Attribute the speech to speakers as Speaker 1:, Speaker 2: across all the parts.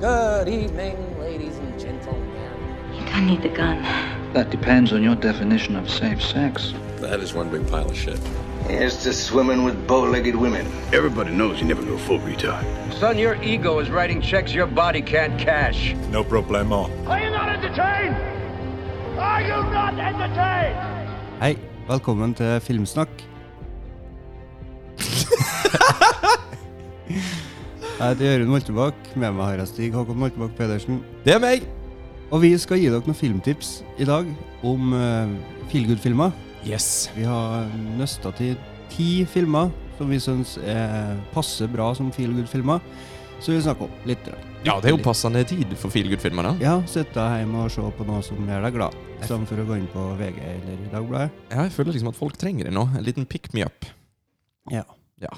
Speaker 1: Good evening, ladies and gentlemen.
Speaker 2: You don't need the gun.
Speaker 3: That depends on your definition of safe sex.
Speaker 4: That is one big pile of shit.
Speaker 5: Here's to swimming with bow-legged women.
Speaker 6: Everybody knows you never go full retard.
Speaker 7: Son, your ego is writing checks your body can't cash.
Speaker 8: No problemo.
Speaker 9: Are you not entertained? Are you not entertained?
Speaker 10: Hei, velkommen til Filmsnakk. Jeg heter Jørund Moltebakk. Med meg har jeg Stig Håkon Moltebakk Pedersen.
Speaker 11: Det er meg!
Speaker 10: Og vi skal gi dere noen filmtips i dag om uh, feelgood-filmer.
Speaker 11: Yes.
Speaker 10: Vi har nøsta til ti filmer som vi syns er passer bra som feelgood-filmer. Så vi snakker om litt.
Speaker 11: Ja, det er jo passende tid for feelgood-filmene.
Speaker 10: Ja, sitte hjemme og se på noe som gjør deg glad, istedenfor å gå inn på VG eller Dagbladet.
Speaker 11: Ja, jeg føler liksom at folk trenger det nå. En liten pick me up.
Speaker 10: Ja.
Speaker 11: Ja.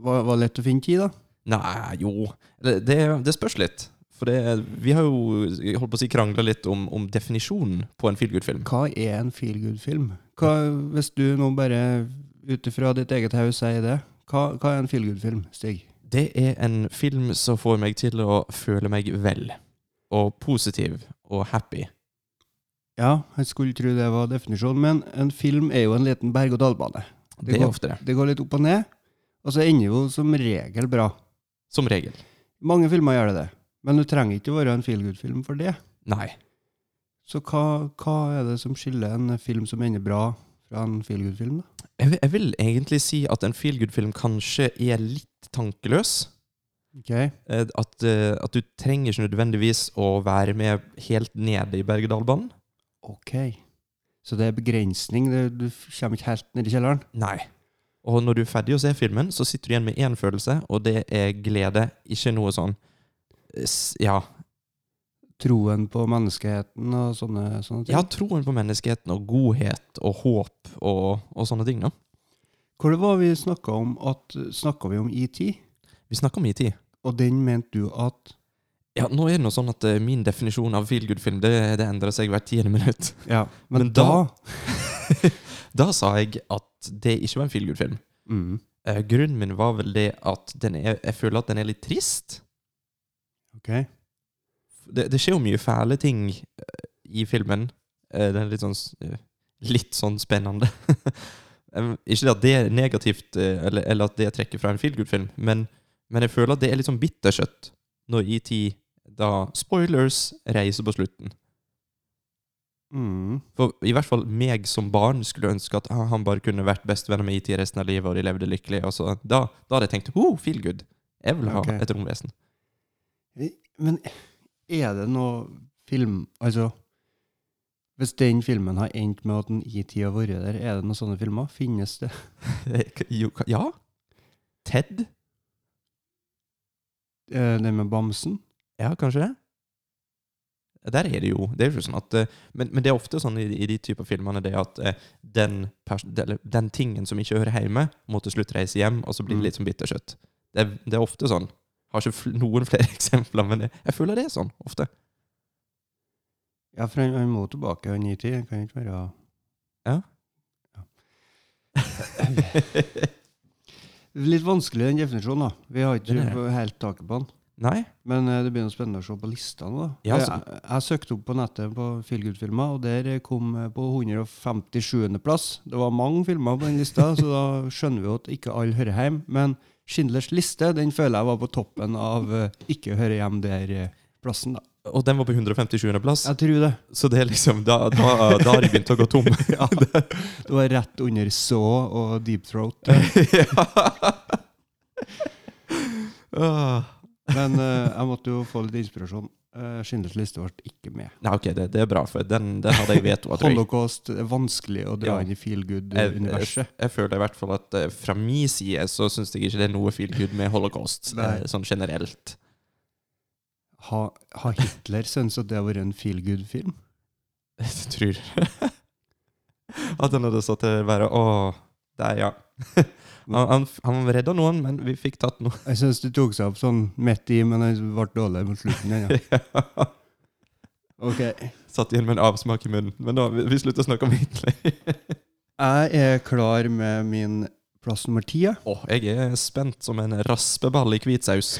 Speaker 10: Var, var lett å finne tid, da?
Speaker 11: Nei, jo Det, det, det spørs litt. For det, vi har jo jeg holdt på å si, krangla litt om, om definisjonen på en feelgood-film.
Speaker 10: Hva er en feelgood-film? Hva- Hvis du nå bare ut ifra ditt eget hus sier det, hva, hva er en feelgood-film, Stig?
Speaker 11: Det er en film som får meg til å føle meg vel. Og positiv og happy.
Speaker 10: Ja, jeg skulle tro det var definisjonen, men en film er jo en liten berg-og-dal-bane.
Speaker 11: Det er ofte det.
Speaker 10: Det går litt opp og ned, og så ender jo som regel bra.
Speaker 11: Som regel.
Speaker 10: Mange filmer gjør det det, men du trenger ikke å være en feelgood-film for det.
Speaker 11: Nei.
Speaker 10: Så hva, hva er det som skiller en film som ender bra, fra en feelgood-film? da?
Speaker 11: Jeg, vil- jeg vil egentlig si at en feelgood-film kanskje er litt tankeløs.
Speaker 10: Ok,
Speaker 11: Eh, At, eh, at du trenger ikke nødvendigvis å være med helt nede i berg-og-dal-banen.
Speaker 10: ok. Så det er begrensning, det, du kommer ikke helt ned i kjelleren?
Speaker 11: Nei. Og når du er ferdig å se filmen, så sitter du igjen med én følelse, og det er glede. Ikke noe sånn eh, s- Ja.
Speaker 10: troen på menneskeheten og sånne, sånne
Speaker 11: Jeg
Speaker 10: ting.
Speaker 11: har troen på menneskeheten og godhet og håp og, og sånne ting. da.
Speaker 10: Hvor det var vi snakka om at Snakka vi om ET,
Speaker 11: Vi snakker om IT.
Speaker 10: og den mente du at
Speaker 11: Ja, nå er det noe sånn at eh, Min definisjon av feelgood-film det, det endrer seg hvert tiende minutt.
Speaker 10: Ja, men,
Speaker 11: Men
Speaker 10: da,
Speaker 11: Da sa jeg at det ikke var en feelgood-film.
Speaker 10: mm,
Speaker 11: Eh, grunnen min var vel det at den er, jeg føler at den er litt trist.
Speaker 10: Ok.
Speaker 11: Det, det skjer jo mye fæle ting eh, i filmen. Eh, den er litt sånn, s- eh, litt sånn spennende. Em, ikke det at det er negativt, eh, eller, eller at det trekker fra en feelgood-film, men, men jeg føler at det er litt sånn bitterkjøtt når ET da spoilers reiser på slutten.
Speaker 10: Mm,
Speaker 11: For i hvert fall meg som barn skulle ønske at ah, han bare kunne vært bestevenner med ET resten av livet, og de levde lykkelig. Og så, da, da hadde jeg tenkt oh, feelgood. Jeg vil ha
Speaker 10: Ok.
Speaker 11: et romvesen.
Speaker 10: Men er det noe film Altså, hvis den filmen har endt med at en ET har vært der, er det noen sånne filmer? Finnes det?
Speaker 11: Jo, ka- ja. Ted?
Speaker 10: Eh, Den med bamsen?
Speaker 11: Ja, kanskje det? Der er det jo det er jo ikke sånn at, eh, men, men det er ofte sånn i, i de typer filmene det at eh, den, pers eller, den tingen som ikke hører hjemme, må til slutt reise hjem, og så blir
Speaker 10: Mm.
Speaker 11: det litt som bitterkjøtt. Det, er- det er ofte sånn. Har ikke fl noen flere eksempler, men jeg, jeg føler det er sånn ofte.
Speaker 10: Ja, for han, han må tilbake, han ET. Han kan ikke være Litt vanskelig, den definisjonen. da. Vi har
Speaker 11: Den er
Speaker 10: ikke helt taket på den.
Speaker 11: Nei?
Speaker 10: Men eh, det blir noe spennende å se på listene. da.
Speaker 11: Ja, altså-
Speaker 10: jeg, jeg søkte opp på nettet på Feelgood-filmer, og der eh, kom jeg på 157.-plass. Det var mange filmer på den lista, så da skjønner vi jo at ikke alle hører hjem. Men Schindlers liste den føler jeg var på toppen av eh, ikke høre hjem der-plassen. eh, da.
Speaker 11: Og den var på 157. plass,
Speaker 10: Jeg tror det.
Speaker 11: så det er liksom Da, da, da har de begynt å gå tom.
Speaker 10: Ja. Det var rett under Så og Deep Throat.
Speaker 11: Ah.
Speaker 10: Men eh, jeg måtte jo få litt inspirasjon. Eh, Schindlers liste ble ikke med.
Speaker 11: Nei, ok, det, det er bra, for den, den hadde jeg vetoa. tror jeg.
Speaker 10: Holocaust det er vanskelig å dra
Speaker 11: Ja. Eh,
Speaker 10: inn i
Speaker 11: jeg, jeg,
Speaker 10: feelgood-universet.
Speaker 11: jeg føler i hvert fall at eh, fra min side så syns jeg ikke det er noe feel good med holocaust,
Speaker 10: Nei.
Speaker 11: eh, sånn generelt.
Speaker 10: Har har Hitler syntes at det har vært en feelgood-film?
Speaker 11: Jeg tror At han hadde satt til bare Å, der, ja. Han, han, han redda noen, men vi fikk tatt noen.
Speaker 10: Jeg syns det tok seg opp sånn midt i, men han ble dårlig mot slutten. Ja. Ok.
Speaker 11: Satt igjen med en avsmak i munnen. Men da, vi, vi slutter å snakke om Hitler.
Speaker 10: Jeg er klar med min plass nummer ti. ja.
Speaker 11: Å, jeg er spent som en raspeball i hvit saus.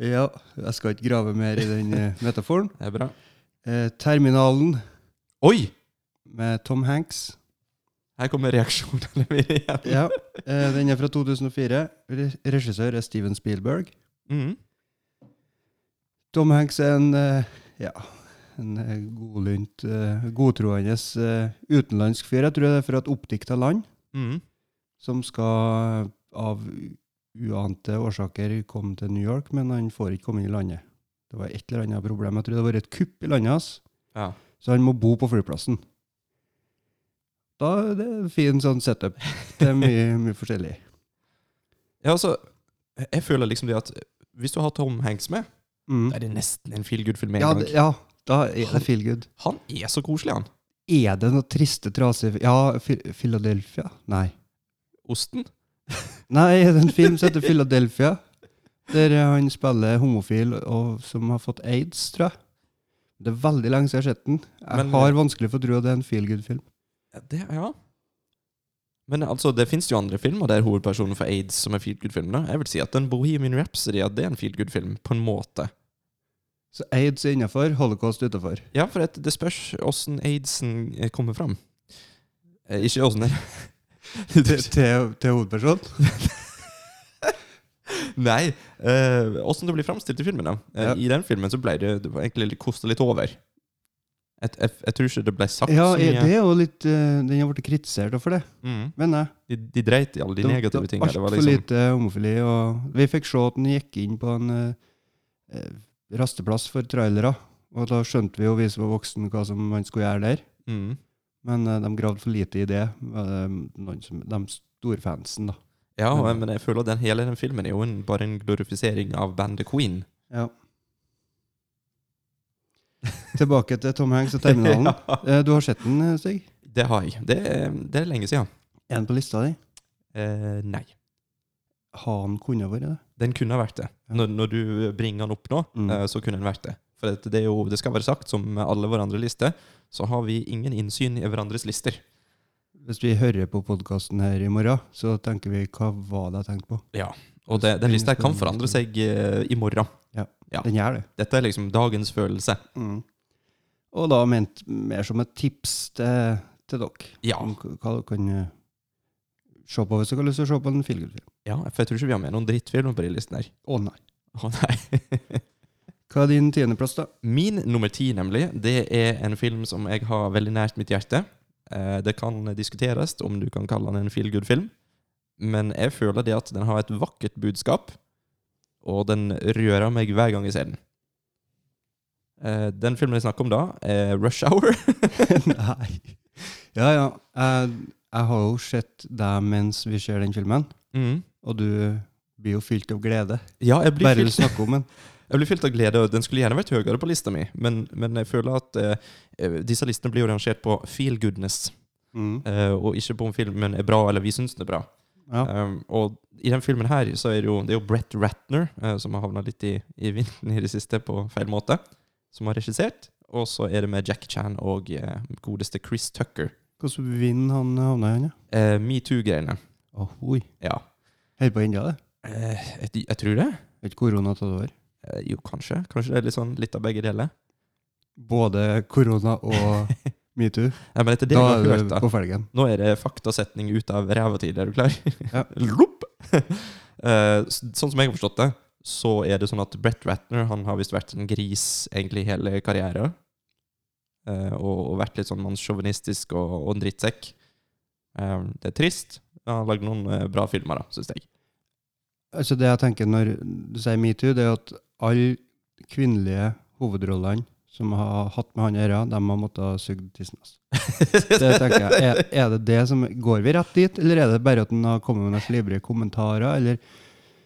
Speaker 10: Ja, jeg skal ikke grave mer i den eh, metaforen.
Speaker 11: Det er bra.
Speaker 10: Eh, Terminalen
Speaker 11: Oi!
Speaker 10: med Tom Hanks.
Speaker 11: Her kommer reaksjonene mine igjen.
Speaker 10: Ja, eh, Den er fra 2004. Re- Regissør er Steven Spielberg.
Speaker 11: Mhm.
Speaker 10: Tom Hanks er en eh, ja, en eh, godlynt, eh, godtroende eh, utenlandsk fyr. Jeg tror det er fra et oppdikta land
Speaker 11: Mhm.
Speaker 10: som skal eh, av u- uante årsaker komme til New York, men han får ikke komme inn i landet. Det var et eller annet problem. Jeg tror det har vært et kupp i landet hans.
Speaker 11: Ja.
Speaker 10: Så han må bo på flyplassen. Da er det en fin sånn setup. Det er mye, mye forskjellig.
Speaker 11: ja, altså Jeg føler liksom det at hvis du har Tom Hanks med,
Speaker 10: Mm.
Speaker 11: da er det nesten en feel good-film med en
Speaker 10: Ja,
Speaker 11: gang.
Speaker 10: det, ja, da er det feel good.
Speaker 11: Han er så koselig, han.
Speaker 10: Er det noe triste, trasig Ja, Phil- Philadelphia? Nei.
Speaker 11: Osten.
Speaker 10: Nei, det er en film som heter Philadelphia, der han spiller homofil og, som har fått aids, tror jeg. Det er veldig lenge siden jeg har sett den. Jeg
Speaker 11: Men-
Speaker 10: har vanskelig for å tro at det er en feel good-film.
Speaker 11: Ja, Det, ja. Men altså, det fins jo andre filmer der hovedpersonen får aids, som er feel good-filmer. Jeg vil si at den Bohemian Rhapsody at det er en feel good-film, på en måte.
Speaker 10: Så aids er innafor, holocaust utafor.
Speaker 11: Ja, for det, det spørs åssen aidsen eh, kommer fram. Eh, ikke åssen
Speaker 10: Til, til, til hovedperson.
Speaker 11: Nei. eh, Åssen det blir framstilt i filmen. da. Eh,
Speaker 10: Ja.
Speaker 11: I den filmen så ble det, det var egentlig kosta litt over. Jeg, jeg, jeg tror ikke det ble sagt
Speaker 10: Ja,
Speaker 11: så
Speaker 10: er
Speaker 11: mye.
Speaker 10: det er jo litt eh, Den har blitt kritisert for det,
Speaker 11: Mm.
Speaker 10: mener jeg.
Speaker 11: De, de dreit i alle de
Speaker 10: Det var-
Speaker 11: negative
Speaker 10: det var
Speaker 11: tingene. Det var
Speaker 10: altfor
Speaker 11: liksom
Speaker 10: lite homofili. Og vi fikk se at den gikk inn på en eh, eh, rasteplass for trailere. Og da skjønte vi jo, vi som var voksne, hva som man skulle gjøre der.
Speaker 11: mm.
Speaker 10: Men eh, de gravde for lite i det, var det noen som, de storfansen, da.
Speaker 11: Ja,
Speaker 10: Men-
Speaker 11: men jeg føler at den hele den filmen er jo en, bare en glorifisering av bandet Queen.
Speaker 10: Ja. Tilbake til Tom Hanks og terminalen.
Speaker 11: Ja.
Speaker 10: Eh, Du har sett den, eh, Stig?
Speaker 11: Det har jeg. Det, er- det er lenge siden.
Speaker 10: Er den på lista di?
Speaker 11: Eh, nei.
Speaker 10: Han kunne vært det.
Speaker 11: Den kunne ha vært det. Når, når du bringer den opp nå,
Speaker 10: Mm.
Speaker 11: eh, så kunne den vært det. For at det, er jo, det skal være sagt, som med alle hverandre lister, så har vi ingen innsyn i hverandres lister.
Speaker 10: Hvis vi hører på podkasten her i morgen, så tenker vi 'hva var det jeg tenkte på'?
Speaker 11: Og det, den lista kan forandre seg eh, i morgen. Ja.
Speaker 10: Den gjør det.
Speaker 11: Dette er liksom dagens følelse.
Speaker 10: Mm. Og da ment mer som et tips til, til dere.
Speaker 11: Ja.
Speaker 10: Om k- Hva dere kan eh, se på hvis dere har lyst til å se på en filmfilm.
Speaker 11: ja, for jeg tror ikke vi har med noen drittfilmer på den listen her.
Speaker 10: Å nei.
Speaker 11: Å nei.
Speaker 10: Hva er din tiendeplass, da?
Speaker 11: Min nummer ti, nemlig, det er en film som jeg har veldig nært mitt hjerte. Eh, Det kan diskuteres om du kan kalle den en feel good-film, men jeg føler det at den har et vakkert budskap, og den rører meg hver gang jeg ser den. Eh, Den filmen jeg snakker om da, er Rush Hour.
Speaker 10: nei. Ja, ja. Jeg, jeg har jo sett deg mens vi ser den filmen,
Speaker 11: Mm.
Speaker 10: og du blir jo fylt av glede.
Speaker 11: Ja, jeg blir
Speaker 10: Bare du
Speaker 11: fylt
Speaker 10: snakker om den.
Speaker 11: Jeg blir fylt av glede, og den skulle gjerne vært høyere på lista mi, men, men jeg føler at eh, disse listene blir jo rangert på feel goodness,
Speaker 10: Mm.
Speaker 11: eh, og ikke på om filmen er bra, eller vi syns den er bra.
Speaker 10: Ja.
Speaker 11: Um, og i den filmen her så er det jo, det er jo Brett Ratner eh, som har havna litt i, i vinden i det siste på feil måte, som har regissert. Og så er det med Jack Chan og eh, godeste Chris Tucker.
Speaker 10: Hvordan vinner han havna igjen?
Speaker 11: Eh, Metoo-greiene.
Speaker 10: Ohoi.
Speaker 11: Ja.
Speaker 10: Helt på enda det.
Speaker 11: Eh, jeg, jeg tror det.
Speaker 10: Er ikke korona tatt over?
Speaker 11: Eh, jo, kanskje. Kanskje det er litt sånn litt av begge deler.
Speaker 10: Både korona og metoo.
Speaker 11: Nei, Eh, men etter det
Speaker 10: Da
Speaker 11: jeg har
Speaker 10: er
Speaker 11: hørt,
Speaker 10: det
Speaker 11: da.
Speaker 10: på felgen.
Speaker 11: Nå er det faktasetning ut av ræva tid. Er du klar?
Speaker 10: Ja.
Speaker 11: Lopp! Eh, s- sånn som jeg har forstått det, så er det sånn at Brett Ratner han har visst vært en gris egentlig hele karrieren. Eh, og, og vært litt sånn mannssjåvinistisk og, og en drittsekk. Eh, det er trist. Han har lagd noen eh, bra filmer, da, syns jeg.
Speaker 10: Altså Det jeg tenker når du sier metoo, det er at alle kvinnelige hovedrollene som har hatt med han å gjøre, de har måttet suge tissen hans. Det tenker jeg. Er, er det det som Går vi rett dit, eller er det bare at han har kommet med noen slibrige kommentarer, eller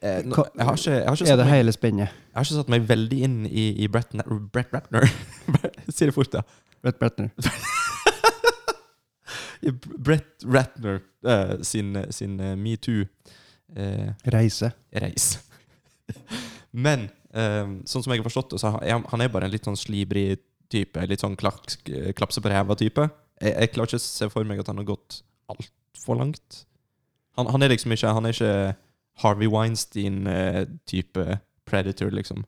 Speaker 11: Eh, nå-
Speaker 10: Hva-
Speaker 11: jeg har ikke, jeg har ikke
Speaker 10: er
Speaker 11: satt
Speaker 10: det
Speaker 11: meg,
Speaker 10: hele spennet?
Speaker 11: jeg har ikke satt meg veldig inn i, i Brett, Na- Brett Ratner. Si det fort, da.
Speaker 10: Brett Bretner.
Speaker 11: I Br- Brett Ratner eh, sin, sin metoo-reise.
Speaker 10: Reise.
Speaker 11: Men eh, sånn som jeg har forstått det, så har- er han- han er bare en litt sånn slibrig type. Litt sånn klak, klapse på ræva-type. Jeg, jeg klarer ikke å se for meg at han har gått altfor langt. Han, han er liksom ikke Han er ikke Harvey Weinstein-type eh, Predator, liksom.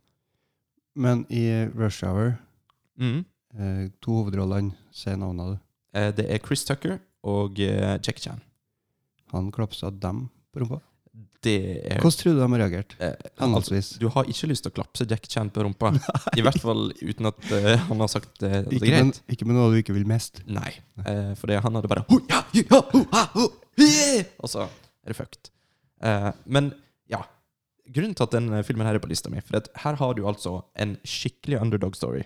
Speaker 10: Men i Rush Hour,
Speaker 11: Mm.
Speaker 10: eh, to hovedrollene, si navnet du.
Speaker 11: Eh, det er Chris Tucker og eh, Jack Chan.
Speaker 10: Han klapsa dem på rumpa.
Speaker 11: Det er
Speaker 10: Hvordan tror du de har reagert?
Speaker 11: eh, altså,
Speaker 10: Henholdsvis.
Speaker 11: Du har ikke lyst til å klapse Jack Chan på rumpa. I hvert fall uten at eh, han har sagt eh, at det er
Speaker 10: Ikke med,
Speaker 11: greit.
Speaker 10: ikke med noe du ikke vil mest.
Speaker 11: Nei. Eh, for det, han hadde bare «Ho, ja, hi, ha, ho, ha, ho, hi!» Og så er det fucked. Eh, men ja. Grunnen til at denne filmen her er på lista mi, for at her har du altså en skikkelig underdog story.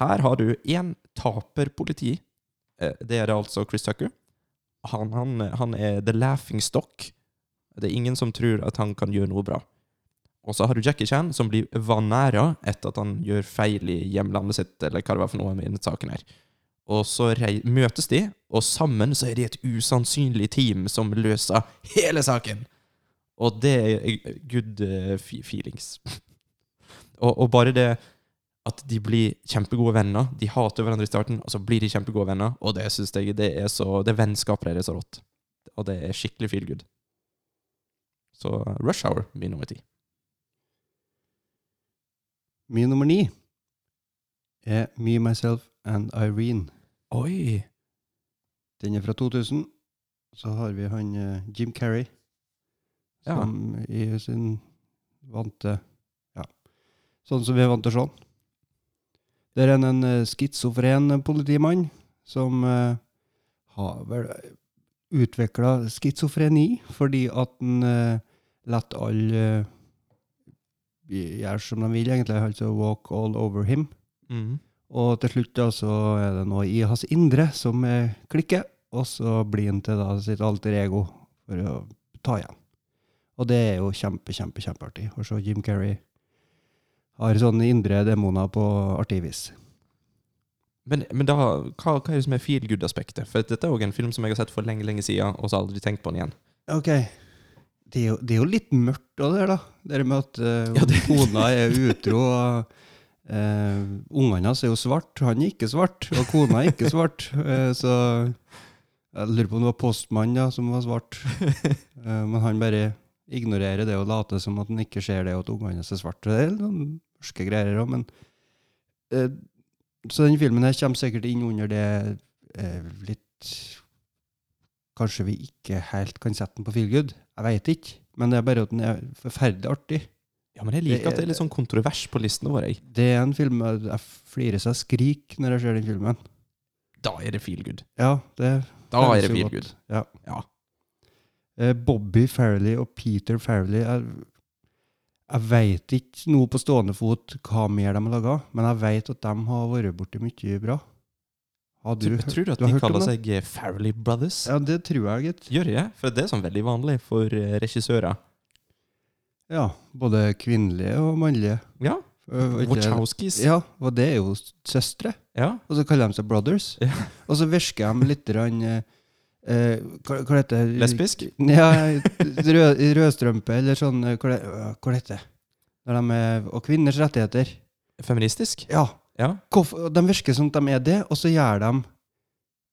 Speaker 11: Her har du én taperpoliti. Eh, det er det altså Chris Tucker. Han, han, han er the laughing stock. Det er ingen som tror at han kan gjøre noe bra. Og så har du Jackie Chan, som blir vanæra etter at han gjør feil i hjemlandet sitt, eller hva det var for noe med denne saken her. Og så rei- møtes de, og sammen så er de et usannsynlig team som løser hele saken. Og det er eh, good eh, fe- feelings. og, og bare det at de blir kjempegode venner. De hater hverandre i starten, og så blir de kjempegode venner. Og det synes jeg det er så Det vennskapet der er så rått. Og det er skikkelig feel good. Så Rush Hour blir nummer ti.
Speaker 10: Min nummer ni er Me, Myself and Irene.
Speaker 11: Oi!
Speaker 10: Den er fra 2000. Så har vi han eh, Jim Carrey,
Speaker 11: Ja.
Speaker 10: som i sin vante Ja, sånn som vi er vant til å se han. Der er han en uh, schizofren politimann som eh, har vel utvikla schizofreni fordi at han uh, lar alle eh, gjøre som de vil, egentlig. Altså walk all over him.
Speaker 11: Mm.
Speaker 10: Og til slutt da, så er det noe i hans indre som eh, klikker, og så blir han til da sitt alter ego for å ta igjen. Og det er jo kjempe, kjempe, kjempeartig å se Jim Carrey har sånne indre demoner på artig vis.
Speaker 11: Men, men da, hva, hva er det som er feel good-aspektet? For dette er òg en film som jeg har sett for lenge lenge siden, og så har jeg aldri tenkt på den igjen.
Speaker 10: Ok. Det er jo, det er jo litt mørkt av det her, da. Det med at eh,
Speaker 11: Ja, det-
Speaker 10: kona er utro. og eh, Ungene hans er jo svart, han er ikke svart, og kona er ikke svart. Eh, så jeg lurer på om det var postmannen da, som var svart. Eh, men han bare ignorerer det og later som at han ikke ser det, og at ungene hans er svarte. Det er litt sånn mørke greier òg, men eh, Så den filmen her kommer sikkert inn under det eh, litt Kanskje vi ikke helt kan sette den på feelgood. Jeg veit ikke. Men det er bare at den er forferdelig artig.
Speaker 11: Ja, men jeg
Speaker 10: Det
Speaker 11: liker at det
Speaker 10: er-
Speaker 11: er litt sånn kontrovers på listen vår. Jeg.
Speaker 10: Det er en film jeg jeg flirer så jeg skriker når jeg ser den filmen.
Speaker 11: Da er det feel good.
Speaker 10: Ja, det
Speaker 11: Da er
Speaker 10: høres
Speaker 11: det
Speaker 10: jo
Speaker 11: feel
Speaker 10: godt.
Speaker 11: good.
Speaker 10: Ja.
Speaker 11: Ja.
Speaker 10: Eh, Bobby Farrelly og Peter Farrelly Jeg, jeg veit ikke noe på stående fot hva mer de har laga, men jeg veit at de har vært borti mye bra. Har du,
Speaker 11: Tror,
Speaker 10: hørt-
Speaker 11: tror du at
Speaker 10: du har
Speaker 11: de
Speaker 10: hørt om
Speaker 11: kaller
Speaker 10: det?
Speaker 11: seg eh, Farrelly Brothers?
Speaker 10: Ja, det tror jeg, gitt.
Speaker 11: Gjør de det? For det er sånn veldig vanlig for eh, regissører.
Speaker 10: Ja, både kvinnelige og mannlige.
Speaker 11: Ja.
Speaker 10: Eh, vet ikke-
Speaker 11: Wachowskis.
Speaker 10: Ja, og det er jo søstre.
Speaker 11: Ja.
Speaker 10: Og så kaller de seg brothers.
Speaker 11: Ja.
Speaker 10: Og så virker de litt rann, eh, eh, hva, hva heter det?
Speaker 11: Lesbisk?
Speaker 10: Ja, rød, rødstrømpe eller sånn eh, Hva, det- øh, hva heter det? Når de er, og kvinners rettigheter.
Speaker 11: Feministisk?
Speaker 10: Ja.
Speaker 11: Ja.
Speaker 10: hvorfor- og de virker som at de er det, og så gjør de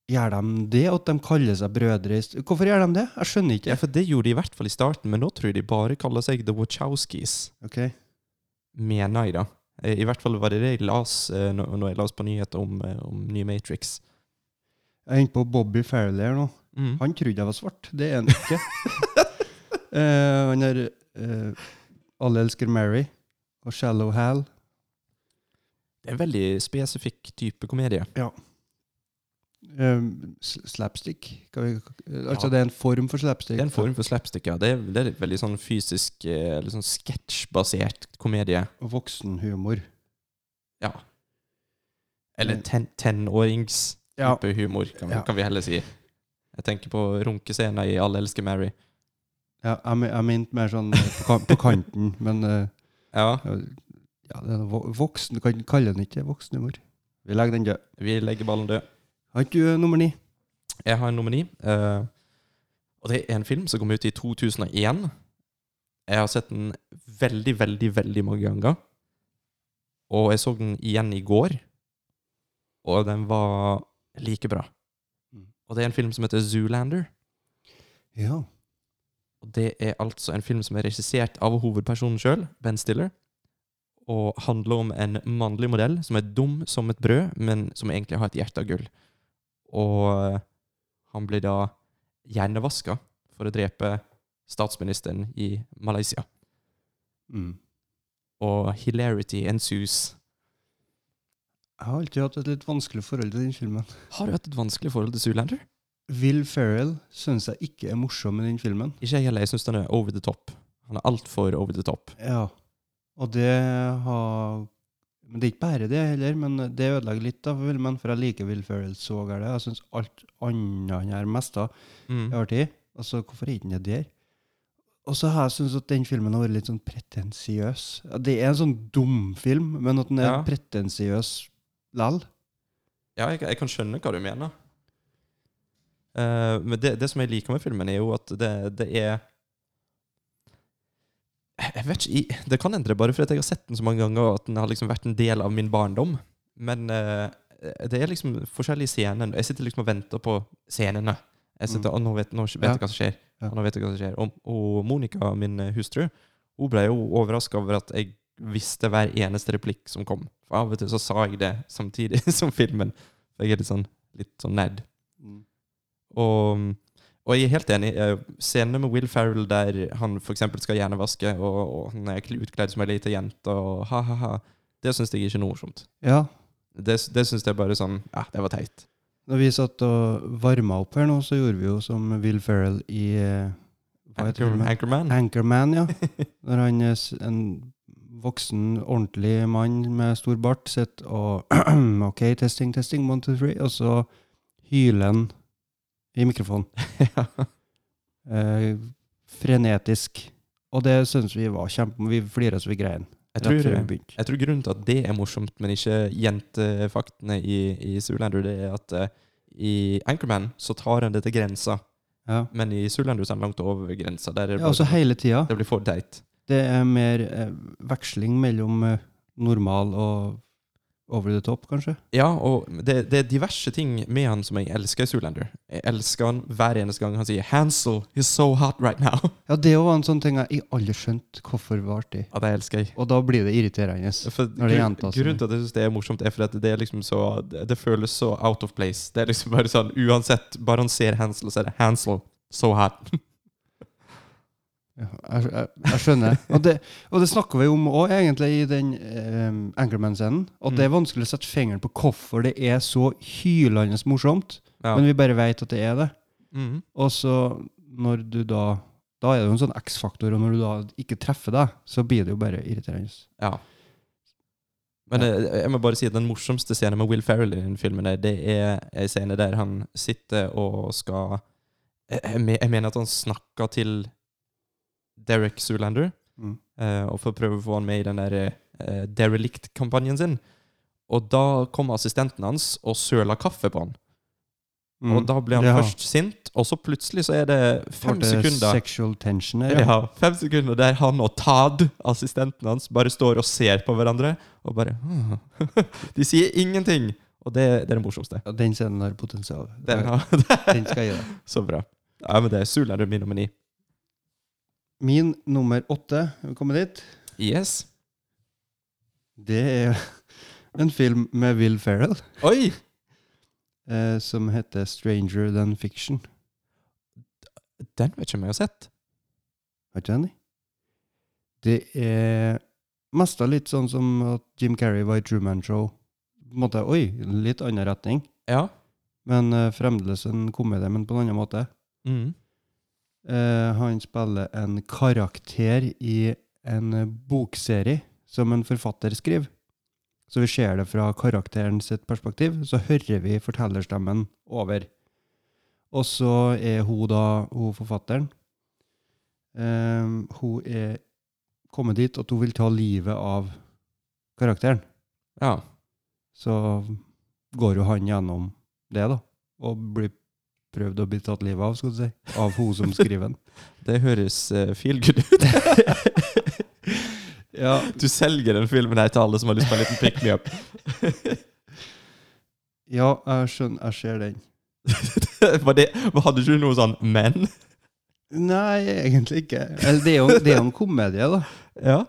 Speaker 10: Gjør de det, og at de kaller seg brødre? i st- Hvorfor gjør de det? Jeg skjønner
Speaker 11: ja,
Speaker 10: ikke.
Speaker 11: for det gjorde de i hvert fall i starten, men nå tror jeg de bare kaller seg The Wachowskis.
Speaker 10: Ok.
Speaker 11: mener jeg da. Eh, I hvert fall var det det jeg las eh, når når jeg las på nyheter om, eh, om nye Matrix.
Speaker 10: Jeg er inne på Bobby Farrelly her nå.
Speaker 11: Mm.
Speaker 10: Han trodde jeg var svart. Det er han ikke. Eh, han har eh, Alle elsker Mary og Shallow Hal.
Speaker 11: Det er en veldig spesifikk type komedie.
Speaker 10: Eh, s- slapstick? Kan vi, altså
Speaker 11: Ja.
Speaker 10: det er en form for slapstick?
Speaker 11: Det er en form for slapstick, ja. Det er, det er et veldig sånn fysisk, eh, litt sånn sketsjbasert komedie.
Speaker 10: Voksenhumor.
Speaker 11: Ja. Eller ten, tenårings
Speaker 10: Mm. Ja.
Speaker 11: type humor, kan, vi-
Speaker 10: Ja.
Speaker 11: kan vi heller si. Jeg tenker på runkescener i Alle elsker Mary.
Speaker 10: Ja, jeg men- jeg mente mer sånn eh, på, kan, på kanten, men eh,
Speaker 11: Ja,
Speaker 10: ja, det er noe vo- voksen kan kalle den ikke voksenhumor. Vi legger den død.
Speaker 11: vi legger ballen død.
Speaker 10: Har ikke du eh, nummer ni?
Speaker 11: Jeg har en nomini. eh, og det er en film som kom ut i 2001. Jeg har sett den veldig, veldig, veldig mange ganger. Og jeg så den igjen i går, og den var like bra.
Speaker 10: Mm.
Speaker 11: Og det er en film som heter Zoolander.
Speaker 10: Ja.
Speaker 11: Og det er altså en film som er regissert av hovedpersonen sjøl, Ben Stiller, og handler om en mannlig modell som er dum som et brød, men som egentlig har et hjerte av gull. Og eh, han blir da hjernevaska for å drepe statsministeren i Malaysia.
Speaker 10: Mm.
Speaker 11: Og hilarity ensues.
Speaker 10: Jeg har alltid hatt et litt vanskelig forhold til den filmen.
Speaker 11: Har du hatt et vanskelig forhold til Zoolander?
Speaker 10: Will Ferrell syns jeg ikke er morsom i den filmen.
Speaker 11: Ikke jeg heller. Jeg syns den er over the top. Han er altfor over the top.
Speaker 10: Ja. Og det har Men det er ikke bare det heller, men det ødelegger litt av filmen, for jeg liker Will Ferrell så gærent. Jeg syns alt annet han gjør mest av,
Speaker 11: Mm.
Speaker 10: er artig. Altså, hvorfor er ikke han det der? Og så har jeg syntes at den filmen har vært litt sånn pretensiøs. Ja, Det er en sånn dum film, men at den er
Speaker 11: Ja.
Speaker 10: pretensiøs lell.
Speaker 11: Ja, jeg, jeg kan skjønne hva du mener. Eh, men det, det som jeg liker med filmen, er jo at det, det er Jeg vet ikke jeg- Det kan endre bare fordi jeg har sett den så mange ganger, og at den har liksom vært en del av min barndom. Men eh, det er liksom forskjellige scener. Jeg sitter liksom og venter på scenene. Jeg sitter, og nå vet, nå vet jeg
Speaker 10: Ja.
Speaker 11: hva som skjer.
Speaker 10: Ja.
Speaker 11: Og nå vet jeg hva som skjer. Og, og Monica, min eh, hustru, hun ble jo overraska over at jeg visste hver eneste replikk som kom. For av og til så sa jeg det samtidig som filmen. For jeg er litt sånn, litt sånn nerd. Og, og jeg er helt enig. eh, Scenene med Will Ferrell der han f.eks. skal hjernevaske, og, og han er kl- utkledd som ei lita jente, og ha-ha-ha, det syns jeg ikke er noe morsomt.
Speaker 10: Ja.
Speaker 11: Det, det syns jeg bare sånn Ja, det var teit.
Speaker 10: Når vi satt og varma opp her nå, så gjorde vi jo som Will Ferrell i eh, hva heter
Speaker 11: Anchor,
Speaker 10: filmen?
Speaker 11: Anchorman.
Speaker 10: Anchorman, ja. Når han er s- en voksen, ordentlig mann med stor bart sitter og OK, testing, testing, one, two, three, og så hyler han i mikrofonen.
Speaker 11: Ja.
Speaker 10: Eh, frenetisk. Og det syns vi var kjempe... Vi flira så vi grein.
Speaker 11: Jeg
Speaker 10: rett
Speaker 11: tror,
Speaker 10: før vi begynte.
Speaker 11: jeg tror grunnen til at det er morsomt, men ikke jentefaktene i, i Zoolander, det er at eh, i Anchorman så tar han det til grensa,
Speaker 10: Ja.
Speaker 11: men i Zoolander så er han langt over grensa. Der er det,
Speaker 10: ja,
Speaker 11: bare,
Speaker 10: altså hele tida.
Speaker 11: det blir for teit.
Speaker 10: Det er mer eh, veksling mellom eh, normal og over the top, kanskje.
Speaker 11: Ja, og det, det er diverse ting med han som jeg elsker i Zoolander. Jeg elsker han hver eneste gang han sier 'Hansel, he's so hot right now'.
Speaker 10: Ja, det var en sånn ting jeg aldri skjønte hvorfor var artig.
Speaker 11: Ja, det elsker jeg.
Speaker 10: Og da blir det irriterende.
Speaker 11: For
Speaker 10: Når det er jenta
Speaker 11: grunn-
Speaker 10: som-
Speaker 11: grunnen til at jeg synes det er morsomt, er fordi at det er liksom så Det det føles så out of place. Det er liksom bare sånn Uansett, bare han ser Hansel, så er det 'Hansel, so hot'.
Speaker 10: Ja, jeg, jeg, jeg skjønner. Og det, og det snakker vi om òg, egentlig, i den um, Anchorman-scenen. At
Speaker 11: Mm.
Speaker 10: det er vanskelig å sette fingeren på hvorfor det er så hylende morsomt.
Speaker 11: Ja.
Speaker 10: Men vi bare vet at det er det.
Speaker 11: Mhm.
Speaker 10: Og så når du da Da er det jo en sånn X-faktor, og når du da ikke treffer deg, så blir det jo bare irriterende.
Speaker 11: Ja. Men eh, jeg må bare si at den morsomste scenen med Will Ferrell i den filmen, er- det er en scene der han sitter og skal Jeg, jeg me- jeg mener at han snakker til Derek Zoolander,
Speaker 10: Mm.
Speaker 11: eh, og for å prøve å få han med i den der eh, Derelict-kampanjen sin. Og da kommer assistenten hans og søler kaffe på han.
Speaker 10: Mm.
Speaker 11: Og da blir han
Speaker 10: Ja.
Speaker 11: først sint, og så plutselig så er det fem
Speaker 10: Ble det
Speaker 11: sekunder
Speaker 10: Sexual tension her.
Speaker 11: ja, fem sekunder der han og Tad, assistenten hans, bare står og ser på hverandre. Og bare «Hm». De sier ingenting! Og det, det er det morsomste.
Speaker 10: Ja, Den scenen har potensial.
Speaker 11: Den,
Speaker 10: Den,
Speaker 11: har- det
Speaker 10: skal jeg gi deg.
Speaker 11: er så bra. Ja, men det er Zoolander min nummer ni.
Speaker 10: Min nummer åtte, er vi kommet dit?
Speaker 11: Yes.
Speaker 10: Det er en film med Will Ferrell
Speaker 11: Oi!
Speaker 10: eh, som heter Stranger Than Fiction.
Speaker 11: Den vet ikke om jeg har sett.
Speaker 10: Har ikke den? i? Det er mest av litt sånn som at Jim Carrey var i Truman Show. På en måte, oi, en litt annen retning.
Speaker 11: Ja.
Speaker 10: Men eh, fremdeles en komedie, men på en annen måte.
Speaker 11: Mm.
Speaker 10: Eh, han spiller en karakter i en eh, bokserie som en forfatter skriver. Så vi ser det fra karakteren sitt perspektiv, så hører vi fortellerstemmen over. Og så er hun da, hun forfatteren, eh, hun er kommet dit at hun vil ta livet av karakteren.
Speaker 11: ja.
Speaker 10: Så går jo han gjennom det da, og blir prøvd å bli tatt livet av, skal du si, av hun som skriver den.
Speaker 11: Det høres eh, feel good ut.
Speaker 10: Ja,
Speaker 11: Du selger den filmen her til alle som har lyst på en liten pick me up.
Speaker 10: ja jeg skjønner, jeg ser den.
Speaker 11: Var det, hadde ikke du noe sånn 'men'?
Speaker 10: Nei, egentlig ikke. Eller, det er jo det er jo en komedie, da.
Speaker 11: Ja.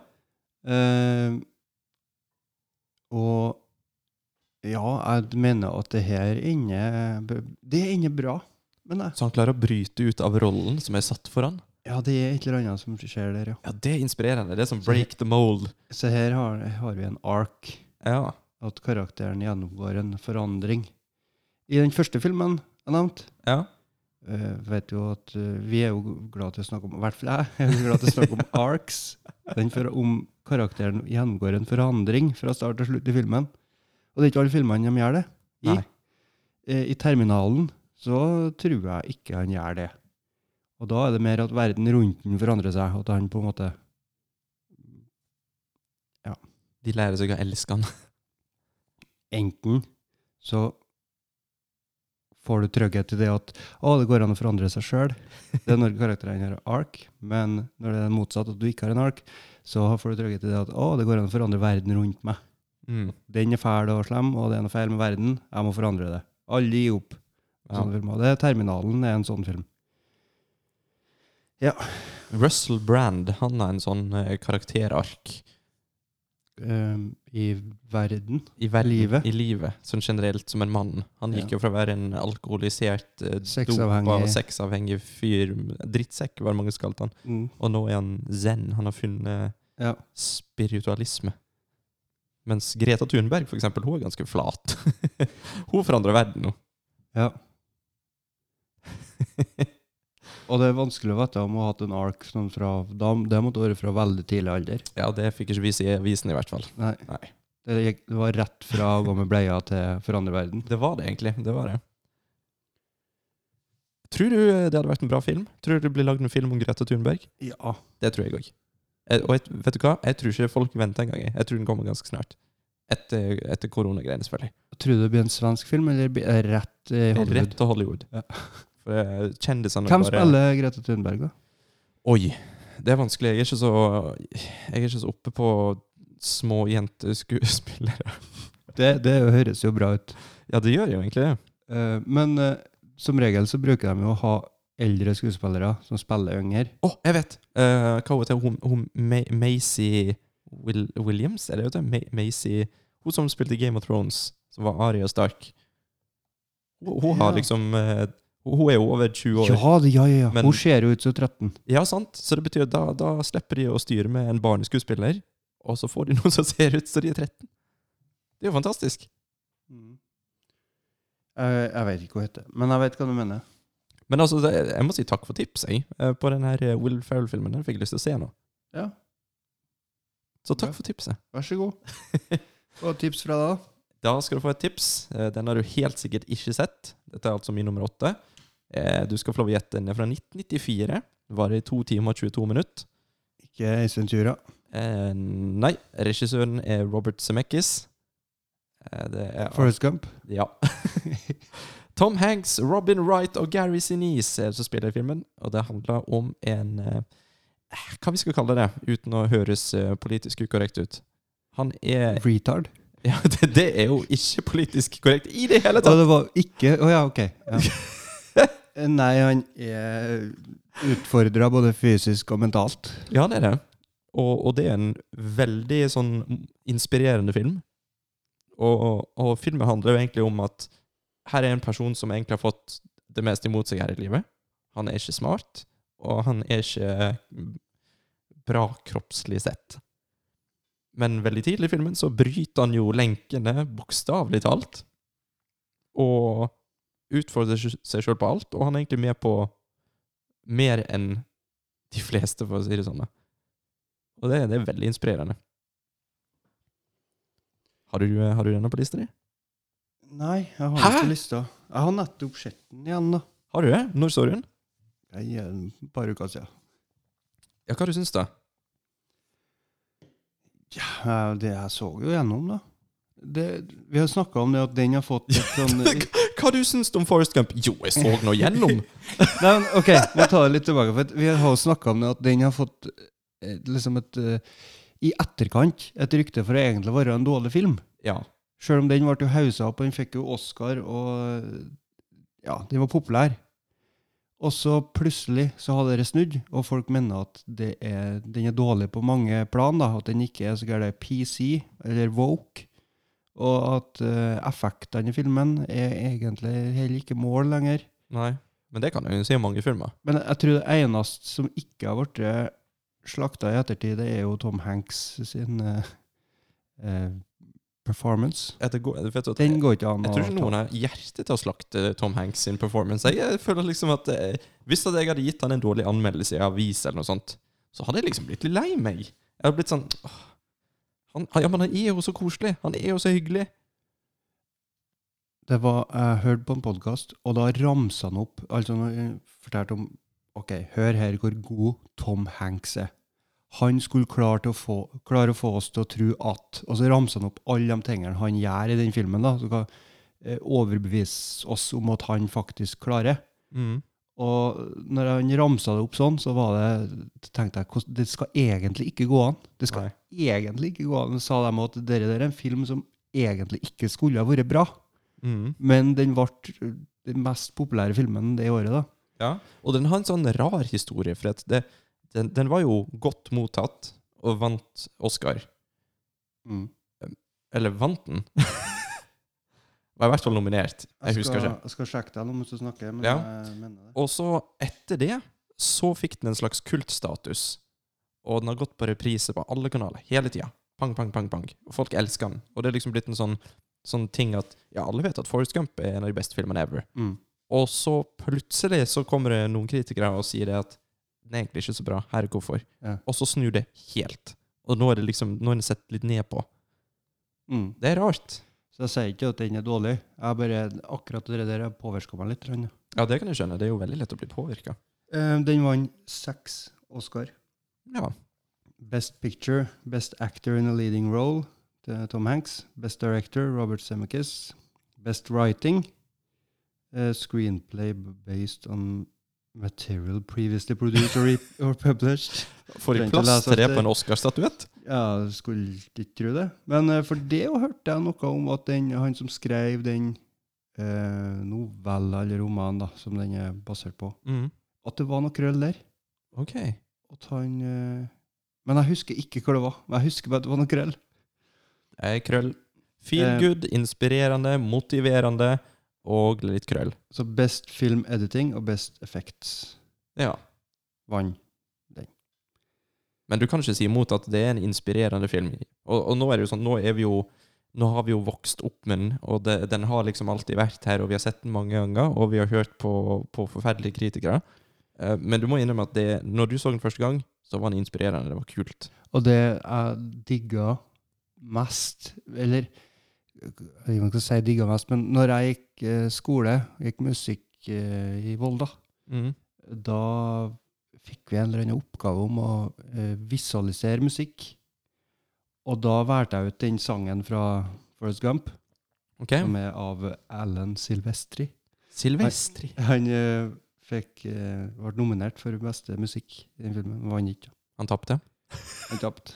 Speaker 10: Eh, Og ja, jeg mener at det her ender Det ender bra, men jeg.
Speaker 11: Så han klarer å bryte ut av rollen som er satt for han.
Speaker 10: Ja, det er et eller annet som skjer der, ja.
Speaker 11: Ja, det er inspirerende. Det er som break the mold.
Speaker 10: Så her har, har vi en ark.
Speaker 11: Ja.
Speaker 10: At karakteren gjennomgår en forandring. I den første filmen jeg nevnte,
Speaker 11: ja.
Speaker 10: eh, vet jo at eh, vi er jo glad til å snakke om I hvert fall jeg er jo glad til å snakke om arcs. Den for, om karakteren gjennomgår en forandring fra start til slutt i filmen. Og det er ikke alle filmene de gjør det. I,
Speaker 11: Nei.
Speaker 10: eh, I Terminalen så tror jeg ikke han gjør det. Og da er det mer at verden rundt den forandrer seg, at han på en måte
Speaker 11: De lærer seg å elske han.
Speaker 10: enten så får du trygghet i det at å, det går an å forandre seg sjøl. Det er når karakterene har ark, men når det er motsatt, at du ikke har en ark, så får du trygghet i det at å, det går an å forandre verden rundt meg.
Speaker 11: Mm.
Speaker 10: Den er fæl og slem, og det er noe feil med verden. Jeg må forandre det. Alle gir opp.
Speaker 11: Ja.
Speaker 10: Sånne filmer. Det er Terminalen er en sånn film.
Speaker 11: Russell Brand han har en sånn eh, karakterark
Speaker 10: Ehm, I verden.
Speaker 11: i, verden,
Speaker 10: Livet.
Speaker 11: i livet, sånn generelt som en mann. Han
Speaker 10: Ja.
Speaker 11: gikk jo fra å være en alkoholisert, eh,
Speaker 10: Sexavhengig.
Speaker 11: dopa, sexavhengig fyr Drittsekk, var det mange som kalte han.
Speaker 10: Mm.
Speaker 11: Og nå er han zen. Han har funnet
Speaker 10: Ja.
Speaker 11: spiritualisme. Mens Greta Thunberg, for eksempel, hun er ganske flat. hun forandrer verden nå.
Speaker 10: ja. Og det er vanskelig å vite om hun har hatt en ark sånn fra da, Det måtte være fra veldig tidlig alder.
Speaker 11: ja, det fikk ikke vi se i avisen, i hvert fall.
Speaker 10: Nei.
Speaker 11: Nei.
Speaker 10: Det, gikk, det var rett fra å gå med bleia til forandre verden.
Speaker 11: Det var det, egentlig. Det var det. Tror du eh, det hadde vært en bra film? Tror du det blir lagd en film om Greta Thunberg?
Speaker 10: Ja.
Speaker 11: Det tror jeg òg. Og jeg, vet du hva? Jeg tror ikke folk venter engang. jeg. Jeg tror den kommer ganske snart. Etter, etter koronagreiene, selvfølgelig.
Speaker 10: Tror du det blir en svensk film, eller blir det rett i
Speaker 11: Rett
Speaker 10: Hollywood?
Speaker 11: til Hollywood.
Speaker 10: Ja.
Speaker 11: For eh, kjendisene
Speaker 10: Hvem
Speaker 11: bare-
Speaker 10: spiller Grete Thunberg, da?
Speaker 11: Oi, det er vanskelig. Jeg er ikke så, jeg er ikke så oppe på små jenteskuespillere.
Speaker 10: Det, det høres jo bra ut.
Speaker 11: Ja, det gjør jeg jo egentlig det.
Speaker 10: Eh, men eh, som regel så bruker de jo å ha eldre skuespillere som spiller yngre.
Speaker 11: Å, jeg vet! Eh, hva heter hun? hun Ma- Maisie Will Williams? Er det hun heter? Ma- Maisie Hun som spilte i Game of Thrones, som var Aria Stark. Hun, hun har
Speaker 10: Ja.
Speaker 11: liksom eh, Hun hun er jo over 20 år.
Speaker 10: Ja, det- ja, ja, ja.
Speaker 11: Men-
Speaker 10: Hun ser jo ut som 13.
Speaker 11: Ja, sant? Så det betyr at da, da slipper de å styre med en barneskuespiller, og så får de noen som ser ut som de er 13. Det er jo fantastisk.
Speaker 10: Mm. Eh, jeg vet ikke hva hun heter, men jeg vet hva du mener.
Speaker 11: Men altså, det, jeg må si takk for tips, jeg, eh, på den her eh, Will Ferrell-filmen. Den fikk jeg lyst til å se nå.
Speaker 10: Ja.
Speaker 11: Så takk
Speaker 10: Ja.
Speaker 11: for tipset.
Speaker 10: Vær så god. Og tips fra deg?
Speaker 11: Da skal du få et tips. Eh, Den har du helt sikkert ikke sett. Dette er altså min nummer åtte. Eh, Du skal få lov å gjette. Den er fra 1994. Varer i to timer og 22 minutter.
Speaker 10: Ikke Øystein Tjura.
Speaker 11: Eh, Nei, regissøren er Robert Zemeckis. Eh, Det er
Speaker 10: Forrest Gump.
Speaker 11: Ja. Tom Hanks, Robin Wright og Gary Sinise er det som spiller i filmen. Og det handler om en eh, Hva vi skal kalle det, uten å høres eh, politisk ukorrekt ut. Han er
Speaker 10: Retard.
Speaker 11: ja, det, det er jo ikke politisk korrekt i det hele
Speaker 10: Og
Speaker 11: tatt!
Speaker 10: det var ikke Å ja, ok. Ja. Eh, Nei, han er utfordra både fysisk og mentalt.
Speaker 11: Ja, det er det. Og, og det er en veldig sånn inspirerende film. Og, og, og filmen handler jo egentlig om at her er en person som egentlig har fått det meste imot seg her i livet. Han er ikke smart, og han er ikke bra kroppslig sett. Men veldig tidlig i filmen så bryter han jo lenkene, bokstavelig talt. Og utfordrer seg sjøl på alt, og han er egentlig med på mer enn de fleste, for å si det sånn. da. Og det, det er veldig inspirerende. Har du, eh, har du denne på lista di?
Speaker 10: Nei, jeg har
Speaker 11: Hæ?
Speaker 10: ikke lista. Jeg har nettopp sett den igjen, da.
Speaker 11: Har du det? Når så du den?
Speaker 10: Jeg er et par uker siden.
Speaker 11: Ja, hva du syns du?
Speaker 10: Ja, det jeg så jo gjennom, da. Det, vi har snakka om det at den har fått et sånn
Speaker 11: Hva du syns du om Forest Gump? Jo, jeg så nå gjennom!
Speaker 10: Nei, men, ok, må ta det litt tilbake. For at vi har jo snakka om det at den har fått eh, liksom et eh, I etterkant et rykte for å egentlig være en dårlig film.
Speaker 11: Ja.
Speaker 10: Sjøl om den ble jo hausa opp, og den fikk jo Oscar, og ja, den var populær. Og så plutselig så hadde det snudd, og folk mener at det er, den er dårlig på mange plan, da, at den ikke er så gæren PC eller woke. Og at eh, effektene i filmen er egentlig heller ikke mål lenger.
Speaker 11: Nei. Men det kan jeg jo si om mange filmer.
Speaker 10: Men jeg tror det eneste som ikke har blitt slakta i ettertid, det er jo Tom Hanks sin eh, eh, performance.
Speaker 11: Etter, gå- vet du, at-
Speaker 10: Den går ikke an
Speaker 11: Jeg
Speaker 10: å
Speaker 11: tror ikke
Speaker 10: ta.
Speaker 11: noen har hjerte til å slakte Tom Hanks sin performance. Jeg eh, føler liksom at eh, Hvis at jeg hadde gitt han en dårlig anmeldelse i avis, eller noe sånt, så hadde jeg liksom blitt litt lei meg. Jeg hadde blitt sånn åh, han, Ja, men han er jo så koselig. Han er jo så hyggelig.
Speaker 10: Det var, Jeg hørte på en podkast, og da ramsa han opp altså når han fortalte om Ok, hør her hvor god Tom Hanks er. Han skulle klare, til å få, klare å få oss til å tro at Og så ramsa han opp alle de tingene han gjør i den filmen, da, som kan eh, overbevise oss om at han faktisk klarer. Og når han ramsa det opp sånn, så var det, tenkte jeg hvordan- det skal egentlig ikke gå an. Det skal egentlig ikke gå an. Så sa de at dere der er en film som egentlig ikke skulle ha vært bra, men den ble eh, den mest populære filmen det året. da.
Speaker 11: Ja. Og den har en sånn rar historie, for at det, den, den var jo godt mottatt og vant Oscar. Mm. Eller vant den? var i hvert fall nominert. Jeg, husker ikke.
Speaker 10: skal, jeg skal sjekke deg nå mens du snakker. Men
Speaker 11: Ja.
Speaker 10: jeg mener det.
Speaker 11: Og så, etter det, så fikk den en slags kultstatus. Og den har gått på reprise på alle kanaler, hele tida. Pang, pang, pang, pang. Og folk elsker den. Og det er liksom blitt en sånn, sånn ting at Ja, alle vet at Forrest Gump er en av de beste filmene ever.
Speaker 10: Mm.
Speaker 11: Og så plutselig så kommer det noen kritikere og sier det at den er egentlig ikke så bra. Her er hvorfor.
Speaker 10: Ja.
Speaker 11: Og så snur det helt. Og nå er det liksom, nå er den sett litt ned på.
Speaker 10: Mm.
Speaker 11: Det er rart.
Speaker 10: Så jeg sier ikke at den er dårlig. Jeg bare, akkurat det der påvirka meg litt. grann, ja.
Speaker 11: Ja, det kan jeg skjønne. Det er jo veldig lett å bli påvirka.
Speaker 10: Eh, Den vant seks Oscar.
Speaker 11: Ja.
Speaker 10: Best Picture, Best Actor in a Leading Role, det er Tom Hanks. Best Director, Robert Zemeckis. Best Writing, eh, Screenplay b- based on material previously produced or, re- or published.
Speaker 11: Får de
Speaker 10: Trenger ikke
Speaker 11: plass
Speaker 10: lese
Speaker 11: til det
Speaker 10: etter.
Speaker 11: på en Oscar-statuett?
Speaker 10: Ja, jeg skulle ikke tro det. Men eh, for det jo hørte jeg noe om at den, han som skrev den eh, novella eller romanen da, som den er basert på,
Speaker 11: Mm.
Speaker 10: at det var noe krøll der.
Speaker 11: Ok.
Speaker 10: At han... eh, men jeg husker ikke hva det var. Men jeg husker bare at det var noe krøll.
Speaker 11: Eh, krøll. Feel
Speaker 10: Eh.
Speaker 11: good, inspirerende, motiverende og litt krøll.
Speaker 10: Så Best Film Editing og Best Effects
Speaker 11: Ja.
Speaker 10: vann.
Speaker 11: Men du kan ikke si imot at det er en inspirerende film. Og, og nå er det jo sånn, nå er vi jo nå har vi jo vokst opp med den, og det, den har liksom alltid vært her, og vi har sett den mange ganger, og vi har hørt på, på forferdelige kritikere. Eh, Men du må innrømme at det, når du så den første gang, så var den inspirerende. Det var kult.
Speaker 10: Og det jeg digga mest, eller jeg vet ikke om jeg skal si digga mest, men når jeg gikk eh, skole, gikk musikk eh, i Volda, da fikk vi en eller annen oppgave om å eh, visualisere musikk. Og da valgte jeg ut den sangen fra Forrest Gump,
Speaker 11: Ok.
Speaker 10: som er av Alan Silvestri.
Speaker 11: Silvestri.
Speaker 10: Han eh, fikk, eh, ble nominert for beste musikk i den filmen, men vant ikke.
Speaker 11: Han tapte.
Speaker 10: Han tapte.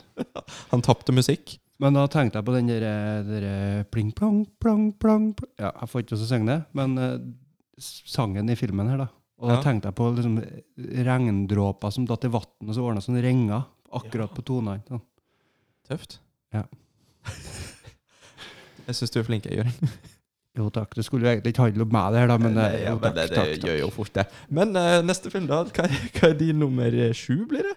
Speaker 11: Han tapte musikk.
Speaker 10: Men da tenkte jeg på den der, der pling, plong, plong, plong plong. Ja, Jeg får ikke til å synge det, men eh, s- sangen i filmen her, da. Og da
Speaker 11: Ja.
Speaker 10: tenkte jeg på liksom, regndråper som datt i vann, og så ordna sånne ringer akkurat på tonene. Sånn.
Speaker 11: Tøft.
Speaker 10: Ja.
Speaker 11: jeg syns du er flink, Jørgen.
Speaker 10: Jo takk, det skulle jo egentlig ikke handle om meg, det her, da, men eh,
Speaker 11: Nei, ja,
Speaker 10: jo,
Speaker 11: men
Speaker 10: takk,
Speaker 11: det, det
Speaker 10: takk, takk.
Speaker 11: gjør jo fort det. Men eh, neste film, da? Hva, er- hva er din nummer eh, sju, blir det?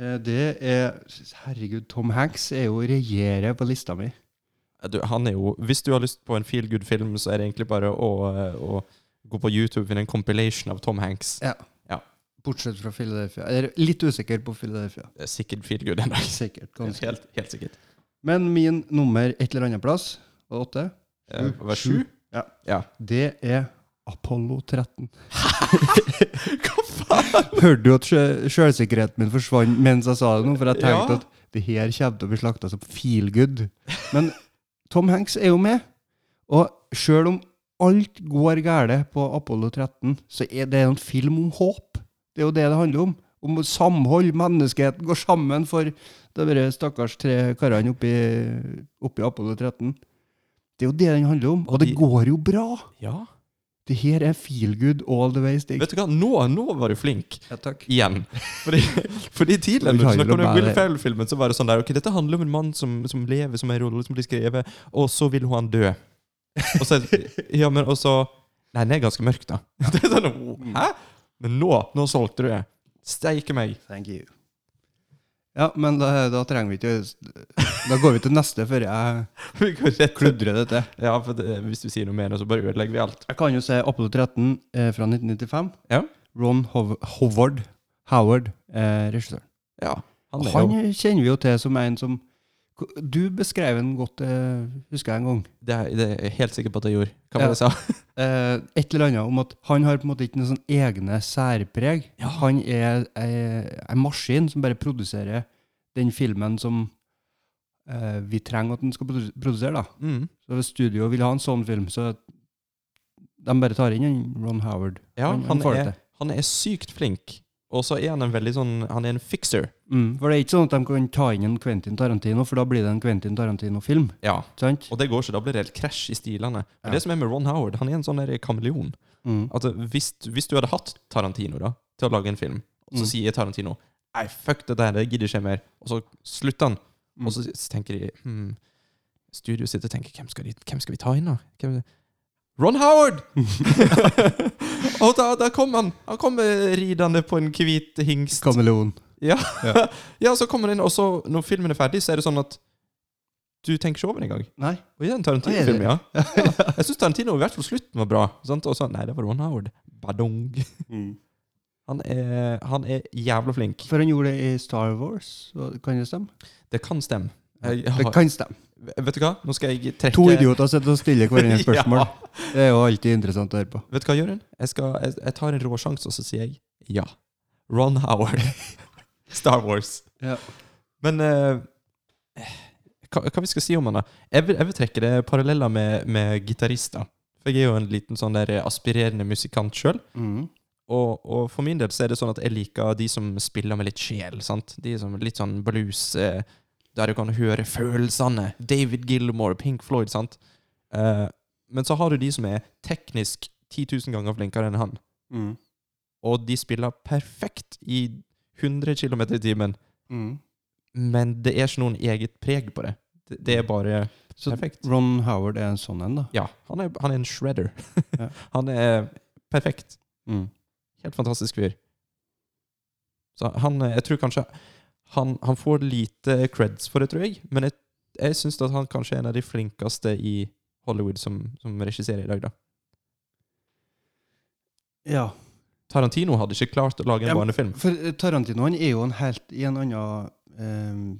Speaker 10: Eh, Det er Herregud, Tom Hanks er jo regjerer på lista mi.
Speaker 11: Eh, Du, han er jo, hvis du har lyst på en feel good-film, så er det egentlig bare å, eh, å gå på YouTube og finne en compilation av Tom Hanks.
Speaker 10: Ja.
Speaker 11: Ja.
Speaker 10: Bortsett fra Philadelphia. Jeg er litt usikker på Philadelphia.
Speaker 11: Det er Sikkert feel good en dag.
Speaker 10: Sikkert, ganske.
Speaker 11: Helt, helt sikkert.
Speaker 10: Men min nummer et eller annet plass, og åtte,
Speaker 11: Eh,
Speaker 10: Sju.
Speaker 11: Hva, sju?
Speaker 10: Ja.
Speaker 11: ja.
Speaker 10: det er Apollo 13.
Speaker 11: Hva faen?
Speaker 10: Hørte du at sjø- sjølsikkerheten min forsvant mens jeg sa det nå? For jeg tenkte
Speaker 11: Ja.
Speaker 10: at det her kommer til å bli slakta som feel good. Men Tom Hanks er jo med. Og sjøl om alt går galt på Apollo 13, så er det en film om håp. Det er jo det det handler om. Om samhold. Menneskeheten går sammen for de der stakkars tre karene oppi, oppi Apollo 13. Det er jo det den handler om. Og det
Speaker 11: de-
Speaker 10: går jo bra.
Speaker 11: Ja.
Speaker 10: Det her er feel good all the way, Stig.
Speaker 11: Vet du hva, nå, nå var du flink
Speaker 10: Ja, takk.
Speaker 11: igjen. Fordi, fordi tidligere,
Speaker 10: Vi
Speaker 11: når du
Speaker 10: tar jo
Speaker 11: snakket om
Speaker 10: bare-
Speaker 11: den Will Ferrell-filmen, så var det sånn der Ok, dette handler om en mann som, som lever som en rolle som blir skrevet, og så vil han dø. Og så Ja, men og så Nei, den er ganske mørk, da. Det er sånn «Å, Hæ? Men nå, nå solgte du det. Steike meg.
Speaker 10: Thank you. Ja, men da, da trenger vi ikke Da går vi til neste før jeg
Speaker 11: Vi går rett til
Speaker 10: kludrer det til.
Speaker 11: Ja, for det, hvis du sier noe mer, nå, så bare ødelegger vi alt.
Speaker 10: Jeg kan jo se Apollo 13 eh, fra 1995.
Speaker 11: Ja.
Speaker 10: Ron Hov Howard, Howard eh, regissøren.
Speaker 11: Ja. Han
Speaker 10: Og
Speaker 11: er
Speaker 10: Han
Speaker 11: jo
Speaker 10: kjenner vi jo til som en som Du beskrev han godt, eh, husker jeg en gang.
Speaker 11: det er, det er jeg helt sikker på at jeg gjorde. Hva
Speaker 10: Ja.
Speaker 11: var det jeg sa?
Speaker 10: Eh, et eller annet om at han har på en måte ikke noen sånn egne særpreg. Han er eh, en maskin som bare produserer den filmen som eh, vi trenger at den skal produ- produsere. da.
Speaker 11: Mm.
Speaker 10: Så hvis studio vil ha en sånn film, så de bare tar inn en Ron Howard.
Speaker 11: Ja,
Speaker 10: han,
Speaker 11: han
Speaker 10: får det
Speaker 11: er,
Speaker 10: til.
Speaker 11: han er sykt flink. Og så er han en veldig sånn Han er en fixer.
Speaker 10: Mm, for det er ikke sånn at de kan ta inn en Quentin Tarantino, for da blir det en Quentin Tarantino-film.
Speaker 11: Ja.
Speaker 10: sant?
Speaker 11: Og det går ikke. Da blir det helt krasj i stilene. Men
Speaker 10: Ja.
Speaker 11: det som er med Ron Howard, han er en sånn der kameleon.
Speaker 10: Mm.
Speaker 11: Altså, hvis, hvis du hadde hatt Tarantino da til å lage en film, og så
Speaker 10: Mm.
Speaker 11: sier Tarantino Nei, fuck dette her, det gidder ikke jeg mer. Og så slutter han.
Speaker 10: Mm.
Speaker 11: Og så s- tenker de hmm, Studio sitter og tenker hvem skal, de, hvem skal vi ta inn, da? Hvem, Ron Howard! og da, da kom han. Han kom eh, ridende på en hvit hingst.
Speaker 10: Kameleon.
Speaker 11: Ja. ja, så kommer den inn, og så når filmen er ferdig, så er det sånn at du tenker ikke over engang.
Speaker 10: Nei.
Speaker 11: Og i den
Speaker 10: Å, er det
Speaker 11: Tarantino-filmen, ja. ja. Jeg syns Tarantino i hvert fall slutten var bra. Sant? Og så, nei, det var Ron Howard. Badong. Mm. Han, er, han er jævla flink.
Speaker 10: For han gjorde det i Star Wars, så kan det stemme?
Speaker 11: Det kan stemme. Jeg,
Speaker 10: Det
Speaker 11: har,
Speaker 10: kan stemme.
Speaker 11: Vet du hva? Nå skal jeg trekke
Speaker 10: To idioter sitter og stiller hverandre spørsmål.
Speaker 11: Ja.
Speaker 10: Det er jo alltid interessant å høre på.
Speaker 11: Vet du hva, Jørund? Jeg, skal, jeg, jeg tar en rå sjanse, og så sier jeg ja. Ron Howard. Star Wars.
Speaker 10: Ja.
Speaker 11: Men eh, hva, hva vi skal si om han da? Jeg vil, jeg vil trekke det paralleller med, med gitarister. For jeg er jo en liten sånn der aspirerende musikant sjøl.
Speaker 10: Mm.
Speaker 11: Og, og for min del så er det sånn at jeg liker de som spiller med litt sjel. sant? De som er litt sånn blues, eh, der du kan høre følelsene. David Gilmore, Pink Floyd, sant? Eh, men så har du de som er teknisk 10 000 ganger flinkere enn han.
Speaker 10: Mm.
Speaker 11: Og de spiller perfekt i 100 km i timen
Speaker 10: Mm.
Speaker 11: men det er ikke noen eget preg på det. Det, det er bare
Speaker 10: Så
Speaker 11: perfekt.
Speaker 10: Ron Howard er en sånn en, da.
Speaker 11: Ja, han er, han er en shredder.
Speaker 10: Ja.
Speaker 11: han er perfekt.
Speaker 10: Mm.
Speaker 11: Helt fantastisk fyr. Så han eh, Jeg tror kanskje han, han får lite creds for det, tror jeg, men jeg, jeg syns at han kanskje er en av de flinkeste i Hollywood som, som regisserer i dag, da.
Speaker 10: Ja.
Speaker 11: Tarantino hadde ikke klart å lage en
Speaker 10: Ja, men-
Speaker 11: barnefilm.
Speaker 10: For eh, Tarantino han er jo en helt i en annen eh,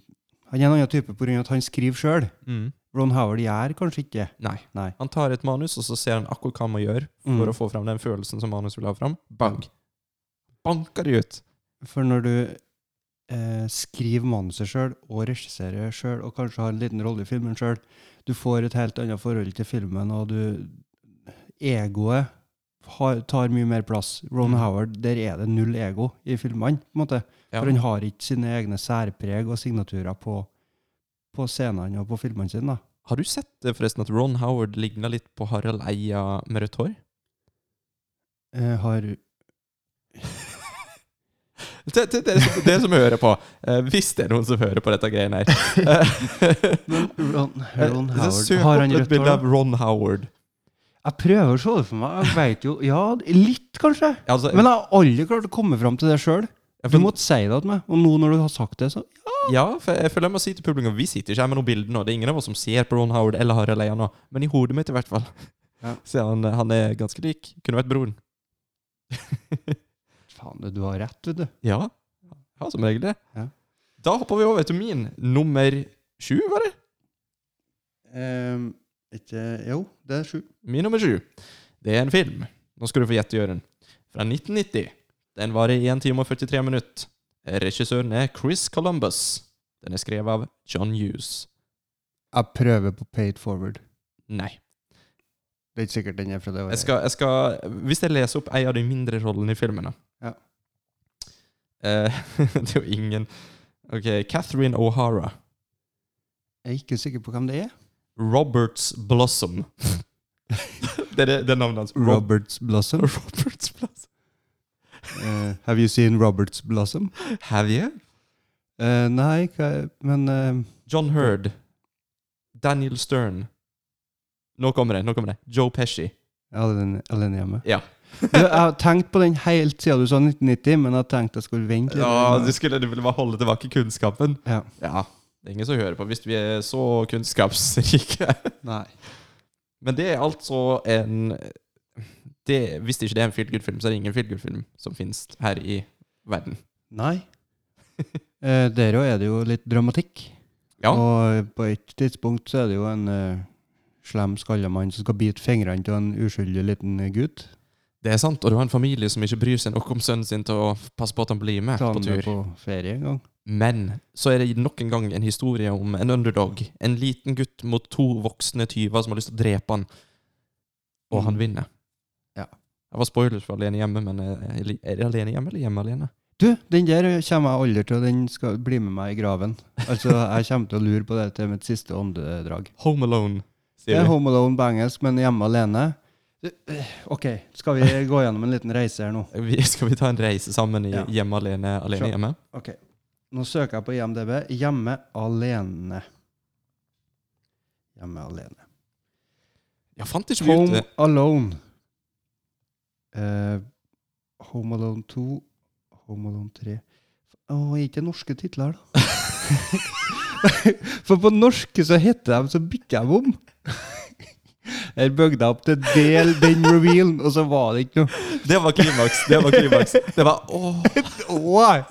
Speaker 10: Han er en annen type pga. at han skriver sjøl.
Speaker 11: Mm.
Speaker 10: Ron Howard gjør kanskje ikke det.
Speaker 11: Nei.
Speaker 10: Nei.
Speaker 11: Han tar et manus, og så ser han akkurat hva han må gjøre for
Speaker 10: Mm.
Speaker 11: å få fram den følelsen som manus vil ha fram. Bang! Banker det ut.
Speaker 10: For når du eh, skriver manuset sjøl, og regisserer sjøl, og kanskje har en liten rolle i filmen sjøl, du får et helt annet forhold til filmen, og du Egoet har, tar mye mer plass. Ron Howard, der er det null ego i filmene, på en måte.
Speaker 11: Ja.
Speaker 10: For han har ikke sine egne særpreg og signaturer på, på scenene og på filmene sine. da.
Speaker 11: Har du sett eh, forresten at Ron Howard ligna litt på Harald Eia med rødt hår?
Speaker 10: Eh, har
Speaker 11: Det, det, det, er- det er som hører på. Eh, hvis det er noen som hører på dette greiene her.
Speaker 10: Ron,
Speaker 11: Eh,
Speaker 10: Ron
Speaker 11: så
Speaker 10: Howard
Speaker 11: Søk
Speaker 10: Har han
Speaker 11: opp et
Speaker 10: rødt hår?
Speaker 11: bilde av
Speaker 10: da?
Speaker 11: Ron Howard.
Speaker 10: Jeg prøver å se det for meg. Jeg vet jo Ja, litt, kanskje.
Speaker 11: Altså,
Speaker 10: Men jeg har aldri klart å komme fram til det sjøl.
Speaker 11: jeg
Speaker 10: Du
Speaker 11: føl-
Speaker 10: måtte si det til meg. Og nå når du har sagt det, så
Speaker 11: ja, for jeg føler jeg må si til publikum Vi sitter ikke her med noen bilder nå. Det er ingen av oss som ser på Ron Howard eller Harald Eia nå. Men i hodet mitt, i hvert fall.
Speaker 10: Ja.
Speaker 11: Så han, han er ganske lik. Kunne vært broren.
Speaker 10: Faen, du har rett, vet du.
Speaker 11: Ja. ja, som regel det.
Speaker 10: Ja.
Speaker 11: Da hopper vi over til min nummer sju, var det?
Speaker 10: Ehm, ikke Jo, det er sju.
Speaker 11: Min nummer sju. Det er en film. Nå skal du få gjette, Jørund. Fra 1990. Den varer i 1 time og 43 minutter. Regissøren er Chris Columbus. Den er skrevet av John Hughes.
Speaker 10: Jeg prøver på paid forward.
Speaker 11: Nei.
Speaker 10: Det er ikke sikkert den er fra det året.
Speaker 11: Jeg skal, jeg skal, hvis jeg leser opp en av de mindre rollene i filmen da.
Speaker 10: Ja.
Speaker 11: Eh, det er jo ingen Ok, Catherine O'Hara.
Speaker 10: Jeg er ikke sikker på hvem det er.
Speaker 11: Roberts Blossom. Det er, det, det er navnet hans. Rob-
Speaker 10: Roberts Blossom.
Speaker 11: Roberts plass.
Speaker 10: Eh, have you seen Roberts Blossom?
Speaker 11: Have you?
Speaker 10: Eh, nei, hva, men eh,
Speaker 11: John Hurd. Daniel Stern. Nå kommer det. nå kommer det. Joe Pesci.
Speaker 10: Alene, alene hjemme.
Speaker 11: Ja.
Speaker 10: Du, jeg har tenkt på den helt siden du sa 1990, men jeg tenkte jeg skulle vente litt.
Speaker 11: Ja, du skulle du ville bare holde tilbake kunnskapen.
Speaker 10: Ja.
Speaker 11: Ja, Det er ingen som hører på hvis vi er så kunnskapsrike.
Speaker 10: Nei.
Speaker 11: Men det er altså en det, Hvis ikke det er en feel good-film, så er det ingen feel good-film som finnes her i verden.
Speaker 10: Nei. Eh, der òg er det jo litt dramatikk.
Speaker 11: Ja.
Speaker 10: Og på et tidspunkt så er det jo en eh, slem skallemann som skal bite fingrene til en uskyldig liten gutt.
Speaker 11: Det er sant, og du har en familie som ikke bryr seg nok om sønnen sin til å passe på at han blir med
Speaker 10: Ta
Speaker 11: på
Speaker 10: han med
Speaker 11: tur.
Speaker 10: på ferie en gang.
Speaker 11: Men så er det nok en gang en historie om en underdog. En liten gutt mot to voksne tyver som har lyst til å drepe han, og han vinner.
Speaker 10: Ja.
Speaker 11: Jeg var spoilers for Alene hjemme, men eh, er det Alene hjemme eller Hjemme alene?
Speaker 10: Du, den der kommer jeg aldri til, og den skal bli med meg i graven. Altså, jeg kommer til å lure på det til mitt siste åndedrag.
Speaker 11: Home Alone,
Speaker 10: Det
Speaker 11: sier
Speaker 10: er
Speaker 11: vi.
Speaker 10: Home Alone på engelsk, men hjemme alene. Du, eh, OK, skal vi gå gjennom en liten reise her nå?
Speaker 11: Vi- Skal vi ta en reise sammen i
Speaker 10: Ja.
Speaker 11: Hjemme alene,
Speaker 10: Sure.
Speaker 11: Alene hjemme?
Speaker 10: OK. Nå søker jeg på IMDb. Hjemme alene. Hjemme alene.
Speaker 11: Jeg fant ikke ut
Speaker 10: Home
Speaker 11: det.
Speaker 10: Alone. Eh, Home Alone 2. Home Alone 3. Å, er ikke det norske titler, da? For på norske så heter de så bytter de om. Her bøgde jeg opp til 'del den revealen', og så var det ikke noe.
Speaker 11: Det var klimaks! Det var klimaks. Det var åh!
Speaker 10: Åh,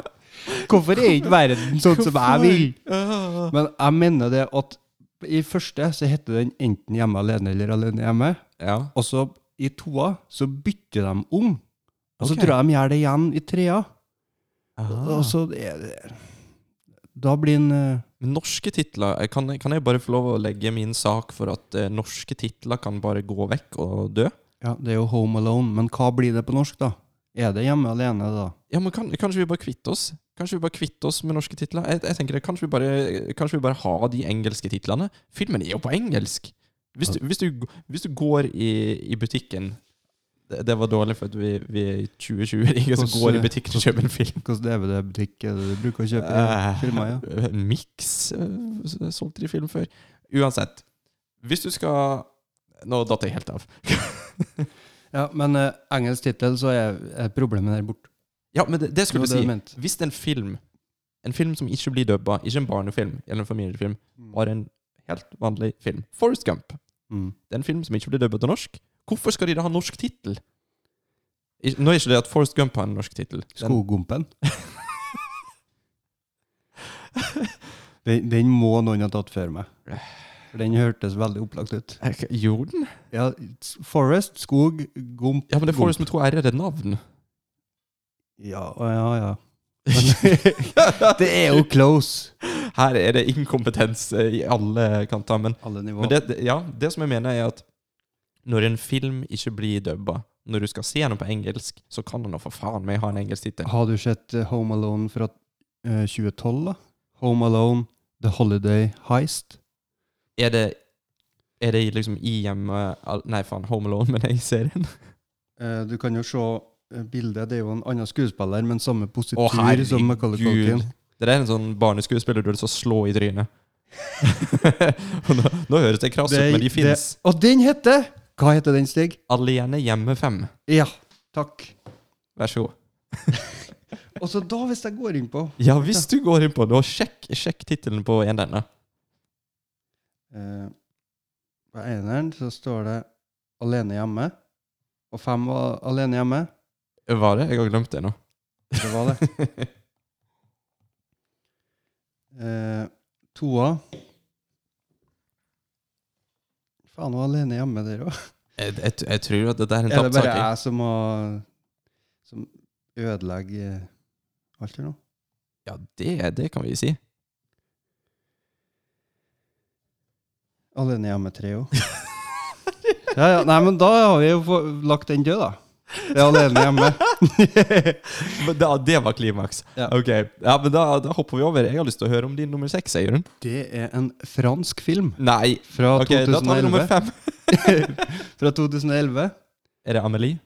Speaker 10: hvorfor er ikke verden sånn som jeg vil?
Speaker 11: Ah.
Speaker 10: Men jeg mener det at i første så heter den enten 'Hjemme alene' eller 'Alene hjemme'.
Speaker 11: Ja.
Speaker 10: Og så i toa så bytter de om. Og så
Speaker 11: Ok.
Speaker 10: tror jeg de gjør det igjen i trea.
Speaker 11: Ah.
Speaker 10: Og så er det Da blir en eh,
Speaker 11: Men Norske titler eh, kan, kan jeg bare få lov å legge min sak for at eh, norske titler kan bare gå vekk og dø?
Speaker 10: Ja, det er jo Home Alone, men hva blir det på norsk, da? Er det Hjemme alene, da?
Speaker 11: Ja, men kan, Kanskje vi bare kvitter oss Kanskje vi bare kvitter oss med norske titler? Jeg, jeg tenker det, kanskje vi, bare, kanskje vi bare har de engelske titlene? Filmen er jo på engelsk! Hvis du, hvis du, hvis du går i, i butikken det, det var dårlig, for at vi, vi er i 2020. Det er Ingen som
Speaker 10: Hvordan-
Speaker 11: går i butikken og kjøper en film.
Speaker 10: Hvilken DVD-butikk er det du bruker å kjøpe
Speaker 11: Eh,
Speaker 10: filmer? ja?
Speaker 11: En miks eh, solgte de film før. Uansett. Hvis du skal Nå datt jeg helt av.
Speaker 10: Ja, men eh, engelsk tittel, så er, er problemet der borte.
Speaker 11: Ja, men det, det skulle
Speaker 10: Det var det
Speaker 11: jeg
Speaker 10: jeg
Speaker 11: si.
Speaker 10: mente.
Speaker 11: Hvis en film En film som ikke blir dubba, ikke en barnefilm eller en familiefilm, bare en helt vanlig film Forrest Gump.
Speaker 10: Mm.
Speaker 11: Det er en film som ikke blir dubba til norsk. Hvorfor skal de da ha norsk tittel? I- Nå er ikke det at Forrest Gump har en norsk tittel. Den-
Speaker 10: Skogumpen. den, den må noen ha tatt før meg. For den hørtes veldig opplagt ut.
Speaker 11: Er ikke- Gjorde den?
Speaker 10: Ja, s- Forest, skog, gump
Speaker 11: Ja, men det er Forrest
Speaker 10: gump.
Speaker 11: med to r-er, det er navn.
Speaker 10: Ja, å, ja, ja. Men, det er jo close.
Speaker 11: Her er det inkompetens eh, i alle kanter. Men
Speaker 10: Alle nivåer.
Speaker 11: Men det, det, ja, det som jeg mener er at når en film ikke blir dubba, når du skal se den på engelsk, så kan den da for faen meg ha en engelsk tittel.
Speaker 10: Har du sett eh, Home Alone fra eh, 2012, da? Home Alone, The Holiday Heist.
Speaker 11: Er det er det liksom i hjemme al- Nei, faen, Home Alone, men jeg ser den.
Speaker 10: Eh, du kan jo se eh, bildet. Det er jo en annen skuespiller, men samme positur
Speaker 11: Å,
Speaker 10: som Macaulay Culkin.
Speaker 11: Det der er en sånn barneskuespiller du har lyst til å slå i trynet. Og nå, nå høres det krass ut, men de fins.
Speaker 10: Og den heter Hva heter den, Stig?
Speaker 11: Alene hjemme fem.
Speaker 10: Ja, takk.
Speaker 11: Vær så god.
Speaker 10: Og så da, hvis jeg går inn på
Speaker 11: Ja, hvis du går inn på det, og sjekk, sjekk tittelen på en denne.
Speaker 10: Eh, På eneren så står det 'Alene hjemme', og fem var 'Alene hjemme'.
Speaker 11: Var det? Jeg har glemt det nå.
Speaker 10: Det var det. Eh, toa Faen, hun er alene hjemme der òg.
Speaker 11: Jeg, jeg, jeg tror at dette er en
Speaker 10: Er det
Speaker 11: tapt
Speaker 10: bare
Speaker 11: sak. jeg.
Speaker 10: jeg som har Som ødelegger eh, alt her nå?
Speaker 11: Ja, det, det kan vi si.
Speaker 10: Alene hjemme tre òg. Ja, ja, nei, men da har vi jo få- lagt den død, da. Det er alene hjemme.
Speaker 11: Men da, det var klimaks.
Speaker 10: Ja.
Speaker 11: Ok, ja, men da, da hopper vi over. Jeg har lyst til å høre om din nummer seks, Jørund.
Speaker 10: Det er en fransk film
Speaker 11: Nei.
Speaker 10: fra,
Speaker 11: Ok, da tar vi nummer
Speaker 10: 2011.
Speaker 11: fem.
Speaker 10: fra 2011.
Speaker 11: Er det Amelie?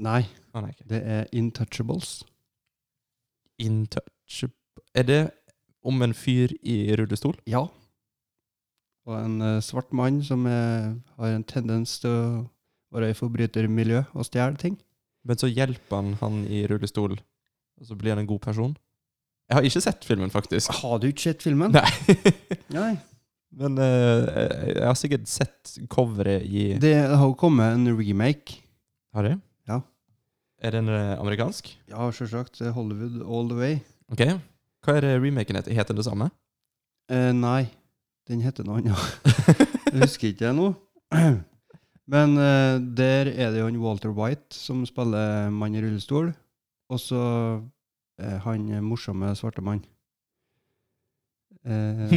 Speaker 10: Nei,
Speaker 11: Å, nei, ok.
Speaker 10: det er Intouchables.
Speaker 11: In touch Er det om en fyr i rullestol?
Speaker 10: Ja. Og en eh, svart mann som eh, har en tendens til å være i forbrytermiljø og stjele ting.
Speaker 11: Men så hjelper han han i rullestol, og så blir han en god person. Jeg har ikke sett filmen, faktisk.
Speaker 10: Har du ikke sett filmen?
Speaker 11: Nei.
Speaker 10: Nei.
Speaker 11: Men eh, jeg har sikkert sett coveret i
Speaker 10: Det har jo kommet en remake.
Speaker 11: Har jeg?
Speaker 10: Ja.
Speaker 11: Er den eh, amerikansk?
Speaker 10: Ja, sjølsagt. Hollywood all the way.
Speaker 11: Ok. Hva er det remaken heter? Heter det samme?
Speaker 10: Eh, nei, den heter noe annet. Jeg husker ikke det nå. Men eh, der er det jo en Walter White som spiller mann i rullestol. Og så eh, han morsomme svarte mann. Eh,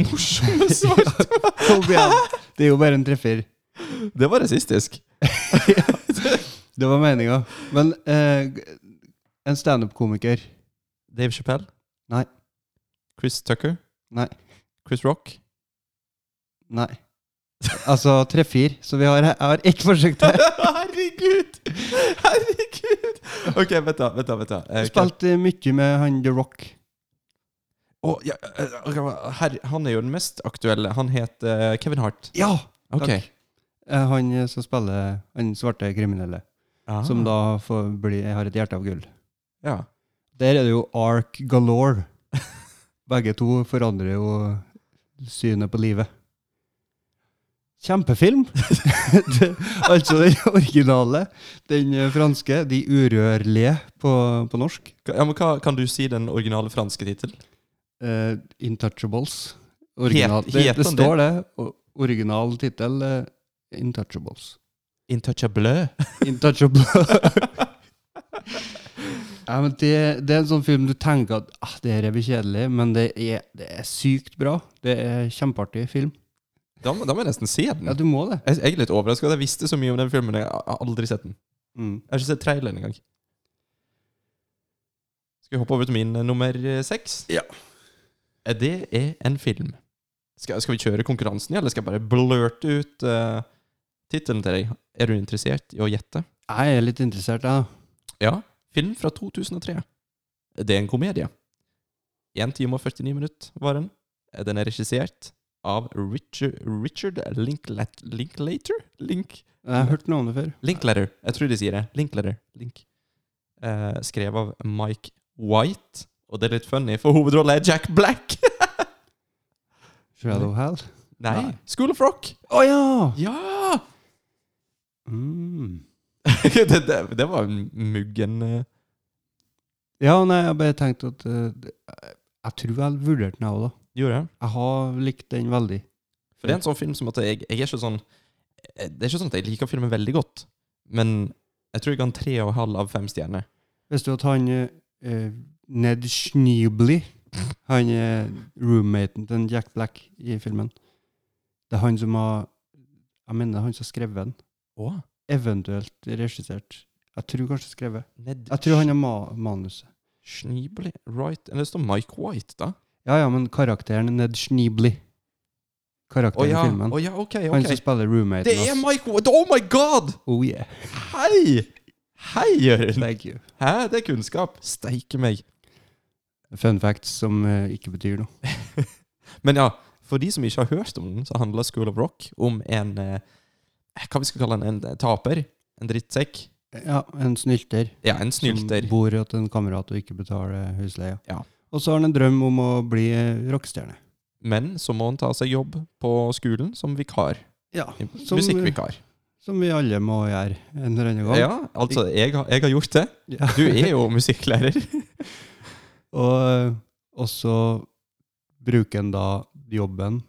Speaker 11: Morsomme svart!
Speaker 10: kom igjen. det er jo bare en treffer.
Speaker 11: det var rasistisk.
Speaker 10: Det var meninga. Men eh, en standup-komiker
Speaker 11: Dave Chappelle?
Speaker 10: Nei.
Speaker 11: Chris Tucker?
Speaker 10: Nei.
Speaker 11: Chris Rock?
Speaker 10: Nei. Altså treffer. Så vi har, jeg har ett forsøk til.
Speaker 11: Herregud! Herregud! Ok, vent da, vent da, vent da. Eh,
Speaker 10: Spilte mye med han The Rock.
Speaker 11: Å, ja, eh, her, han er jo den mest aktuelle. Han heter eh, Kevin Hart.
Speaker 10: Ja!
Speaker 11: Ok.
Speaker 10: Takk. Eh, Han eh, som spiller han svarte kriminelle,
Speaker 11: Ah,
Speaker 10: som da får bli, har et hjerte av gull.
Speaker 11: ja.
Speaker 10: Der er det jo Ark Galore. Begge to forandrer jo synet på livet. Kjempefilm! det, altså den originale, den eh, franske, De urørlige på, på norsk.
Speaker 11: Ka- ja, men hva, Kan du si den originale franske tittelen?
Speaker 10: Eh, Intouchables. Original.
Speaker 11: Het-
Speaker 10: det,
Speaker 11: het
Speaker 10: det
Speaker 11: han det?
Speaker 10: står det. o- Original tittel eh, Intouchables.
Speaker 11: Intouchable.
Speaker 10: Intouchable. ja, men det, det er en sånn film du tenker at ah, det her blir kjedelig, men det er, det er sykt bra. Det er kjempeartig film.
Speaker 11: Da, må- da må jeg nesten se den.
Speaker 10: Ja, du må det.
Speaker 11: Jeg, jeg er litt overraska. Jeg visste så mye om den filmen. Jeg har aldri sett den.
Speaker 10: Mm.
Speaker 11: Jeg har ikke sett traileren engang. Skal vi hoppe over til min eh, nummer eh, seks?
Speaker 6: Ja.
Speaker 11: Eh, Det er en film. Skal, skal vi kjøre konkurransen, eller skal jeg bare blørte ut uh, tittelen til deg? Er du interessert i å gjette?
Speaker 10: Jeg er litt interessert, jeg. da.
Speaker 11: Ja, film fra 2003. Det er en komedie. 1 time og 49 minutter var den. Eh, Den er regissert av Richard, Richard Linklat, Linklater? Link,
Speaker 10: Jeg har hørt navnet før.
Speaker 11: Linklater. Jeg tror de sier det. Linklater. Link. Eh, skrev av Mike White. Og det er litt funny, for hovedrollen er Jack Black.
Speaker 10: Shadow Hell.
Speaker 11: Nei.
Speaker 10: Nei.
Speaker 11: School of Rock.
Speaker 10: Å ja!
Speaker 11: Ja!
Speaker 10: Mm.
Speaker 11: det, det, det var en muggen eh,
Speaker 10: Ja, nei, jeg bare tenkte at eh, det- jeg- Jeg tror jeg vurderte den, jeg òg, da.
Speaker 11: Gjorde jeg?
Speaker 10: Jeg har likt den veldig.
Speaker 11: For det er en sånn film som at jeg, jeg er ikke sånn Det er ikke sånn at jeg liker filmen veldig godt, men jeg tror jeg ga den tre og en halv av fem stjerner.
Speaker 10: Visste du at han eh, eh, Ned Schneebly, han er roommaten til en Jack Black i filmen. Det er han som har Jeg mener det er han som har skrevet den.
Speaker 11: Å?
Speaker 10: Eventuelt regissert. Jeg tror kanskje skrevet.
Speaker 11: Ned
Speaker 10: Jeg tror han har ma manuset.
Speaker 11: Schneebly Wright Eller det står Mike White, da.
Speaker 10: Ja ja, men karakteren Ned Schneebly.
Speaker 11: Å
Speaker 10: Karakteren i
Speaker 11: ja,
Speaker 10: filmen.
Speaker 11: å ja, ok,
Speaker 10: Han som
Speaker 11: ok.
Speaker 10: spiller roommaten
Speaker 11: Det er Mike White! Oh my god!
Speaker 10: Oh yeah.
Speaker 11: Hei! Hei, Jørund!
Speaker 10: Thank you.
Speaker 11: Hæ, det er kunnskap. Steike meg.
Speaker 10: Fun facts som eh, ikke betyr noe.
Speaker 11: Men ja, for de som ikke har hørt om den, så handler School of Rock om en eh, Hva vi skal kalle han? En eh, taper? En drittsekk?
Speaker 10: Ja, en snylter.
Speaker 11: Ja, en snylter.
Speaker 10: Som bor hos en kamerat og ikke betaler husleia.
Speaker 11: Ja.
Speaker 10: Og så har han en drøm om å bli eh, rockestjerne.
Speaker 11: Men så må han ta seg jobb på skolen som vikar.
Speaker 10: Ja, som, eh,
Speaker 11: Musikkvikar.
Speaker 10: som vi alle må gjøre en eller annen gang.
Speaker 11: Ja, altså, jeg har, jeg har gjort det.
Speaker 10: Ja.
Speaker 11: Du er jo musikklærer.
Speaker 10: Og, eh, og så bruker han da jobben.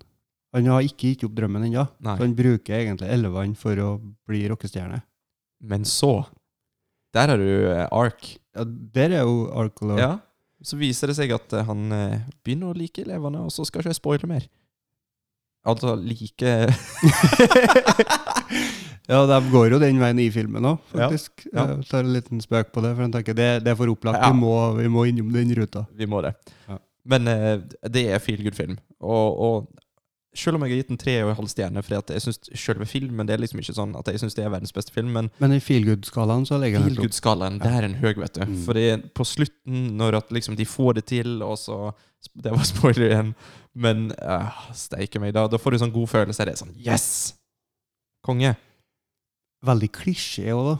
Speaker 10: Han har ikke gitt opp drømmen ennå,
Speaker 11: Nei.
Speaker 10: så han bruker egentlig elevene for å bli rockestjerne.
Speaker 11: Men så Der har du eh, Ark.
Speaker 10: Ja, der er jo Arcolor.
Speaker 11: Ja. Så viser det seg at eh, han eh, begynner å like elevene, og så skal ikke jeg spoile mer. Altså like
Speaker 10: Ja, de går jo den veien i filmen òg,
Speaker 11: Ja,
Speaker 10: faktisk.
Speaker 11: ja.
Speaker 10: Jeg tar en liten spøk på det, for jeg tenker det, det er for opplagt.
Speaker 11: Ja.
Speaker 10: Vi, må, vi må innom den ruta.
Speaker 11: Vi må det.
Speaker 10: Ja.
Speaker 11: Men eh, det er feel good-film. Og, og selv om jeg har gitt den tre og en halv stjerne, fordi at jeg synes selve filmen det er liksom ikke sånn at jeg synes det er verdens beste film, men
Speaker 10: Men i feelgood-skalaen så legger den
Speaker 11: feel
Speaker 10: helt opp.
Speaker 11: good-skalaen, det er en høy, vet du.
Speaker 10: Mm.
Speaker 11: Fordi på slutten, når at liksom de får det til, og så Det var spoiler igjen, men uh, steike meg, da. Da får du sånn god følelse. Det er sånn Yes! Konge.
Speaker 10: Veldig klisjé òg, da.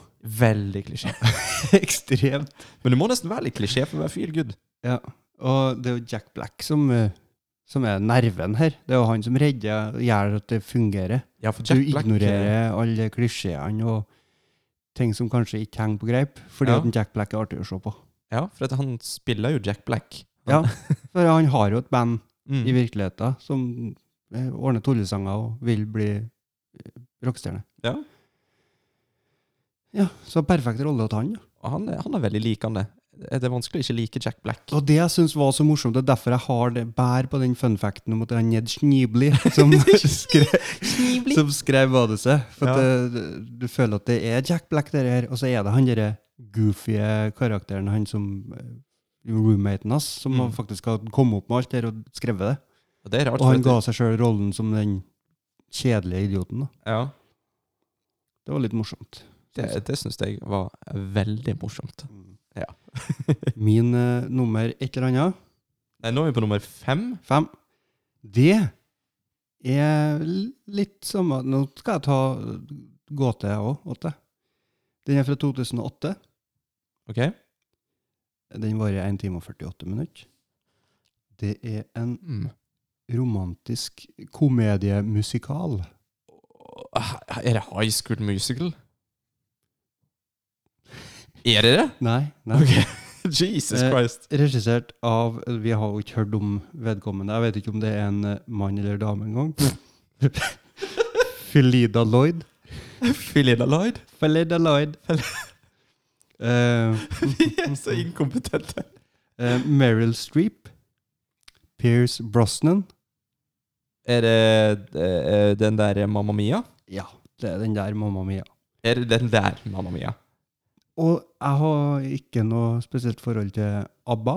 Speaker 11: Veldig klisjé.
Speaker 10: Ekstremt.
Speaker 11: Men du må nesten være litt klisjé for å være feel good.
Speaker 10: Ja. Og det er jo Jack Black som, eh, som er nerven her. Det er jo han som redder gjør at det fungerer.
Speaker 11: Ja, for eh,
Speaker 10: du ignorerer alle klisjeene og ting som kanskje ikke henger på greip, fordi
Speaker 11: Ja.
Speaker 10: at en Jack Black er artig å se på.
Speaker 11: Ja, for at han spiller jo Jack Black.
Speaker 10: Ja, for han har jo et band
Speaker 11: Mm.
Speaker 10: i virkeligheten som eh, ordner tullesanger og vil bli eh, rockestjerne.
Speaker 11: Ja.
Speaker 10: Ja, så perfekt rolle til han. Ja.
Speaker 11: Og han, er- han er veldig likende. Det er vanskelig å ikke like Jack Black.
Speaker 10: Og det jeg syns var så morsomt, det er derfor jeg har det bær på den funfacten om at det er Ned Schneebly som skrev, som skrev manuset. For at det, du føler at det er Jack Black der her, og så er det han derre goofy karakteren, han som eh, roommaten hans, som
Speaker 11: Mm.
Speaker 10: faktisk har kommet opp med alt det her og skrevet det.
Speaker 11: Og det er rart.
Speaker 10: Og han
Speaker 11: for
Speaker 10: ga
Speaker 11: at
Speaker 10: seg sjøl rollen som den kjedelige idioten. da.
Speaker 11: det- Ja,
Speaker 10: Det var litt morsomt. synes jeg.
Speaker 11: det det syns jeg var veldig morsomt.
Speaker 10: Mm. Min eh, nummer et eller annet,
Speaker 11: Nei, nå er vi på nummer fem.
Speaker 10: fem, det er l- litt samme Nå skal jeg ta gå til jeg òg, åtte. Den er fra 2008.
Speaker 11: Ok?
Speaker 10: Den varer 1 time og 48 minutter. Det er en
Speaker 11: Mm.
Speaker 10: romantisk komediemusikal.
Speaker 11: Åh, Er det High School Musical? Er det det?
Speaker 10: Nei. nei.
Speaker 11: Ok. Jesus
Speaker 10: Eh,
Speaker 11: Christ.
Speaker 10: Regissert av Vi har jo ikke hørt om vedkommende. Jeg vet ikke om det er en eh, mann eller dame engang. Felida Lloyd.
Speaker 11: Philina Lloyd.
Speaker 10: Felida Lloyd. Eh,
Speaker 11: Vi er så inkompetente.
Speaker 10: eh, Meryl Streep. Pierce Brosnan.
Speaker 11: Er det eh, den der Mamma Mia?
Speaker 10: Ja, det er den der mamma mia.
Speaker 11: Er det den der Mamma Mia?
Speaker 10: Og jeg har ikke noe spesielt forhold til ABBA,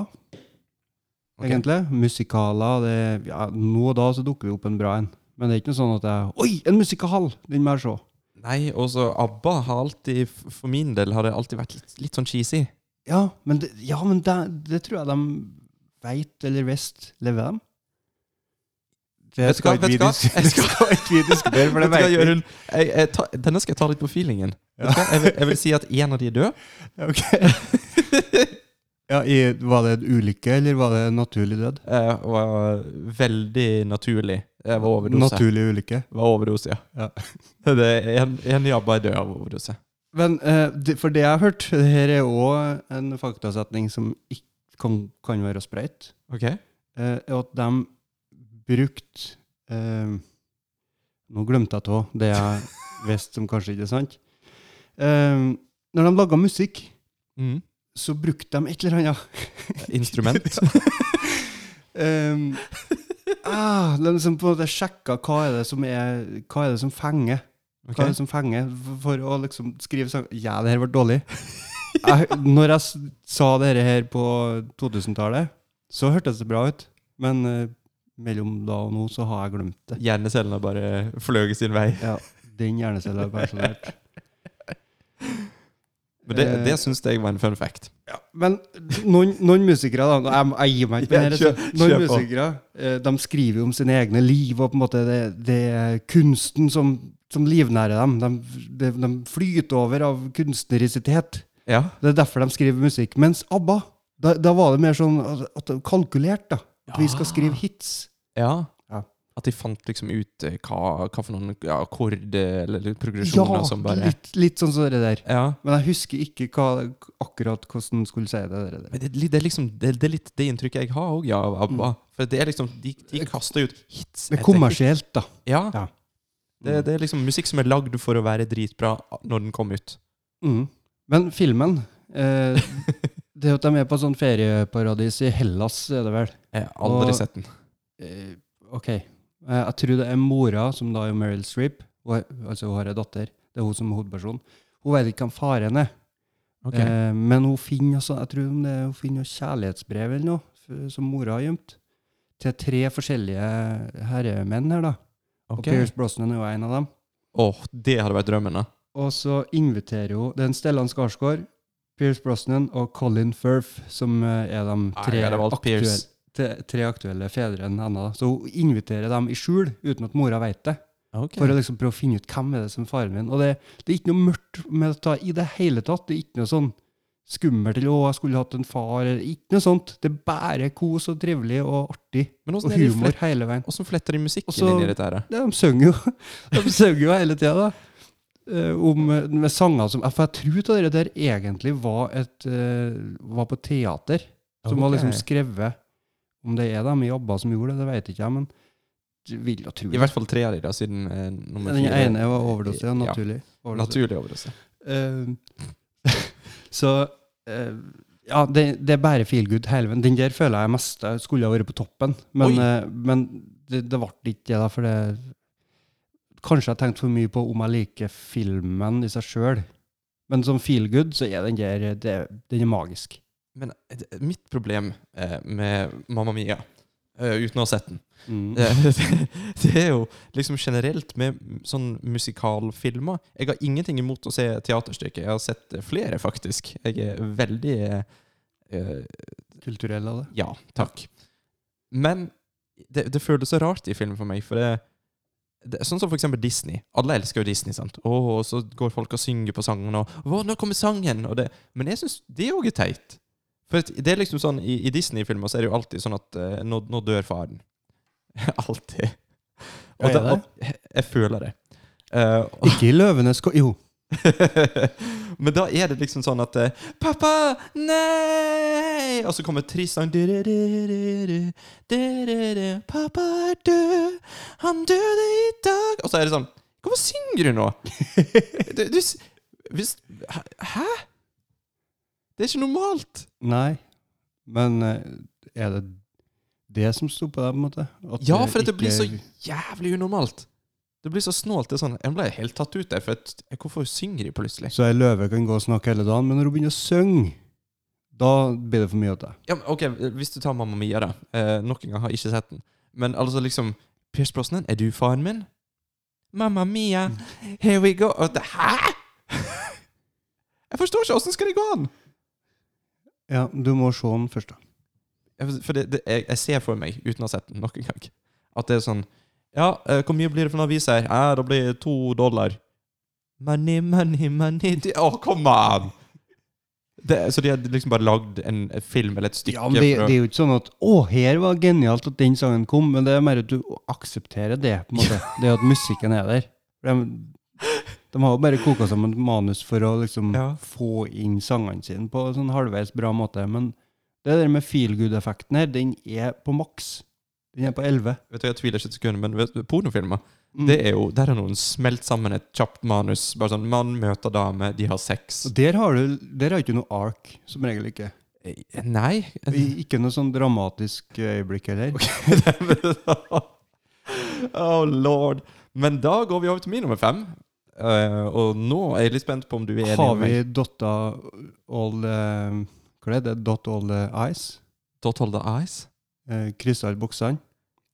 Speaker 11: Ok.
Speaker 10: egentlig. Musikaler det, ja, Nå og da så dukker det opp en bra en. Men det er ikke noe sånn at jeg Oi, en musikal! Den må jeg se.
Speaker 11: Nei, også ABBA har alltid, f- for min del, har det alltid vært litt, litt sånn cheesy.
Speaker 10: Ja, men, det, ja, men det, det tror jeg de veit eller visst lever dem. Det
Speaker 11: Vet du hva,
Speaker 10: skal ikke
Speaker 11: vet
Speaker 10: vi
Speaker 11: du hva?
Speaker 10: dis-
Speaker 11: Jeg
Speaker 10: det
Speaker 11: skal-
Speaker 10: skal ikke vi diskutere, for det
Speaker 11: Vet du hva,
Speaker 10: vet vi.
Speaker 11: Jørund? Jeg, jeg tar- denne skal jeg ta litt på feelingen. Vet du hva? Jeg, vil, jeg vil si at en av de er død.
Speaker 10: Ok. ja, i, var det en ulykke, eller var det en naturlig død?
Speaker 11: eh, var veldig naturlig. Jeg var overdose.
Speaker 10: Naturlig ulykke.
Speaker 11: Var overdose, ja.
Speaker 10: Ja.
Speaker 11: Det er en, en jabba er død av overdose.
Speaker 10: Men eh, det- for det jeg har hørt, det her er òg en faktasetning som ikke kan, kan være sprøyt,
Speaker 11: Ok?
Speaker 10: eh, er at de brukte eh, Nå glemte jeg av det jeg visste som kanskje ikke er sant. Eh, når de laga musikk,
Speaker 11: Mm.
Speaker 10: så brukte de et eller annet.
Speaker 11: Instrument.
Speaker 10: Um, ah, de liksom på en måte sjekka hva er det som er Hva er det som fenger.
Speaker 11: Ok.
Speaker 10: Hva er det som fenger for- for å liksom skrive sånn Ja, det her ble dårlig. Jeg, når jeg s- sa dette her på 2000-tallet, så hørtes det bra ut. Men eh, mellom da og nå så har jeg glemt det.
Speaker 11: Hjernecellene bare fløg sin vei.
Speaker 10: Ja, Den hjernecella er pensjonert.
Speaker 11: Men det,
Speaker 10: Eh.
Speaker 11: det syns jeg var en fun fact.
Speaker 10: Men noen, noen musikere, da Jeg, jeg gir meg ikke med det.
Speaker 11: Ja,
Speaker 10: her,
Speaker 11: kjør-
Speaker 10: altså. Noen
Speaker 11: kjør på.
Speaker 10: musikere eh, de skriver jo om sine egne liv, og på en måte det, det er kunsten som, som livnærer dem. De, de, de flyter over av kunstnerisitet.
Speaker 11: Ja.
Speaker 10: Det er derfor de skriver musikk. Mens ABBA, da, da var det mer sånn at at det var kalkulert, da. At vi skal skrive
Speaker 11: Ah.
Speaker 10: hits.
Speaker 11: ja.
Speaker 10: Ja.
Speaker 11: At de fant liksom ut eh, hva, hva for noen ja, akkorder eller
Speaker 10: Ja,
Speaker 11: progresjoner som bare
Speaker 10: litt, litt sånn som det der.
Speaker 11: Ja.
Speaker 10: Men jeg husker ikke hva, akkurat hvordan skulle si det. Der.
Speaker 11: Men det, det, er liksom, det, det er litt det inntrykket jeg har òg, ja, av ABBA. For det er liksom, de, de kaster ut hits. etter
Speaker 10: Det er kommersielt, da.
Speaker 11: hit. Ja.
Speaker 10: Ja.
Speaker 11: Det, det er liksom musikk som er lagd for å være dritbra når den kom ut.
Speaker 10: Mm. Men filmen eh, Det at de er på et sånt ferieparadis i Hellas, er det vel?
Speaker 11: Jeg har aldri
Speaker 10: Og-
Speaker 11: sett den.
Speaker 10: Eh, ok. Eh, jeg tror det er mora, som da er Meryl Streep, og, altså hun har ei datter. Det er hun som er hovedpersonen. Hun vet ikke hvem faren er,
Speaker 11: Ok.
Speaker 10: eh, men hun finner også, jeg tror det, er- hun finner noe kjærlighetsbrev eller noe f- som mora har gjemt, til tre forskjellige herremenn her, da. Og
Speaker 11: ok.
Speaker 10: Pierce Brosnan er jo en av dem.
Speaker 11: Åh, det hadde vært drømmen, da.
Speaker 10: Og så inviterer hun Det er en Stellan Skarsgård, Pierce Brosnan og Colin Firth, som eh, er de tre,
Speaker 11: jeg hadde valgt
Speaker 10: aktuelle,
Speaker 11: Pierce.
Speaker 10: te, tre aktuelle fedrene hennes. Så hun inviterer dem i skjul, uten at mora vet det,
Speaker 11: Ok.
Speaker 10: for å liksom prøve å finne ut hvem er det som er faren min. Og det, det er ikke noe mørkt med dette i det hele tatt. Det er ikke noe sånn skummelt eller 'å, jeg skulle hatt en far', eller ikke noe sånt. Det er bare kos og trivelig og artig.
Speaker 11: Men
Speaker 10: Og
Speaker 11: åssen er de
Speaker 10: humor
Speaker 11: flett-
Speaker 10: hele veien.
Speaker 11: åssen fletter de musikken
Speaker 10: Også-
Speaker 11: inn i dette her? da?
Speaker 10: Ja, de synger jo, de synger jo hele tida, da. Eh, om, eh, med sanger som For jeg tror at det der egentlig var, et, eh, var på teater. Som var
Speaker 11: Ok.
Speaker 10: liksom skrevet Om det er dem i ABBA som gjorde det, det vet ikke jeg, men du vil jo tro
Speaker 11: I hvert fall tre av de, da, siden eh, nummer
Speaker 10: Den
Speaker 11: fire.
Speaker 10: ene var overdose, ja, naturlig.
Speaker 11: Ja,
Speaker 10: Overdose.
Speaker 11: naturlig overdose.
Speaker 10: Eh, så eh, Ja, det, det er bare feel good hele veien. Den der føler jeg mest jeg skulle ha vært på toppen, men,
Speaker 11: Oi.
Speaker 10: eh, men det, det ble ikke det, da, for det Kanskje jeg tenkte for mye på om jeg liker filmen i seg sjøl. Men som feel good, så er den der det, Den er magisk.
Speaker 11: Men eh, det- mitt problem eh, med Mamma Mia, eh, uten å ha sett den,
Speaker 10: Mm.
Speaker 11: det, det er jo liksom generelt med sånn musikalfilmer Jeg har ingenting imot å se teaterstykker. Jeg har sett eh, flere, faktisk. Jeg er veldig eh, eh,
Speaker 10: Kulturell av det.
Speaker 11: Ja, takk. Men det, det føles så rart i film for meg, for det, det Sånn som for eksempel Disney. Alle elsker jo Disney, sant? Å, og så går folk og synger på sangen, og Å, nå kommer sangen! Og det, men jeg syns det òg er teit. For at det er liksom sånn, I, i Disney-filmer så er det jo alltid sånn at eh, nå, nå dør faren. alltid.
Speaker 10: Ja, er
Speaker 11: da-
Speaker 10: det?
Speaker 11: og, jeg føler det. Eh, og-
Speaker 10: Ikke i 'Løvenes ko... Jo.
Speaker 11: men da er det liksom sånn at eh, Pappa, nei! Og så kommer Tristan du-du-du-du-du, du-du-du, Pappa er død, han døde i dag Og så er det sånn Hvorfor synger du nå? du, du, s- hvis, hæ? Det er ikke normalt.
Speaker 10: Nei. Men eh, er det det som sto på deg, på en måte? At
Speaker 11: Ja, for det
Speaker 10: ikke-
Speaker 11: blir så jævlig unormalt. Det blir så snålt. det er sånn, Jeg ble helt tatt ut der. for at, Hvorfor synger de plutselig?
Speaker 10: Så ei løve kan gå og snakke hele dagen, men når hun begynner å synge, da blir det for mye av deg.
Speaker 11: Ja, men ok, Hvis du tar Mamma Mia, da. Eh, nok en gang har jeg ikke sett den. Men altså liksom Pierce Brosnan, er du faren min? Mamma Mia, here we go Og det, Hæ?! jeg forstår ikke! Åssen skal det gå an?
Speaker 10: Ja, du må se den først, da.
Speaker 11: Jeg- For det, det, jeg, jeg ser for meg, uten å ha sett den nok en gang, at det er sånn Ja, eh, hvor mye blir det for en avis her? Ja, det blir to dollar. Money, money, money du- Å, kom an! Det, så de hadde liksom bare lagd en film eller et stykke?
Speaker 10: Ja, men det,
Speaker 11: for å-
Speaker 10: det er jo ikke sånn at 'Å, her var genialt at den sangen kom', men det er mer at du aksepterer det, på en måte. Det at musikken er der. De, de har jo bare koka sammen et manus for å liksom
Speaker 11: Ja.
Speaker 10: få inn sangene sine på en sånn halvveis bra måte, men det der med feel good-effekten her, den er på maks. Den er på 11.
Speaker 11: Vet du, Jeg tviler ikke et sekund, men vet du, pornofilmer
Speaker 10: Mm.
Speaker 11: det er jo, Der er noen smelt sammen et kjapt manus. Bare sånn, Mann møter dame, de har sex.
Speaker 10: Og der har du der har ikke du noe ark, som regel ikke.
Speaker 11: Eh, Nei
Speaker 10: I- Ikke noe sånn dramatisk øyeblikk heller.
Speaker 11: Oh lord. Men da går vi over til min nummer fem. Eh, og nå er jeg litt spent på om du er enig
Speaker 10: Har
Speaker 11: med
Speaker 10: vi
Speaker 11: meg.
Speaker 10: dotta all eh, Hva er det? Dot all eh, eyes?
Speaker 11: Dot hold the eyes?
Speaker 10: Uh, Kryssa ut boksene.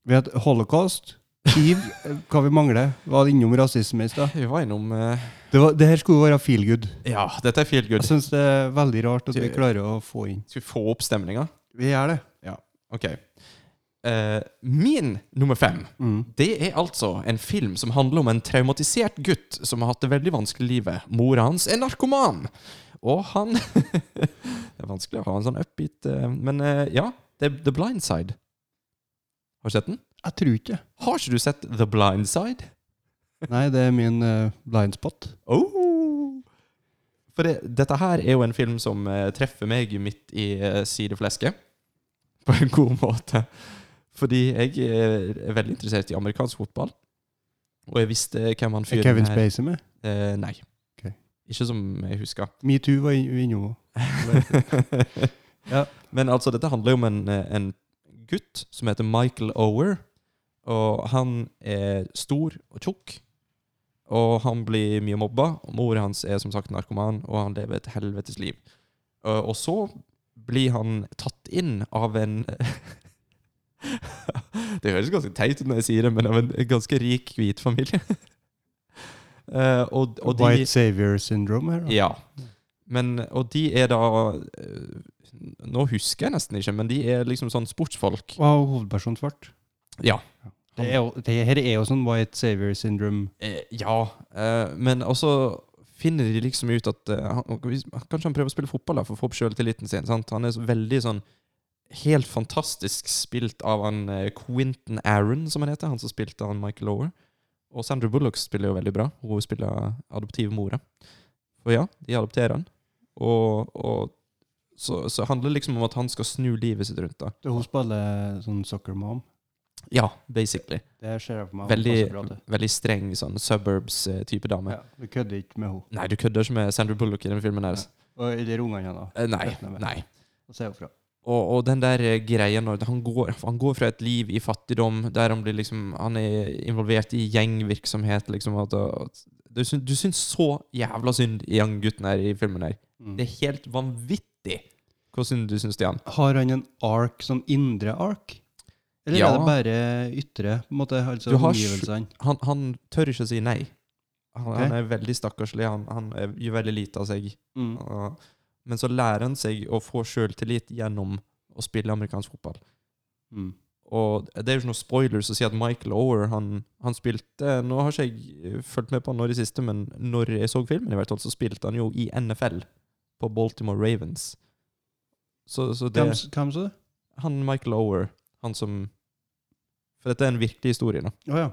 Speaker 10: Vi hadde holocaust. Hiv. eh, hva vi mangler? Var det innom rasisme i stad?
Speaker 11: Vi var innom eh,
Speaker 10: Det, var- det her skulle være feel good.
Speaker 11: Ja, dette er feel good.
Speaker 10: Jeg syns det er veldig rart at vi klarer å få inn
Speaker 11: Skal vi få opp stemninga?
Speaker 10: Vi gjør det.
Speaker 11: OK. Eh, min nummer fem
Speaker 10: Mm.
Speaker 11: Det er altså en film som handler om en traumatisert gutt som har hatt det veldig vanskelig i livet. Mora hans er narkoman, og han Det er vanskelig å ha en sånn upbeat eh, Men eh, ja, det er The Blind Side. Har du sett den?
Speaker 10: Jeg tror ikke det.
Speaker 11: Har ikke du sett The Blind Side?
Speaker 10: Nei, det er min eh, blind spot.
Speaker 11: Oh! For det, dette her er jo en film som eh, treffer meg midt i eh, sideflesket. På en god måte. Fordi jeg eh, er veldig interessert i amerikansk fotball. Og jeg visste hvem han
Speaker 10: Er
Speaker 11: fyren
Speaker 10: Kevin
Speaker 11: her-
Speaker 10: Spacey med?
Speaker 11: Eh, nei.
Speaker 10: Ok.
Speaker 11: Ikke som jeg husker.
Speaker 10: Metoo var in- innom òg. Ja.
Speaker 11: Men altså, dette handler jo om en, eh, en gutt som heter Michael Ower. Og han er stor og tjukk Og han blir mye mobba. og Mor hans er som sagt narkoman, og han lever et helvetes liv. Eh, Og så blir han tatt inn av en Det høres ganske teit ut når jeg sier det, men av en ganske rik, hvit familie. Eh, og, og de,
Speaker 10: White savior syndrome her. da.
Speaker 11: ja. Men, og de er da eh, Nå husker jeg nesten ikke, men de er liksom sånn sportsfolk.
Speaker 10: Og hovedpersonen svart.
Speaker 11: Ja.
Speaker 10: Det, er jo, det her er jo sånn white savior syndrome.
Speaker 11: Eh, ja. Eh, men også finner de liksom ut at eh, han, Kanskje han prøver å spille fotball da, for å få opp sjøltilliten sin. Sant? Han er så veldig sånn Helt fantastisk spilt av han eh, Quentin Aaron, som han heter. Han som spilte han Michael Lower. Og Sandra Bullock spiller jo veldig bra. Hun spiller adoptivmora. Og ja, de adopterer han. Og, og så, så handler det liksom om at han skal snu livet sitt rundt. da.
Speaker 10: Det er Hun spiller sånn soccer mom.
Speaker 11: Ja, basically.
Speaker 10: Det ser jeg for meg.
Speaker 11: Veldig,
Speaker 10: Hun passer bra til.
Speaker 11: veldig streng sånn suburbs-type dame.
Speaker 10: Ja, du kødder ikke med henne.
Speaker 11: Nei, du kødder ikke med Sandra Bullock i den filmen deres.
Speaker 10: Og eller ungene hennes.
Speaker 11: Eh, Nei.
Speaker 10: Vet jeg med.
Speaker 11: nei.
Speaker 10: Og så er hun fra.
Speaker 11: Og, og den der eh, greia når han går, han går fra et liv i fattigdom, der han blir liksom Han er involvert i gjengvirksomhet, liksom at, at du, syns, du syns så jævla synd i han gutten her i filmen her. Det er helt vanvittig hvor synd du syns til han.
Speaker 10: Har han en ark, sånn indre ark? Eller
Speaker 11: Ja.
Speaker 10: er det bare ytre? på en måte, altså
Speaker 11: Du har
Speaker 10: omgivelsene?
Speaker 11: Han, han tør ikke å si nei. Han,
Speaker 10: Ok.
Speaker 11: han er veldig stakkarslig. Han, han eh, gjør veldig lite av seg.
Speaker 10: Mm.
Speaker 11: Og- Men så lærer han seg å få sjøltillit gjennom å spille amerikansk fotball.
Speaker 10: Mm.
Speaker 11: Og det er jo ikke noe spoilers å si at Michael Ower han, han spilte Nå har ikke jeg eh, fulgt med på han nå i det siste, men når jeg så filmen, i hvert fall, så spilte han jo i NFL, på Baltimore Ravens. Så, så det
Speaker 10: Hvem, s- hvem så du?
Speaker 11: Han Michael Ower, han som For dette er en virkelig historie, da.
Speaker 10: Å ja.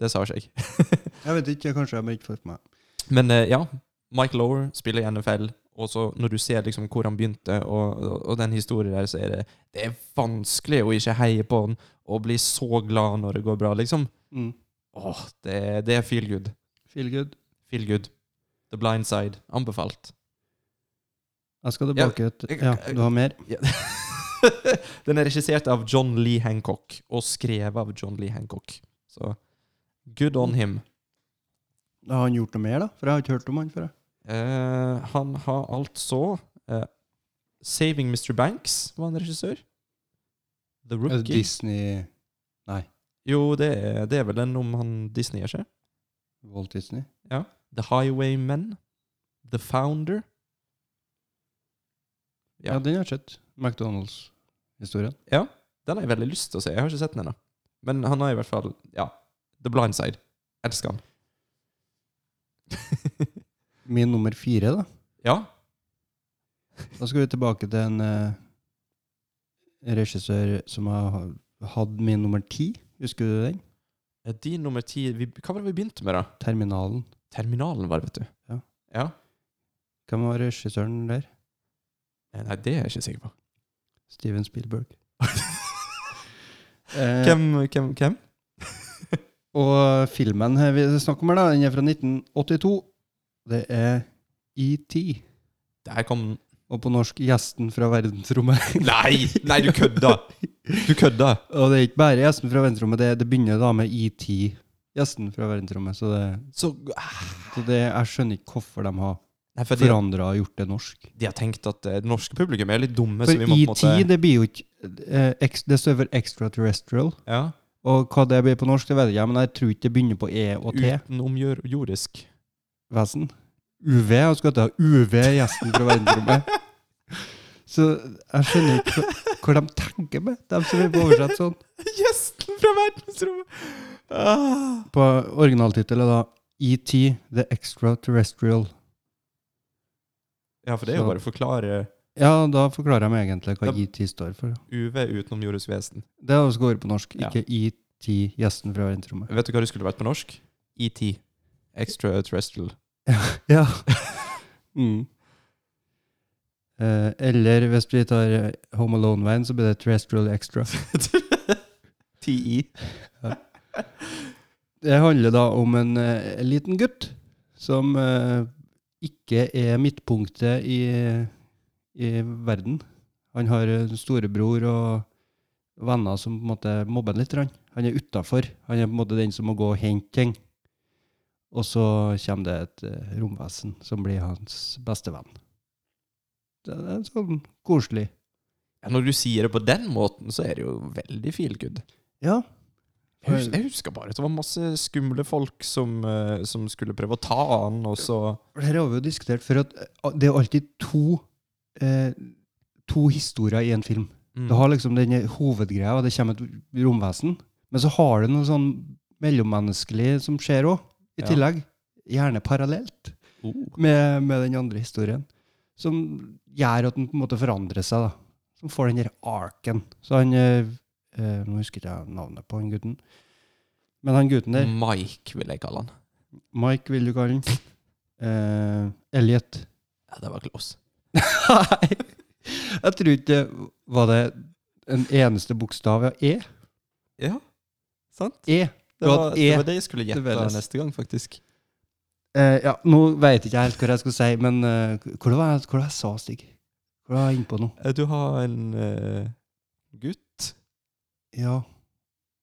Speaker 11: Det sa ikke jeg.
Speaker 10: Jeg vet ikke, kanskje jeg har ikke fått med meg.
Speaker 11: Men eh, ja, Mike Lower spiller i NFL, og så når du ser liksom hvor han begynte, og, og, og den historien der, så er det Det er vanskelig å ikke heie på han og bli så glad når det går bra, liksom.
Speaker 10: Mm.
Speaker 11: Åh, det, det er feel good.
Speaker 10: Feel good.
Speaker 11: Feel good. The blind side. Anbefalt.
Speaker 10: Jeg skal tilbake til
Speaker 11: jeg-
Speaker 10: Ja, du har mer?
Speaker 11: Ja. den er regissert av John Lee Hancock, og skrevet av John Lee Hancock. Så good on him.
Speaker 10: Har han gjort noe mer, da? For jeg har ikke hørt om han før. jeg.
Speaker 11: Eh, han har altså eh, Saving Mr. Banks var en regissør. The
Speaker 10: Er
Speaker 11: Rookie.
Speaker 10: det Altså Disney
Speaker 11: jo, det er, det er vel den om han Disney er ikke?
Speaker 10: Walt Disney?
Speaker 11: The Highwaymen. The Founder. Ja.
Speaker 10: Ja, den har jeg sett. McDonald's-historien.
Speaker 11: Den har jeg veldig lyst til å se. Jeg har ikke sett den ennå. Men han har i hvert fall Ja. The Blind Side. Elsker han.
Speaker 10: Min nummer fire, da.
Speaker 11: ja.
Speaker 10: Da skal vi tilbake til en eh, regissør som har hatt min nummer ti. Husker du den?
Speaker 11: Eh, Din nummer ti vi- Hva var det vi begynte med, da?
Speaker 10: Terminalen.
Speaker 11: Terminalen, var det, vet du.
Speaker 10: Ja.
Speaker 11: ja.
Speaker 10: Hvem var regissøren der?
Speaker 11: Eh, Nei, det er jeg ikke sikker på.
Speaker 10: Steven Spielberg. Eh,
Speaker 11: Hvem? hvem, hvem?
Speaker 10: Og filmen her vi snakker om her, da, den er fra 1982. Det er ET.
Speaker 11: Der kom den.
Speaker 10: Og på norsk 'Gjesten fra verdensrommet'.
Speaker 11: Nei! Nei, du kødda! Du kødda!
Speaker 10: og det er ikke bare 'Gjesten fra verdensrommet', det, det begynner da med ET. Gjesten fra verdensrommet. Så, det,
Speaker 11: Så ah,
Speaker 10: så det, jeg skjønner ikke hvorfor de har
Speaker 11: Nei, for de,
Speaker 10: forandra og gjort det norsk.
Speaker 11: de har tenkt at eh, det norske publikum er litt dumme, så
Speaker 10: For
Speaker 11: vi må på en
Speaker 10: ET,
Speaker 11: måte
Speaker 10: det blir jo ikke eh, ex- Det står for extraterrestrial.
Speaker 11: ja,
Speaker 10: Og hva det blir på norsk, det vet jeg ikke, men jeg tror ikke det begynner på E og T.
Speaker 11: Utenomjordisk.
Speaker 10: vesen. UV, jeg skulle hette UV, gjesten fra verdensrommet. Så jeg skjønner ikke hva- hvor de tenker med, de som vil på oversett sånn.
Speaker 11: Gjesten fra verdensrommet! Ah.
Speaker 10: På originaltittelet da, ET, The Extraterrestrial.
Speaker 11: Ja, for det er
Speaker 10: Så-
Speaker 11: jo bare å forklare
Speaker 10: Ja, da forklarer jeg meg egentlig hva
Speaker 11: Ja.
Speaker 10: ET står for.
Speaker 11: UV utenomjordisk vesen.
Speaker 10: Det er også går på norsk,
Speaker 11: Ja.
Speaker 10: ikke ET, gjesten fra verdensrommet.
Speaker 11: Vet du hva det skulle vært på norsk? ET. Extraterrestrial.
Speaker 10: Ja. Mm. Eh, eller hvis vi tar eh, Home Alone-veien, så blir det Terrestrial Extra.
Speaker 11: TI.
Speaker 10: Det handler da om en eh, liten gutt som eh, ikke er midtpunktet i, i verden. Han har en storebror og venner som på en måte mobber han litt. grann. Han er utafor. Han er på en måte den som må gå og hente ting. Og så kommer det et eh, romvesen som blir hans beste venn. Det er en sånn koselig
Speaker 11: Ja, Når du sier det på den måten, så er det jo veldig feel good.
Speaker 10: Ja.
Speaker 11: Jeg husker, jeg husker bare at det var masse skumle folk som, eh, som skulle prøve å ta han, og så
Speaker 10: For Her har vi jo diskutert før at eh, det er jo alltid to, eh, to historier i en film.
Speaker 11: Mm.
Speaker 10: Du har liksom denne hovedgreia, og det kommer et romvesen. Men så har du noe sånn mellommenneskelig som skjer òg, i
Speaker 11: Ja.
Speaker 10: tillegg. Gjerne parallelt
Speaker 11: oh.
Speaker 10: med, med den andre historien. Som gjør at den på en måte forandrer seg. da. Som får den der arken. Så han eh, eh, Nå husker ikke jeg navnet på han gutten. Men han gutten
Speaker 11: Mm.
Speaker 10: der,
Speaker 11: Mike, vil jeg kalle han.
Speaker 10: Mike vil du kalle han. Eh, Elliot.
Speaker 11: Ja, det var close.
Speaker 10: Nei, jeg tror ikke det Var det en eneste bokstav? Ja, E.
Speaker 11: Ja, sant?
Speaker 10: E.
Speaker 11: Det
Speaker 10: var
Speaker 11: var,
Speaker 10: et E.
Speaker 11: det var det jeg skulle
Speaker 10: til
Speaker 11: gjette
Speaker 10: Veles.
Speaker 11: neste gang, faktisk.
Speaker 10: Eh, ja, nå veit ikke jeg helt hva jeg skulle si, men eh, hvor var det hvor var det jeg sa, Stig? Hvor var jeg inne på nå?
Speaker 11: Eh, Du har en eh, gutt
Speaker 10: Ja.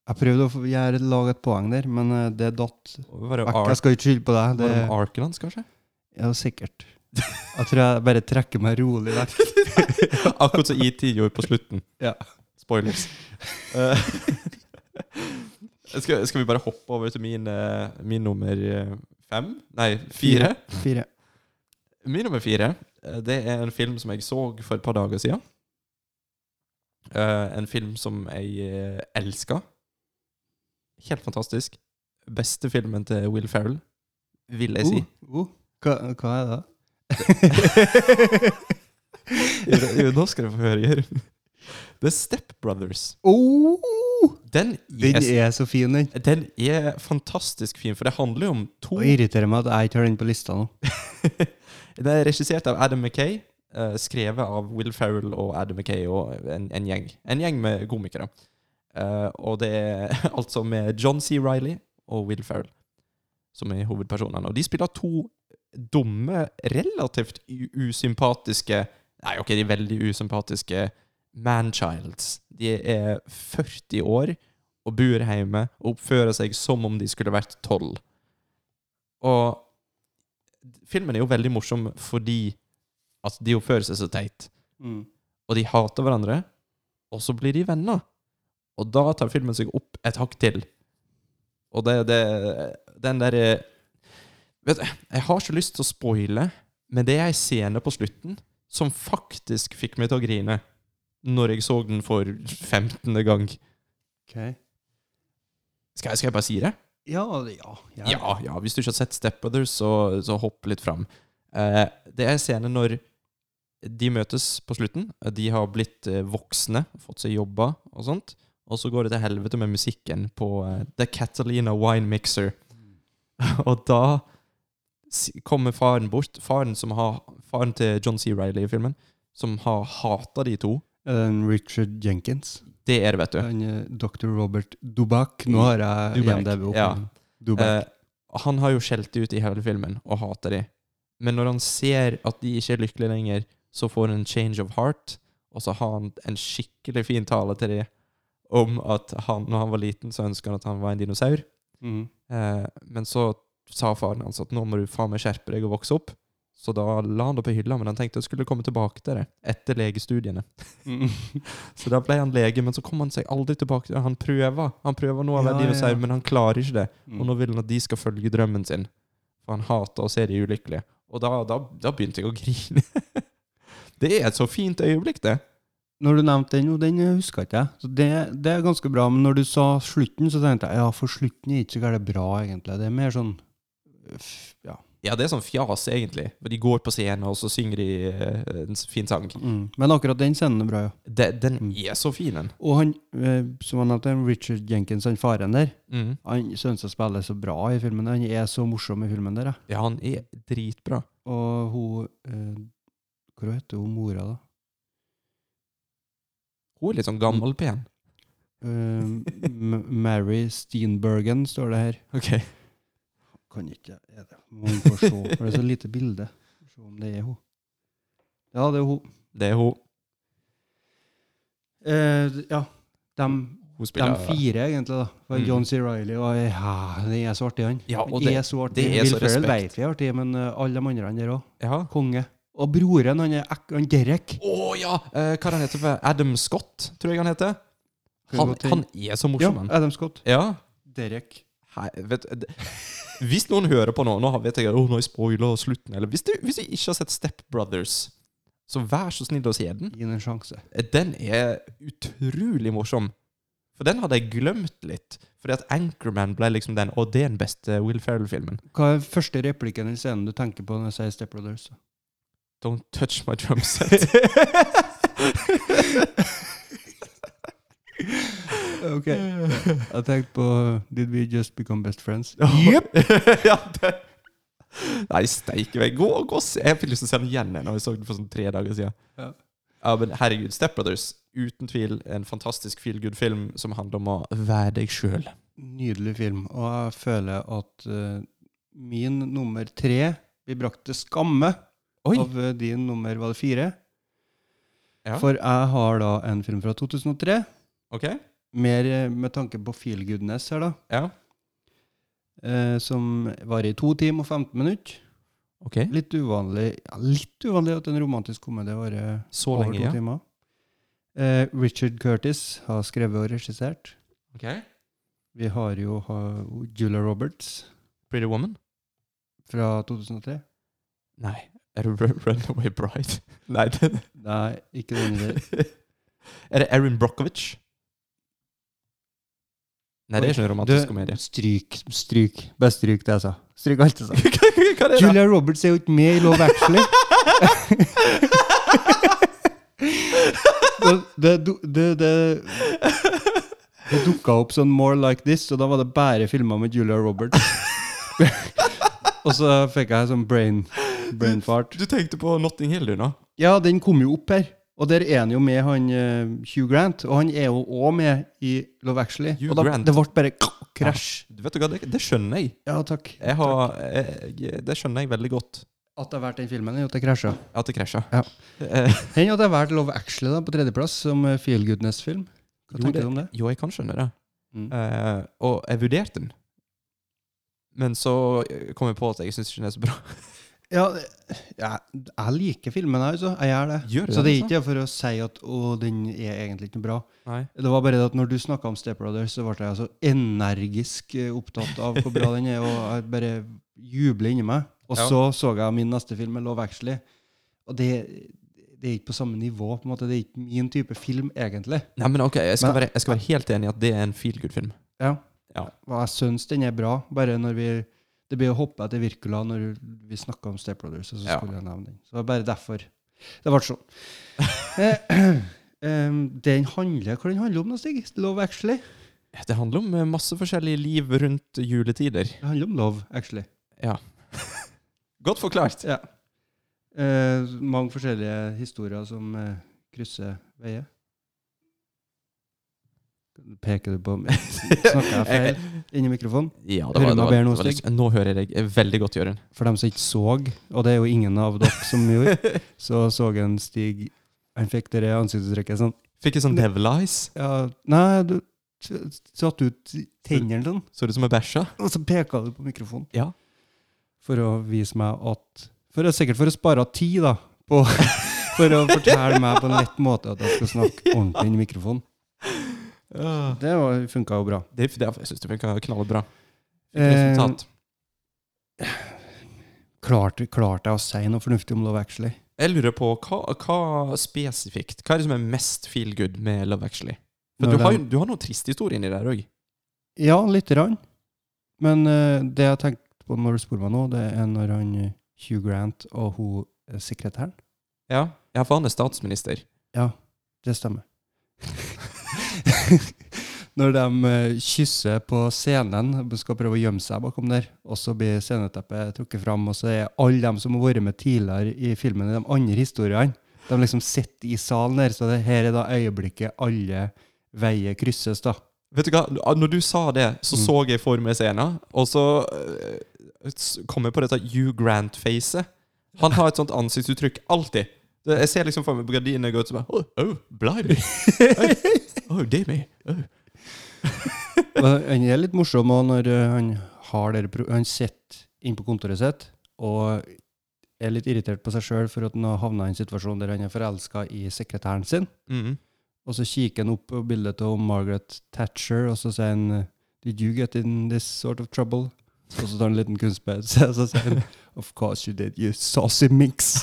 Speaker 10: Jeg prøvde å få- gjøre, lage et poeng der, men eh, det datt
Speaker 11: Var det
Speaker 10: vekk.
Speaker 11: Ark-
Speaker 10: Jeg skal ikke skylde på deg.
Speaker 11: var
Speaker 10: Det
Speaker 11: det om arken hans, kanskje?
Speaker 10: er jo sikkert. Jeg tror jeg bare trekker meg rolig der.
Speaker 11: Akkurat som ET gjorde på slutten.
Speaker 10: Ja.
Speaker 11: Spoilers. Eh, skal, skal vi bare hoppe over til min, eh, min nummer eh, fem? Nei, fire.
Speaker 10: Fire.
Speaker 11: Min nummer fire eh, det er en film som jeg så for et par dager siden. Eh, en film som jeg uh, elska. Helt fantastisk. Beste filmen til Will Ferrell, vil jeg si.
Speaker 10: Uh, uh. Hva, hva er det?
Speaker 11: Jo, nå skal du få høre, Jørund. The Step Brothers.
Speaker 10: Oh,
Speaker 11: Den
Speaker 10: den
Speaker 11: er,
Speaker 10: er så fin, den.
Speaker 11: den er fantastisk fin, for det handler jo om to
Speaker 10: Og irriterer meg at jeg ikke har den på lista nå.
Speaker 11: Det er regissert av Adam McKay, eh, skrevet av Will Ferrell og Adam McKay og en, en gjeng. En gjeng med komikere. Eh, og det er altså med John C. Riley og Will Ferrell som er hovedpersonene. Og de spiller to dumme, relativt u- usympatiske Nei, ok, de er veldig usympatiske manchilds. De er 40 år og bor hjemme og oppfører seg som om de skulle vært 12. Og filmen er jo veldig morsom fordi at de oppfører seg så teit.
Speaker 10: Mm.
Speaker 11: Og de hater hverandre, og så blir de venner. Og da tar filmen seg opp et hakk til. Og det, det Den derre Vet du, jeg har så lyst til å spoile, men det er ei scene på slutten som faktisk fikk meg til å grine når jeg så den for 15. gang.
Speaker 10: Okay.
Speaker 11: Skal jeg, skal jeg bare si det?
Speaker 10: Ja, ja. ja.
Speaker 11: Ja, ja, hvis du ikke har sett Step Brothers, så, så hopp litt fram. Eh, det er en scene når de møtes på slutten. De har blitt eh, voksne, fått seg jobber og sånt. Og så går det til helvete med musikken på eh, The Catalina Wine Mixer. og da s- kommer faren bort, faren, som har, faren til John C. Reilly i filmen, som har hata de to.
Speaker 10: Er det en Eh, Richard Jenkins?
Speaker 11: Det er det, vet du.
Speaker 10: Han, eh, Dr. Robert Dubak. Nå har
Speaker 11: Mm.
Speaker 10: jeg
Speaker 11: Dubak,
Speaker 10: IMDb opp.
Speaker 11: ja.
Speaker 10: Dubak.
Speaker 11: Eh, han har jo skjelt de ut i hele filmen og hater de. Men når han ser at de ikke er lykkelige lenger, så får han en change of heart, og så har han en skikkelig fin tale til de om at han, når han var liten, så ønska han at han var en dinosaur.
Speaker 10: Mhm.
Speaker 11: Eh, men så sa faren hans at nå må du faen meg skjerpe deg og vokse opp. Så da la han det på hylla, men han tenkte jeg skulle komme tilbake til det etter legestudiene.
Speaker 10: Mm.
Speaker 11: så da ble han lege, men så kom han seg aldri tilbake til det. Han prøver Han prøver nå å være
Speaker 10: Ja, ja,
Speaker 11: dinosaur,
Speaker 10: ja.
Speaker 11: men han klarer ikke det.
Speaker 10: Mm.
Speaker 11: Og nå vil han at de skal følge drømmen sin. For han hater å se de ulykkelige. Og da, da, da begynte jeg å grine. det er et så fint øyeblikk, det.
Speaker 10: Når du nevnte den, jo, den huska ikke jeg. Så det, det er ganske bra. Men når du sa slutten, så tenkte jeg ja, for slutten er ikke så gærent bra, egentlig. Det er mer sånn f- ja.
Speaker 11: Ja, det er sånn fjas, egentlig. For de går på scenen, og så synger de eh, en s- fin sang.
Speaker 10: Mm. Men akkurat den scenen er bra, ja.
Speaker 11: De, den
Speaker 10: Mm.
Speaker 11: er så fin, den.
Speaker 10: Og han, eh, som han nevnte, Richard Jenkins, han faren der,
Speaker 11: Mm.
Speaker 10: han synes jeg spiller så bra i filmen. Han er så morsom i filmen der, ja.
Speaker 11: Ja, han er dritbra.
Speaker 10: Og hun eh, Hva heter hun mora, da?
Speaker 11: Hun er litt sånn
Speaker 10: Mm.
Speaker 11: gammel pen.
Speaker 10: Eh, M- Mary Steenbergen står det her.
Speaker 11: Ok.
Speaker 10: Kan ikke er det. Må vi få se, for det er så lite bilde. Får Se om det er hun. Ja, det er hun.
Speaker 11: Det er hun.
Speaker 10: Eh, ja, dem
Speaker 11: Hun spiller Mm.
Speaker 10: De fire, egentlig. da. For John C. Reilly og ja, Den er så artig, han.
Speaker 11: Ja, og
Speaker 10: Han
Speaker 11: det-
Speaker 10: er så artig.
Speaker 11: det er
Speaker 10: Will
Speaker 11: så
Speaker 10: Ferrell
Speaker 11: respekt.
Speaker 10: vet vi er artig, men eh, alle de andre der òg.
Speaker 11: Ja.
Speaker 10: Konge. Og broren, han er ek han Derek.
Speaker 11: Å ja! Eh, hva er han heter han? Adam Scott, tror jeg han heter.
Speaker 10: Kan
Speaker 11: Han,
Speaker 10: godt hende.
Speaker 11: han er så
Speaker 10: Ja,
Speaker 11: morsom, han.
Speaker 10: Adam Scott.
Speaker 11: Ja.
Speaker 10: Derek.
Speaker 11: Hei, vet, d- hvis noen hører på nå, nå vet jeg at oh, nå har jeg spoila slutten Eller hvis du, hvis du ikke har sett Step Brothers, så vær så snill å se den.
Speaker 10: Gi den en sjanse.
Speaker 11: Eh, Den er utrolig morsom. For den hadde jeg glemt litt. Fordi at Anchorman ble liksom den, og det er den beste Will Ferrell-filmen.
Speaker 10: Hva er første replikken eller scenen du tenker på når jeg sier Step Brothers?
Speaker 11: Don't touch my drum set.
Speaker 10: Ok. Jeg tenkte på Did we just become best friends?
Speaker 11: Jepp! ja, det. Nei, steike meg. Gå, gå og se. Jeg fikk lyst til å se den igjen jeg, når jeg så den for sånn tre dager siden.
Speaker 10: Ja.
Speaker 11: Ja, men herregud, Step Brothers, uten tvil en fantastisk feel good-film som handler om å være deg sjøl.
Speaker 10: Nydelig film. Og jeg føler at eh, min nummer tre blir brakt til skamme
Speaker 11: Oi.
Speaker 10: av eh, din nummer var det fire.
Speaker 11: Ja.
Speaker 10: For jeg har da en film fra 2003,
Speaker 11: OK?
Speaker 10: mer eh, med tanke på feel goodness her, da,
Speaker 11: Ja.
Speaker 10: eh, som varer i to timer og 15 minutter.
Speaker 11: Ok.
Speaker 10: Litt uvanlig ja, Litt uvanlig at en romantisk komedie varer
Speaker 11: Så
Speaker 10: over
Speaker 11: lenge,
Speaker 10: to
Speaker 11: ja.
Speaker 10: timer. Eh, Richard Curtis har skrevet og regissert.
Speaker 11: Ok.
Speaker 10: Vi har jo ha- Julia Roberts
Speaker 11: Pretty Woman?
Speaker 10: fra 2003.
Speaker 11: Nei. Er det Run- Runaway Bride? Nei, den
Speaker 10: Nei, ikke den der.
Speaker 11: Er det Erin Brockovich? Nei, det er ikke en romantisk komedie.
Speaker 10: Stryk, stryk. Bare stryk det jeg sa. Stryk alt altså. jeg sa.
Speaker 11: Hva hva er det? da?
Speaker 10: Julia Roberts er jo ikke med i Love Actually. det det, du- det, det, det dukka opp sånn More Like This, og da var det bare filmer med Julia Roberts. og så fikk jeg sånn brain, brain fart.
Speaker 11: Du tenkte på Notting Hill, du, nå?
Speaker 10: Ja, den kom jo opp her. Og der er han jo med han eh, Hugh Grant, og han er jo òg med i Love Actually.
Speaker 11: Hugh
Speaker 10: og da,
Speaker 11: Grant.
Speaker 10: det ble bare krasj.
Speaker 11: Du vet du hva, det, det skjønner jeg.
Speaker 10: Ja, takk.
Speaker 11: jeg, har, jeg, jeg det skjønner jeg veldig godt.
Speaker 10: At det har vært den filmen, er jo at det krasja.
Speaker 11: At det krasja.
Speaker 10: Ja.
Speaker 11: Eh,
Speaker 10: Hender at det har vært Love Actually da, på tredjeplass som eh, Feel Goodness-film. Hva
Speaker 11: jo,
Speaker 10: tenker du om det?
Speaker 11: Jo, jeg kan skjønne det.
Speaker 10: Mm.
Speaker 11: Eh, og jeg vurderte den. Men så eh, kom jeg på at jeg syns ikke den er så bra.
Speaker 10: Ja, jeg, jeg liker filmen, jeg, altså. Jeg gjør det.
Speaker 11: Gjør du
Speaker 10: Så det er
Speaker 11: altså?
Speaker 10: ikke for å si at å, den er egentlig ikke bra.
Speaker 11: Nei.
Speaker 10: Det var bare det at når du snakka om Step Brothers, så ble jeg så energisk eh, opptatt av hvor bra den er, og jeg bare jubler inni meg. Og
Speaker 11: Ja.
Speaker 10: så så jeg min neste film, med Love Actually. Og det, det er ikke på samme nivå. på en måte. Det er ikke min type film, egentlig.
Speaker 11: Nei, men ok, jeg skal,
Speaker 10: Men-
Speaker 11: være, jeg skal være helt enig i at det er en feel good-film.
Speaker 10: Ja.
Speaker 11: Ja.
Speaker 10: Og jeg syns den er bra, bare når vi Det blir å hoppe etter Virkula når vi snakker om Step Brothers, og så
Speaker 11: Ja.
Speaker 10: skulle jeg nevne den. Så det var bare derfor. Det ble sånn. eh, em, den handler Hva den handler om, da, Stig? Love Actually?
Speaker 11: Det handler om eh, masse forskjellige liv rundt juletider.
Speaker 10: Det handler om love, actually.
Speaker 11: Godt forklart!
Speaker 10: Ja. Eh, mange forskjellige historier som eh, krysser veier. Peker du på meg? Snakker jeg feil inni mikrofonen?
Speaker 11: Eh, Ja, det var, det
Speaker 10: Hører du meg
Speaker 11: var,
Speaker 10: bedre nå,
Speaker 11: det var litt-
Speaker 10: Stig?
Speaker 11: nå hører jeg deg eh, veldig godt, Jørund.
Speaker 10: For dem som ikke så, og det er jo ingen av dere som gjorde, så så en Stig Han fikk det ansiktsuttrykket sånn
Speaker 11: Fikk jeg sånn devil eyes?
Speaker 10: ja, Nei, du t- satte ut tennene sånn,
Speaker 11: Så ut som jeg bæsja?
Speaker 10: og så peka du på mikrofonen.
Speaker 11: Ja.
Speaker 10: For å vise meg at for å, Sikkert for å spare tid, da. På, for å fortelle meg på en lett måte at jeg skal snakke ordentlig inn i mikrofonen. Det funka jo bra.
Speaker 11: Det, det, jeg syns det funka knallbra.
Speaker 10: Eh,
Speaker 11: Resultat.
Speaker 10: klarte, klarte jeg å si noe fornuftig om Love Actually?
Speaker 11: Jeg lurer på hva, hva spesifikt Hva er det som er mest feel good med Love Actually? For
Speaker 10: Når
Speaker 11: du har,
Speaker 10: den-
Speaker 11: jo- du har noen triste historier inni der òg.
Speaker 10: Ja, lite grann. Men eh, det jeg tenkte på når du spurte meg nå, det er når han eh, Hugh Grant og hun eh, sekretæren
Speaker 11: Ja. ja, for han er statsminister.
Speaker 10: Ja, det stemmer. Når de eh, kysser på scenen, skal prøve å gjemme seg bakom der, og så blir sceneteppet trukket fram, og så er alle dem som har vært med tidligere i filmen, i de andre historiene, de liksom sitter i salen der, så det her er da øyeblikket alle veier krysses, da.
Speaker 11: Vet du hva, Når du sa det, så
Speaker 10: Mm.
Speaker 11: så jeg for meg scenen, og så eh, s- kom jeg på dette Hugh Grant-facet. Han har et sånt ansiktsuttrykk alltid. Det- Jeg ser liksom for meg gardinene gå ut og bare Oh, oh blimey. Oh, oh dear me. Oh.
Speaker 10: Og han er litt morsom også når eh, han har dere pro- Han sitter inne på kontoret sitt og er litt irritert på seg sjøl for at han har havna i en situasjon der han er forelska i sekretæren sin.
Speaker 11: Mhm.
Speaker 10: Og så kikker han opp på bildet av Margaret Thatcher, og så sier han Did you get in this sort of trouble? Og så tar han en liten kunstpause, og så sier han Of course you did, you saucy mix.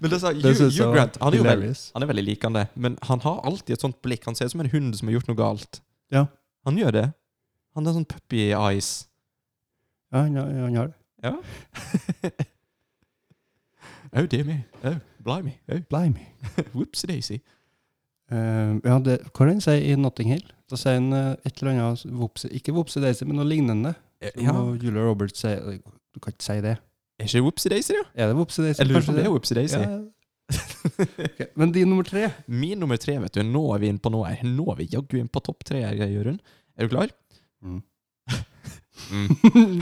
Speaker 11: Men det, er så-
Speaker 10: Det
Speaker 11: Hugh-
Speaker 10: synes jeg
Speaker 11: Hugh
Speaker 10: var
Speaker 11: Grant han er, jo veldig,
Speaker 10: hilarious.
Speaker 11: han er veldig likende, men han har alltid et sånt blikk. Han ser ut som en hund som har gjort noe galt.
Speaker 10: Ja.
Speaker 11: Han gjør det. Han har sånn puppy eyes.
Speaker 10: Ja, han, har- han har det.
Speaker 11: Ja. oh, dear me. Oh, blimey. Oh,
Speaker 10: Blimey.
Speaker 11: whoopsie-daisy.
Speaker 10: Eh, ja, det, hva er det han sier i Notting Hill? Da sier han eh, et eller annet vopse, Ikke Vopse Daisy, men noe lignende.
Speaker 11: Eh, Ja,
Speaker 10: Og Julia Roberts sier Du kan ikke si det.
Speaker 11: er ikke whoopsie-daisy, ja?
Speaker 10: Er det Vopse Daisy?
Speaker 11: Jeg lurer på om det er whoopsie-daisy.
Speaker 10: Ok, Men din nummer tre
Speaker 11: Min nummer tre, vet du. Nå er vi inne på noe her. Nå er vi jaggu inne på topp tre, her, Jørund. Er du klar?
Speaker 10: Mm.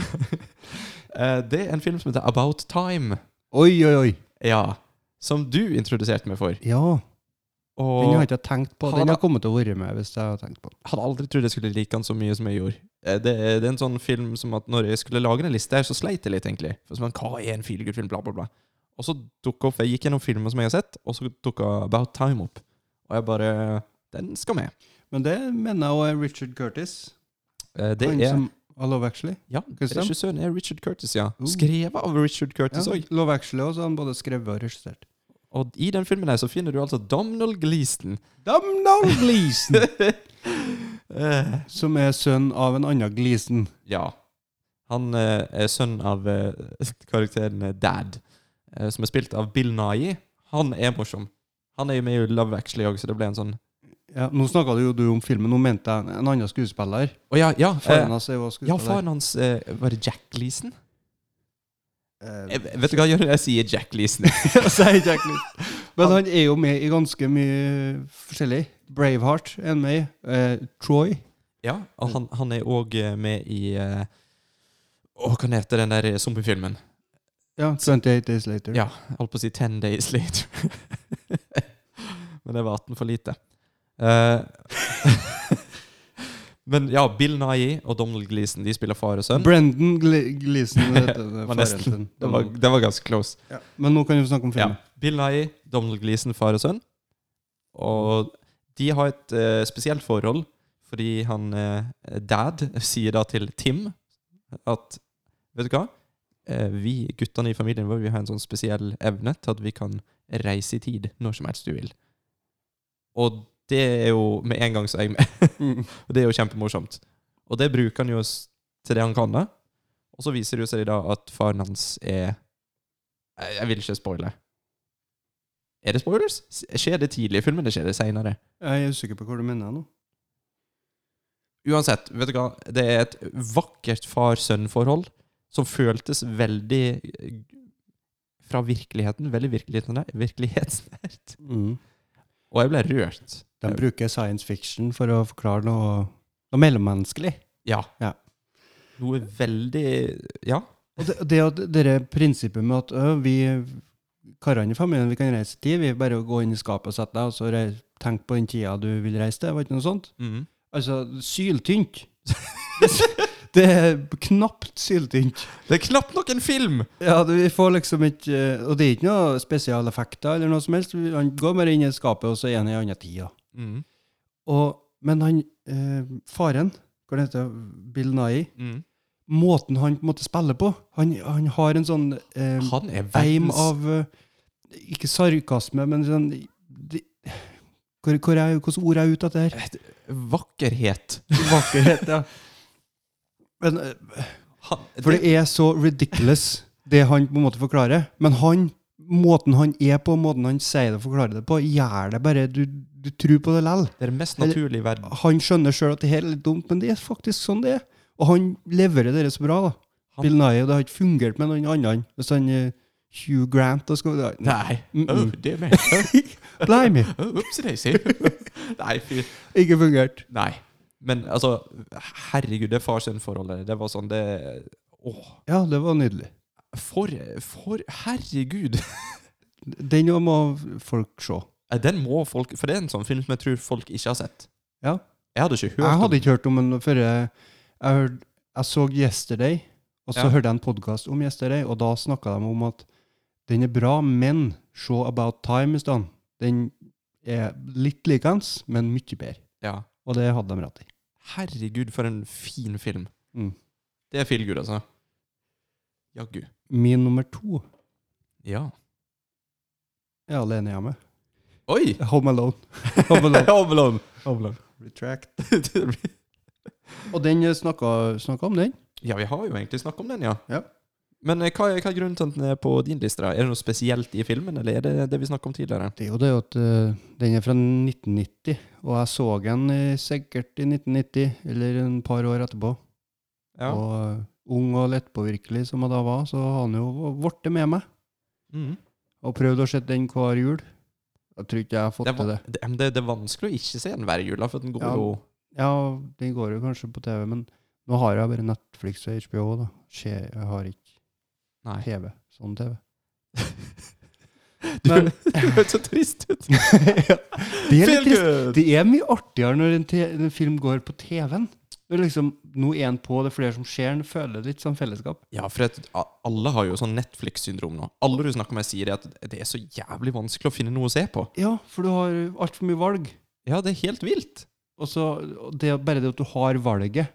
Speaker 11: Eh, det er en film som heter About Time.
Speaker 10: Oi, oi, oi.
Speaker 11: Ja. Som du introduserte meg for.
Speaker 10: Ja.
Speaker 11: Og
Speaker 10: Den har ikke jeg tenkt på.
Speaker 11: Han
Speaker 10: Den
Speaker 11: har-
Speaker 10: har kommet til å være med hvis jeg har tenkt på den.
Speaker 11: hadde aldri trodd jeg skulle like den så mye som jeg gjorde. Eh, Det, det er en sånn film som at når jeg skulle lage en liste her, så sleit jeg litt, egentlig. For sånn, Hva er en feelgood-film? Bla, bla, bla. Og så dukka opp Jeg gikk gjennom filmer som jeg har sett, og så dukka About Time opp. Og jeg bare Den skal med.
Speaker 10: Men det mener jeg også er Richard Curtis.
Speaker 11: Eh, Det
Speaker 10: han
Speaker 11: er
Speaker 10: som av Love Actually.
Speaker 11: Ja,
Speaker 10: Kristian?
Speaker 11: regissøren er Richard Curtis, ja.
Speaker 10: Oh.
Speaker 11: Skrevet av Richard
Speaker 10: Ja,
Speaker 11: Curtis òg.
Speaker 10: Love Actually også, så han både skrevet og regissert.
Speaker 11: Og i den filmen her så finner du altså Domhnall Gleeson.
Speaker 10: Domhnall Gleeson!
Speaker 11: Eh,
Speaker 10: som er sønn av en annen Gleeson.
Speaker 11: ja. Han eh, er sønn av eh, karakteren eh, Dad, eh, som er spilt av Bill Nye. Han er morsom. Han er jo med i Love Actually òg, så det ble en sånn
Speaker 10: Ja, nå snakka du jo du om filmen, nå mente jeg en annen skuespiller.
Speaker 11: Å ja, ja. eh,
Speaker 10: Faren hans er jo også
Speaker 11: ja,
Speaker 10: skuespiller.
Speaker 11: faren hans eh, Var det Jack Gleeson?
Speaker 10: Eh,
Speaker 11: Eh, vet du hva, Jørgen? Jeg sier Jack Gleeson.
Speaker 10: sier Jack Gleeson. Men han er jo med i ganske mye forskjellig. Braveheart er han med i. Eh, Troy.
Speaker 11: ja, og han, han er òg med i eh, Å, hva heter den der eh, zombiefilmen?
Speaker 10: Ja, 28 Days Later.
Speaker 11: Ja, jeg holdt på å si 10 days later. Men det var 18 for lite. Eh, Men ja, Bill Nye og Donald Gleason de spiller far og sønn.
Speaker 10: Brendan Gle Gleeson. det heter
Speaker 11: Det
Speaker 10: det,
Speaker 11: var,
Speaker 10: faren
Speaker 11: nesten,
Speaker 10: sin.
Speaker 11: det, var, det var ganske close.
Speaker 10: Ja. Men nå kan vi snakke om
Speaker 11: Ja.
Speaker 10: filmen.
Speaker 11: Bill Nye, Donald Gleason, far og sønn. Og de har et eh, spesielt forhold, fordi han eh, dad sier da til Tim at Vet du hva? Eh, vi guttene i familien vår vi har en sånn spesiell evne til at vi kan reise i tid når som helst du vil. Og det er jo med en gang så er jeg med.
Speaker 10: Mm.
Speaker 11: og det er jo kjempemorsomt. Og det bruker han jo s- til det han kan. da. Og så viser det jo seg da at faren hans er Jeg jeg vil ikke spoile. Er det spoilers? S- Skjer det tidlig i filmen, eller skjer det seinere?
Speaker 10: Jeg er usikker på hvor du mener nå.
Speaker 11: Uansett, vet du hva? Det er et vakkert far-sønn-forhold som føltes veldig eh, fra virkeligheten. Veldig virkeligheten- virkelighetsnært. Og jeg ble rørt.
Speaker 10: De bruker science fiction for å forklare noe, noe mellommenneskelig.
Speaker 11: Ja.
Speaker 10: Ja.
Speaker 11: Noe veldig Ja.
Speaker 10: Og det, det at det der prinsippet med at ø, vi karene i familien vi kan reise i tid, vi bare går inn i skapet og setter deg, og så rei- tenk på den tida du vil reise til, var ikke noe sånt?
Speaker 11: Mm.
Speaker 10: Altså, syltynt. det er knapt syltynt.
Speaker 11: Det er knapt nok en film!
Speaker 10: Ja, du, vi får liksom ikke eh, Og det er ikke noe spesialeffekter eller noe som helst. Vi- Han går bare inn i skapet, og så er han i annen tid. ja.
Speaker 11: Mm.
Speaker 10: Og, men han eh, faren, hva det heter Bill Nye,
Speaker 11: Mm.
Speaker 10: måten han på en måte spiller på Han, han har en sånn eh,
Speaker 11: Han er
Speaker 10: eim
Speaker 11: verdens
Speaker 10: av eh, Ikke sarkasme, men sånn de, hvor, hvor er, Hvilke ord er jeg ute etter her?
Speaker 11: vakkerhet.
Speaker 10: Vakkerhet, ja. Men, eh,
Speaker 11: Han,
Speaker 10: for det er så ridiculous, det han på en måte forklarer. Men han, måten han er på, måten han sier det og forklarer det på, gjør det bare Du, du tror på det lell.
Speaker 11: det er det mest naturlige i verden.
Speaker 10: Han skjønner sjøl at det her er litt dumt, men det er faktisk sånn det er. Og han leverer det så bra, da.
Speaker 11: Han-
Speaker 10: Bill Nye, det har ikke fungert med noen annen. Hvis han eh, Hugh Grant da skal vi-
Speaker 11: Nei.
Speaker 10: Mm-mm.
Speaker 11: Oh, det er meg. Oh.
Speaker 10: Blimey!
Speaker 11: Oh, Upsi daisy. Nei, fy.
Speaker 10: Ikke fungert.
Speaker 11: Nei. Men altså, herregud, det far-sønn-forholdet. Det var sånn det Åh.
Speaker 10: Ja, det var nydelig.
Speaker 11: For, for Herregud!
Speaker 10: Den må folk se.
Speaker 11: Den må folk For det er en sånn film som jeg tror folk ikke har sett.
Speaker 10: Ja.
Speaker 11: Jeg hadde ikke hørt
Speaker 10: Jeg
Speaker 11: om
Speaker 10: hadde ikke hørt om den før jeg, jeg, hørte- jeg så Yesterday, og så
Speaker 11: Ja.
Speaker 10: hørte jeg en podkast om Yesterday, og da snakka de om at den er bra, men se About Time i stedet. Den er litt likens, men mye bedre.
Speaker 11: ja.
Speaker 10: Og det hadde de rett i.
Speaker 11: Herregud, for en fin film.
Speaker 10: Mm.
Speaker 11: Det er feel good, altså. Jaggu.
Speaker 10: Min nummer to
Speaker 11: Ja.
Speaker 10: er alene hjemme.
Speaker 11: Oi!
Speaker 10: Home Alone. Home Alone.
Speaker 11: Home Alone.
Speaker 10: Home Alone. Retract.
Speaker 11: Det blir-
Speaker 10: Og den snakka snakka om den.
Speaker 11: ja, vi har jo egentlig snakket om den, ja.
Speaker 10: Ja.
Speaker 11: Men eh, hva er, hva er grunnen til at den er på din liste? da? Er det noe spesielt i filmen, eller er det det vi snakket om tidligere?
Speaker 10: Det er jo det at eh, den er fra 1990, og jeg så den eh, sikkert i 1990, eller en par år etterpå.
Speaker 11: Ja.
Speaker 10: Og eh, ung og lettpåvirkelig som jeg da var, så har han jo blitt med meg.
Speaker 11: Mm.
Speaker 10: Og prøvd å se den hver jul. Jeg tror ikke jeg har fått
Speaker 11: Det, er
Speaker 10: til
Speaker 11: va-
Speaker 10: det.
Speaker 11: det, men det, det er vanskelig å ikke se den hver jul, da, for den går
Speaker 10: Ja.
Speaker 11: jo
Speaker 10: Ja, den går jo kanskje på TV, men nå har jeg bare Netflix og HBO, da. Skje, jeg har ikke
Speaker 11: Nei.
Speaker 10: TV. Sånn TV.
Speaker 11: Du
Speaker 10: Men-
Speaker 11: høres så trist ut.
Speaker 10: Det er litt
Speaker 11: Feel
Speaker 10: trist.
Speaker 11: good.
Speaker 10: Det er mye artigere når en, te- en film går på TV-en. Det er liksom, Nå er en på, det er flere som ser den, føler litt sånn fellesskap.
Speaker 11: Ja, for at a- alle har jo sånn Netflix-syndrom nå. Alle du snakker med, sier det at det er så jævlig vanskelig å finne noe å se på.
Speaker 10: Ja, for du har altfor mye valg.
Speaker 11: Ja, det er helt vilt.
Speaker 10: Og så og det, bare det at du har valget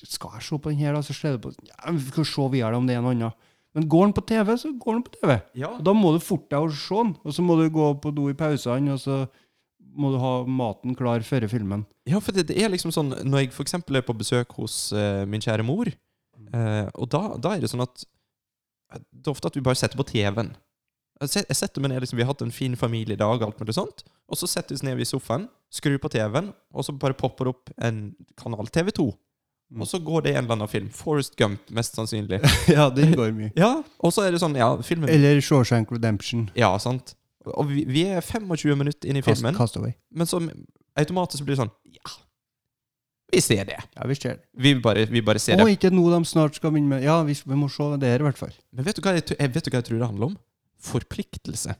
Speaker 10: Skal jeg se på den her, da? Så ser du på ja, Vi skal se videre om det er noe annet. Men går den på TV, så går den på TV.
Speaker 11: Ja.
Speaker 10: Og da må du forte deg å se den. Og så må du gå på do i pausene, og så må du ha maten klar før filmen.
Speaker 11: Ja, for det, det er liksom sånn Når jeg for eksempel er på besøk hos eh, min kjære mor, eh, og da, da er det sånn at Det er ofte at vi bare setter på TV-en. Jeg set- jeg setter meg ned, liksom, Vi har hatt en fin familiedag, alt mulig sånt. Og så setter vi oss ned i sofaen, skrur på TV-en, og så bare popper det opp en kanal TV2. Og så går det en eller annen film. Forest Gump, mest sannsynlig.
Speaker 10: ja, den går mye.
Speaker 11: Ja, Og så er det sånn Ja, filmen
Speaker 10: Eller Shawshank Redemption.
Speaker 11: Ja, sant. Og vi, vi er 25 minutter inn i
Speaker 10: Cast-
Speaker 11: filmen,
Speaker 10: Castaway.
Speaker 11: men så automatisk blir det sånn Ja, vi ser det.
Speaker 10: Ja, vi ser det.
Speaker 11: Vi bare, vi bare ser
Speaker 10: Å,
Speaker 11: det.
Speaker 10: ikke nå de snart skal begynne med Ja, vi, vi må se det her, i hvert fall.
Speaker 11: Men vet du, hva jeg, tr- jeg- vet du hva jeg tror det handler om? Forpliktelse.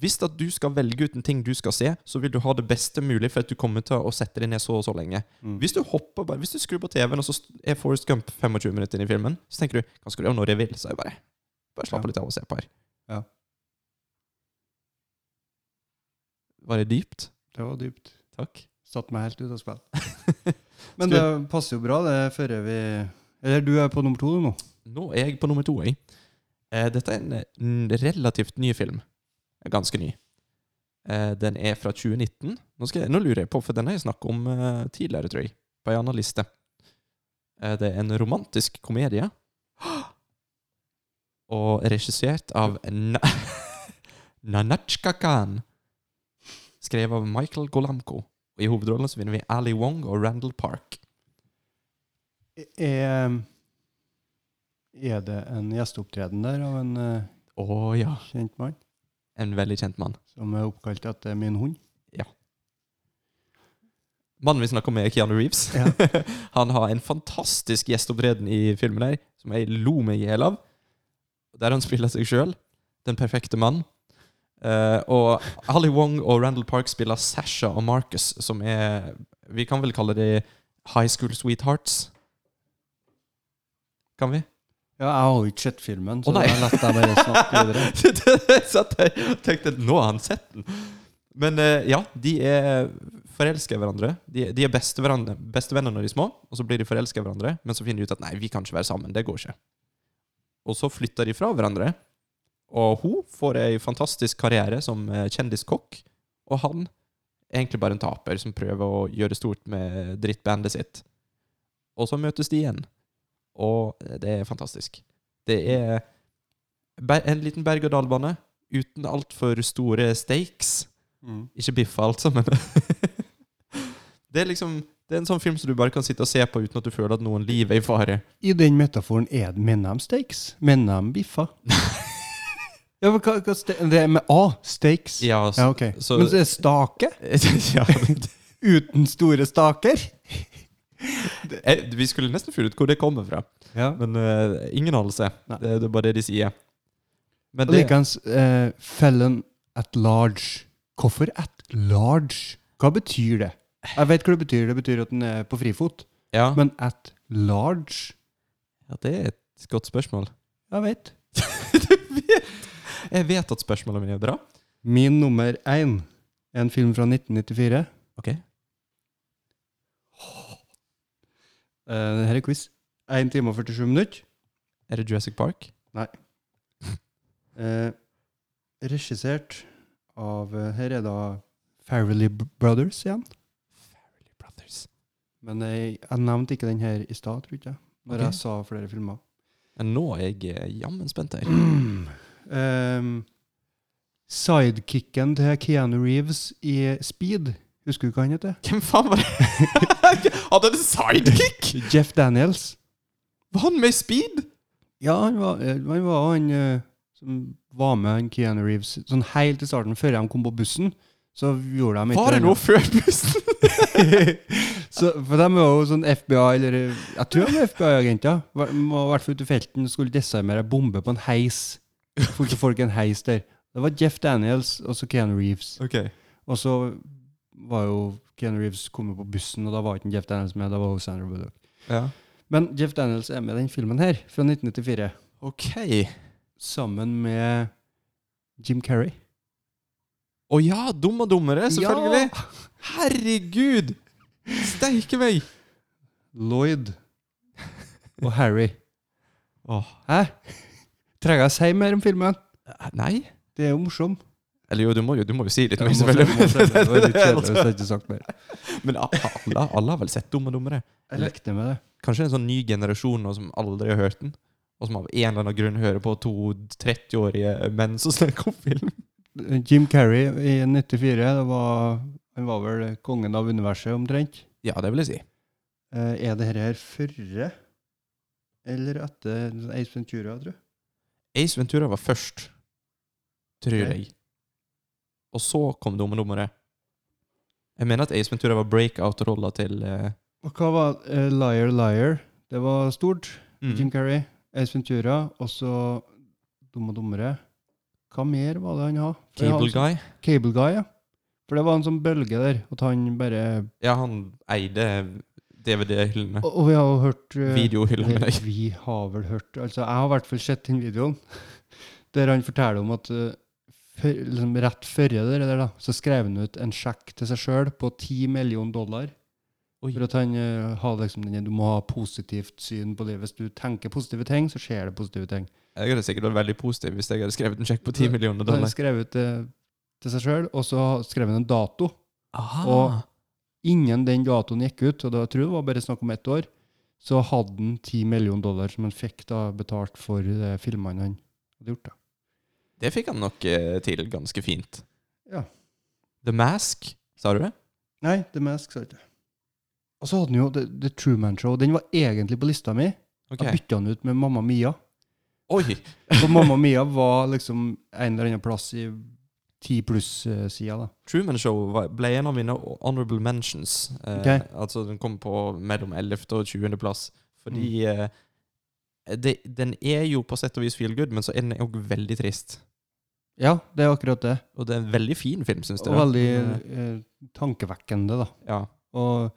Speaker 11: Hvis at du skal velge ut en ting du skal se, så vil du ha det beste mulig for at du kommer til å sette deg ned så og så lenge.
Speaker 10: Mm.
Speaker 11: Hvis du hopper bare, hvis du skrur på TV-en, og så st- er Forrest Gump 25 minutter inn i filmen, så tenker du hva skal du gjøre når jeg vil? Så jeg bare bare slapp
Speaker 10: Ja.
Speaker 11: litt av og se på her.
Speaker 10: Ja.
Speaker 11: Var det dypt?
Speaker 10: Det var dypt.
Speaker 11: Takk.
Speaker 10: Satt meg helt ut av spill. Men
Speaker 11: Skal
Speaker 10: det passer jo bra, det, før vi Eller du er på nummer to du, nå.
Speaker 11: Nå er jeg på nummer to, jeg. Eh, dette er en eh, n- relativt ny film. Ganske ny. Eh, den er fra 2019. Nå, skal jeg, nå lurer jeg på, for den har jeg snakket om eh, tidligere, tror jeg. På en annen liste. Eh, det er en romantisk komedie. Og regissert av Na Nanachka Khan. Skrevet av Michael Golamko. Og I hovedrollen så finner vi Ali Wong og Randall Park.
Speaker 10: Er, ehm, er det en gjesteopptreden der av en eh,
Speaker 11: Å ja,
Speaker 10: kjent mann?
Speaker 11: en veldig kjent mann.
Speaker 10: Som er oppkalt etter min hund?
Speaker 11: Mannen vi snakker om er Keanu Reeves. han har en fantastisk gjesteopptreden i filmen her, som jeg lo meg i hjel av. Der han spiller seg sjøl. Den perfekte mann. Eh, og Ali Wong og Randall Park spiller Sasha og Marcus, som er Vi kan vel kalle de high school sweethearts? Kan vi?
Speaker 10: Ja, jeg har jo ikke sett filmen, så
Speaker 11: Å, nei.
Speaker 10: jeg lar deg bare snakke videre.
Speaker 11: Jeg satt der og tenkte at nå har han sett den. Men eh, ja, de er forelska i hverandre. De, de er beste hverandre- bestevenner når de er små, og så blir de forelska i hverandre. Men så finner de ut at nei, vi kan ikke være sammen. Det går ikke. Og så flytter de fra hverandre. Og hun får ei fantastisk karriere som eh, kjendiskokk, og han er egentlig bare en taper som prøver å gjøre stort med drittbandet sitt. Og så møtes de igjen. Og eh, det er fantastisk. Det er Ber- En liten berg-og-dal-bane uten altfor store stakes.
Speaker 10: Mm.
Speaker 11: Ikke biffa, altså, men Det er liksom Det er en sånn film som du bare kan sitte og se på uten at du føler at noen liv er i fare.
Speaker 10: I den metaforen er det mener de steaks? Mener de biffa? ja, men hva, hva ste Det er med A. Steaks.
Speaker 11: Ja, s-
Speaker 10: ja ok.
Speaker 11: så-
Speaker 10: Men det er stake?
Speaker 11: ja, det-
Speaker 10: Uten store staker?
Speaker 11: eh, vi skulle nesten funnet ut hvor det kommer fra,
Speaker 10: Ja.
Speaker 11: men eh, ingen anelse.
Speaker 10: Nei.
Speaker 11: Det, det er bare det de sier. Men
Speaker 10: Og Likeens eh, felon at large. Hvorfor at large? Hva betyr det? Jeg vet hva det betyr. Det betyr at den er på frifot.
Speaker 11: Ja,
Speaker 10: Men at large
Speaker 11: ja det er et godt spørsmål.
Speaker 10: Jeg vet.
Speaker 11: Jeg vet at spørsmålene mine er bra.
Speaker 10: Min nummer én er en film fra 1994.
Speaker 11: Ok.
Speaker 10: Eh, Dette er quiz. 1 time og 47 minutter.
Speaker 11: Er det Jurassic Park?
Speaker 10: Eh, regissert av eh, Her er da Farrelly Br- Brothers igjen.
Speaker 11: Farrelly Brothers.
Speaker 10: Men jeg, jeg nevnte ikke den her i stad, tror ikke jeg. Når
Speaker 11: Ok.
Speaker 10: jeg sa flere filmer.
Speaker 11: Men nå er jeg eh, jammen spent her.
Speaker 10: Ehm, sidekicken til Keanu Reeves i Speed. Husker du hva han heter?
Speaker 11: Hvem faen var det? Hadde han en sidekick?
Speaker 10: Jeff Daniels.
Speaker 11: Var han med i Speed?
Speaker 10: Ja, han var, eh, han var han eh, som var med han Keanu Reeves sånn helt i starten, før de kom på bussen. Så gjorde de et
Speaker 11: Var det
Speaker 10: eller
Speaker 11: noe
Speaker 10: annet.
Speaker 11: før bussen?
Speaker 10: så, For de er jo sånn FBI, eller eh, Jeg tror de er FBI-agenter. Var- Må i hvert fall ut i felten skulle desarmere ei bombe på en heis. Får ikke folk en heis der. Det var Jeff Daniels og så Keanu Reeves.
Speaker 11: ok.
Speaker 10: Og så var jo Keanu Reeves kommet på bussen, og da var ikke Jeff Daniels med. da var jo Sandra Bullock.
Speaker 11: Ja.
Speaker 10: Men Jeff Daniels er med i den filmen her, fra 1994,
Speaker 11: Ok. Å
Speaker 10: sammen med Jim Carrey.
Speaker 11: ja, dum og dummere, selvfølgelig.
Speaker 10: Ja!
Speaker 11: Herregud! Steike meg!
Speaker 10: Lloyd og Harry.
Speaker 11: Åh. eh,
Speaker 10: Hæ? Trenger jeg å si mer om filmen?
Speaker 11: Nei?
Speaker 10: Det er jo morsom.
Speaker 11: Eller jo, du må jo, du må jo si litt
Speaker 10: Jeg
Speaker 11: mer,
Speaker 10: må si- jeg må si det, det var litt kjedelig hvis
Speaker 11: selvfølgelig.
Speaker 10: jeg ikke sagt mer.
Speaker 11: Men alle, alle har vel sett Dum og dummere?
Speaker 10: Jeg lekte med det.
Speaker 11: Kanskje en sånn ny generasjon nå som aldri har hørt den? Og som av en eller annen grunn hører på to 30-årige menn som snakker om film?
Speaker 10: Jim Carrey i 94, det var, han var vel kongen av universet omtrent.
Speaker 11: Ja, det vil jeg si.
Speaker 10: Eh, er det her her førre eller etter Ace Ventura, tror jeg?
Speaker 11: Ace Ventura var først, tror
Speaker 10: Ok.
Speaker 11: jeg. Og så kom Dum og dummere. Jeg mener at Ace Ventura var breakout-rolla til eh,
Speaker 10: Og hva var eh, Liar Liar? Det var stort. Jim
Speaker 11: mm.
Speaker 10: Carrey, Ace Ventura, og så Dum og dummere. Hva mer var det han hadde? For han-
Speaker 11: Cable Guy.
Speaker 10: Cable Guy, ja. For det var en sånn bølge der, at han bare
Speaker 11: Ja, han eide DVD-hyllene.
Speaker 10: Og, og vi har jo hørt eh,
Speaker 11: Videohyllene.
Speaker 10: Eller, vi har vel hørt Altså, jeg har i hvert fall sett den videoen der han forteller om at eh, før, liksom, rett før det der, da, så skrev han ut en sjekk til seg sjøl på 10 millioner dollar.
Speaker 11: Oi.
Speaker 10: For at han eh, har liksom den Du må ha positivt syn på livet. Hvis du tenker positive ting, så skjer det positive ting.
Speaker 11: Jeg hadde sikkert vært veldig positiv hvis jeg hadde skrevet en sjekk på 10 millioner
Speaker 10: Så han
Speaker 11: dollar.
Speaker 10: skrev ut det til seg sjøl, og så skrev han en dato.
Speaker 11: Aha.
Speaker 10: Og- Innen den datoen gikk ut, og det var, jeg tror det var bare snakk om ett år, så hadde han 10 millioner dollar som han fikk da betalt for eh, filmene han hadde gjort. da.
Speaker 11: Det fikk han nok eh, til ganske fint.
Speaker 10: Ja.
Speaker 11: The Mask, sa du det?
Speaker 10: Nei, The Mask sa ikke det. Og så hadde han jo The, The Truman Show. Den var egentlig på lista mi.
Speaker 11: Ok.
Speaker 10: Jeg bytta den ut med Mamma Mia.
Speaker 11: Oi!
Speaker 10: For Mamma Mia var liksom en eller annen plass i 10 pluss-sida, da.
Speaker 11: Truman Show var- ble en av mine honorable mentions. Eh,
Speaker 10: Ok.
Speaker 11: Altså Den kom på mellom 11. og 20. plass. Fordi
Speaker 10: Mm.
Speaker 11: eh, det, den er jo på sett og vis feel good, men så er den òg veldig trist.
Speaker 10: Ja, det er akkurat det.
Speaker 11: Og det er en veldig fin film, syns
Speaker 10: Og
Speaker 11: dere.
Speaker 10: veldig
Speaker 11: Men, eh,
Speaker 10: eh, tankevekkende, da.
Speaker 11: Ja.
Speaker 10: Og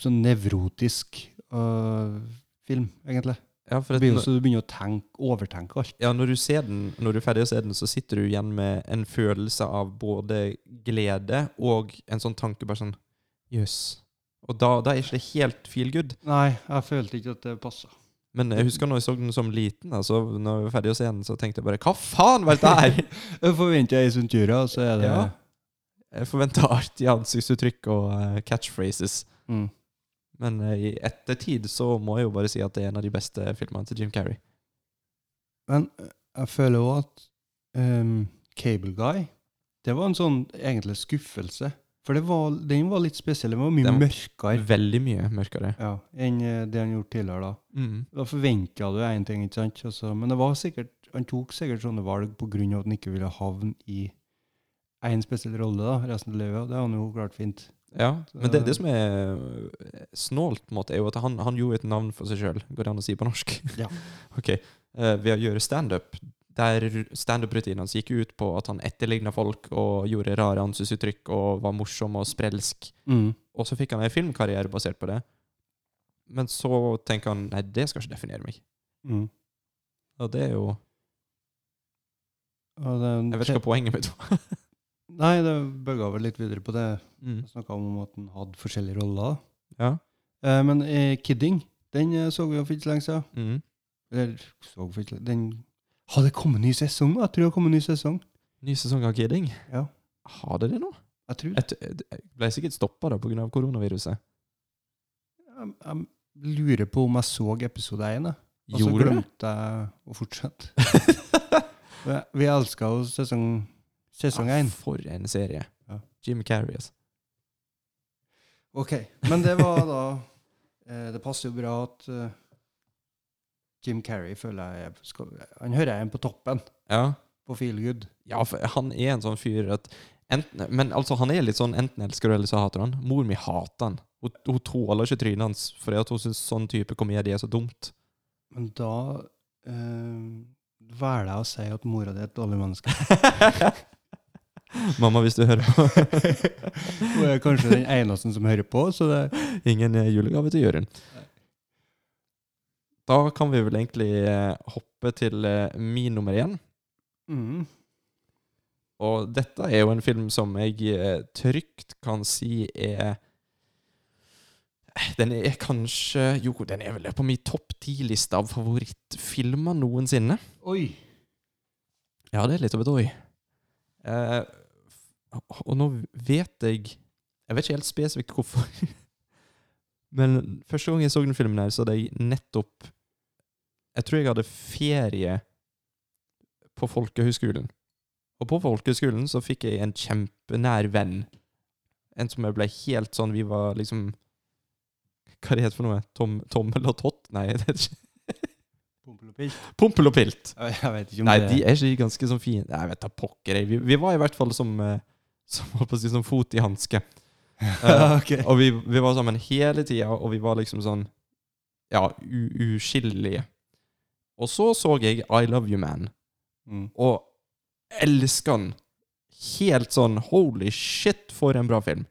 Speaker 10: sånn nevrotisk eh, film, egentlig.
Speaker 11: Ja, for
Speaker 10: Det
Speaker 11: at
Speaker 10: blir jo
Speaker 11: når,
Speaker 10: så du begynner å tenke, overtenke alt.
Speaker 11: ja, når du ser den, når du er ferdig å se den, så sitter du igjen med en følelse av både glede og en sånn tanke bare sånn Jøss. Og da, da er ikke det helt feel good.
Speaker 10: Nei, jeg følte ikke at det passa.
Speaker 11: Men jeg husker når jeg så den som liten, altså, når jeg var ferdig å se den, så tenkte jeg bare Hva faen var dette her?!
Speaker 10: Jeg forventer ei Suntura, så er det
Speaker 11: Ja. Jeg forventa artig ansiktsuttrykk og eh, catchphrases.
Speaker 10: mm.
Speaker 11: Men eh, i ettertid så må jeg jo bare si at det er en av de beste filmene til Jim Carrey.
Speaker 10: Men eh, jeg føler òg at ehm, Cable Guy Det var en sånn egentlig skuffelse. For det var, den var litt spesiell. Den var mye
Speaker 11: Den var-
Speaker 10: mørkere
Speaker 11: Veldig mye mørkere.
Speaker 10: ja, enn eh, det han gjorde tidligere. da.
Speaker 11: Mm.
Speaker 10: Da forventa du én ting, ikke sant? Altså, men det var sikkert, han tok sikkert sånne valg på grunn av at han ikke ville havne i én spesiell rolle da, resten av livet. og Det har han jo klart fint.
Speaker 11: Ja, Men det, det som er eh, snålt, på en måte, er jo at han, han gjorde et navn for seg sjøl. Går det an å si på norsk?
Speaker 10: Ja.
Speaker 11: ok. Eh, ved å gjøre standup Der standup-rutinene hans gikk ut på at han etterligna folk og gjorde rare ansiktsuttrykk og var morsom og sprelsk.
Speaker 10: Mm.
Speaker 11: Og så fikk han en filmkarriere basert på det. Men så tenker han nei, det skal ikke definere meg.
Speaker 10: Mm.
Speaker 11: Og det er jo
Speaker 10: Og det,
Speaker 11: Jeg vet ikke hva poenget mitt var.
Speaker 10: Nei, det bøgga vel litt videre på det.
Speaker 11: Mm.
Speaker 10: Jeg snakka om at han hadde forskjellige roller.
Speaker 11: Ja.
Speaker 10: Eh, men eh, Kidding, den eh, så vi jo for ikke så lenge siden.
Speaker 11: Mm.
Speaker 10: Eller så for ikke lenge Den Har det kommet ny sesong? Jeg tror det har kommet ny sesong.
Speaker 11: Ny sesong av Kidding.
Speaker 10: Ja.
Speaker 11: Har det det nå?
Speaker 10: Jeg tror
Speaker 11: Jeg, t- jeg ble sikkert stoppa pga. koronaviruset.
Speaker 10: jeg, jeg lurer på om jeg så episode 1, jeg. Og så
Speaker 11: Gjorde det?
Speaker 10: glemte jeg å fortsette. Vi, vi elska jo sesong sesong
Speaker 11: Ja,
Speaker 10: 1.
Speaker 11: for en serie.
Speaker 10: Ja.
Speaker 11: Jim Carrey, altså.
Speaker 10: Ok, men det var da eh, Det passer jo bra at eh, Jim Carrey føler jeg skal, Han hører jeg igjen på toppen,
Speaker 11: Ja.
Speaker 10: på Feel Good.
Speaker 11: Ja, for han er en sånn fyr at enten, Men altså, han er litt sånn enten elsker du eller så hater du han. Mor mi hater han. Hun, hun tåler ikke trynet hans fordi at hun syns sånn type komedie er så dumt.
Speaker 10: Men da eh, velger jeg å si at mora di er et dårlig menneske.
Speaker 11: Mamma, hvis du hører på.
Speaker 10: Hun er kanskje den eneste som hører på, så det
Speaker 11: Ingen eh, julegave til Jørund. Da kan vi vel egentlig eh, hoppe til eh, min nummer én.
Speaker 10: mm,
Speaker 11: Og dette er jo en film som jeg eh, trygt kan si er eh, Den er kanskje Jo, den er vel på min topp ti-liste av favorittfilmer noensinne.
Speaker 10: Oi!
Speaker 11: Ja, det er litt av et oi. Eh, f- og nå vet jeg Jeg vet ikke helt spesifikt hvorfor. Men første gang jeg så den filmen her, så hadde jeg nettopp Jeg tror jeg hadde ferie på folkehøyskolen. Og på folkehøyskolen så fikk jeg en kjempenær venn. En som jeg ble helt sånn Vi var liksom Hva det heter for noe? Tom, tommel og tott? Nei, det heter ikke
Speaker 10: Pompel og pilt.
Speaker 11: Pompel og pilt!
Speaker 10: Jeg jeg vet ikke om
Speaker 11: Nei,
Speaker 10: det
Speaker 11: de er ikke de ganske sånn fine Nei, vet da pokker jeg. Vi, vi var i hvert fall som, eh, som, holdt på å si, som fot i hanske. Eh,
Speaker 10: Ok.
Speaker 11: Og vi, vi var sammen hele tida, og vi var liksom sånn Ja, u- uskillelige. Og så så jeg I Love You Man,
Speaker 10: Mm.
Speaker 11: og elsker den. Helt sånn Holy shit, for en bra film.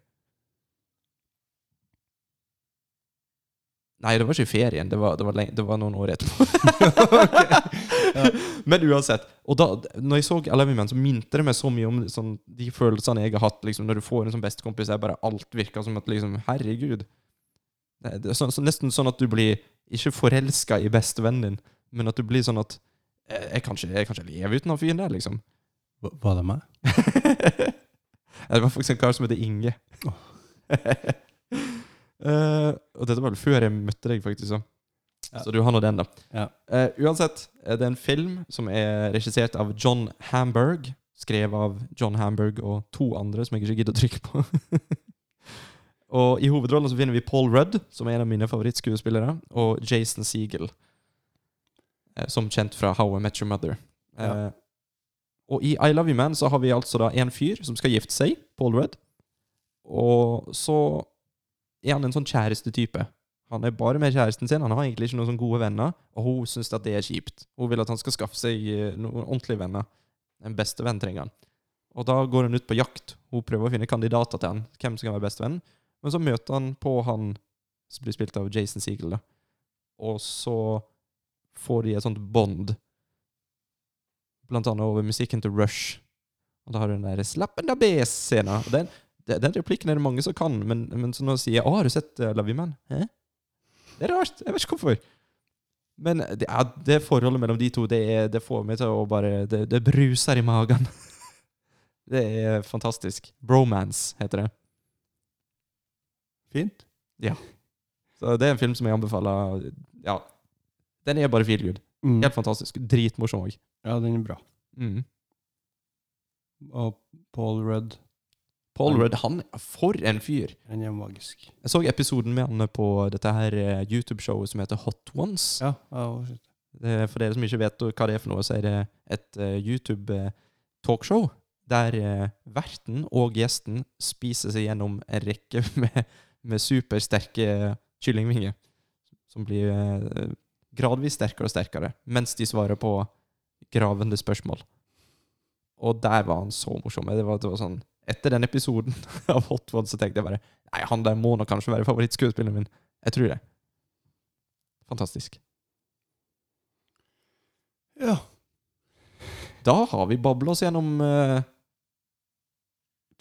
Speaker 11: Nei, det var ikke i ferien. Det var, det var, lenge, det var noen år etterpå. Men uansett. Og da når jeg så Eleven Men, så minte det meg så mye om sånn, de følelsene jeg har hatt liksom, når du får en sånn bestekompis. der bare alt virker som at liksom, Herregud. Det det er sånn- så, nesten sånn at du blir ikke forelska i bestevennen din, men at du blir sånn at eh, jeg kan ikke, jeg kan ikke leve uten han fyren der, liksom.
Speaker 10: Hva- Var det meg?
Speaker 11: det var faktisk en kar som heter Inge. Eh, og dette var vel før jeg møtte deg, faktisk. Så,
Speaker 10: Ja.
Speaker 11: så du har nå den, da.
Speaker 10: Ja.
Speaker 11: Eh, uansett, eh, det er en film som er regissert av John Hamburg. Skrevet av John Hamburg og to andre som jeg ikke gidder å trykke på. og I hovedrollen så finner vi Paul Rudd, som er en av mine favorittskuespillere, og Jason Segel, eh, som kjent fra How I Met Your Mother. Eh,
Speaker 10: Ja.
Speaker 11: Og i I Love You Man så har vi altså da en fyr som skal gifte seg, Paul Rudd, og så er han en sånn kjærestetype. Han er bare med kjæresten sin. Han har egentlig ikke noen sånn gode venner, og hun syns at det er kjipt. Hun vil at han skal skaffe seg eh, noen ordentlige venner. En bestevenn trenger han. Og da går hun ut på jakt. Hun prøver å finne kandidater til han, hvem som kan være bestevenn. Men så møter han på han som blir spilt av Jason Segel, da. Og så får de et sånt bånd, blant annet over musikken til Rush. Og da har du den der 'Slappen av B'-scenen. Og Den, den den replikken er det mange som kan, men, men så nå sier jeg 'Å, har du sett eh, Love You Man?' Hæ? Det er rart. Jeg vet ikke hvorfor. Men det, ja, det forholdet mellom de to, det, er, det får meg til å bare Det, det bruser i magen. det er fantastisk. Bromance heter det.
Speaker 10: Fint.
Speaker 11: Så det er en film som jeg anbefaler. Ja. Den er bare feel good.
Speaker 10: Mm.
Speaker 11: Helt fantastisk. Dritmorsom òg.
Speaker 10: Ja, den er bra.
Speaker 11: Mm.
Speaker 10: Og Paul Rudd,
Speaker 11: Paul Rudd, han For en fyr!
Speaker 10: den er magisk.
Speaker 11: Jeg så episoden med han på dette her eh, YouTube-showet som heter Hot Ones.
Speaker 10: Ja, ja, og-
Speaker 11: Det, er- Eh, for dere som ikke vet hva det er for noe, så er det et eh, YouTube-talkshow der eh, verten og gjesten spiser seg gjennom en rekke med, med supersterke kyllingvinger. Som blir eh, gradvis sterkere og sterkere mens de svarer på gravende spørsmål. Og der var han så morsom. Det var, det var sånn, etter den episoden av Hot Wod så tenkte jeg bare Nei, han der må nok kanskje være favorittskuespilleren min. Jeg tror det. Fantastisk.
Speaker 10: Ja.
Speaker 11: Da har vi babla oss gjennom eh,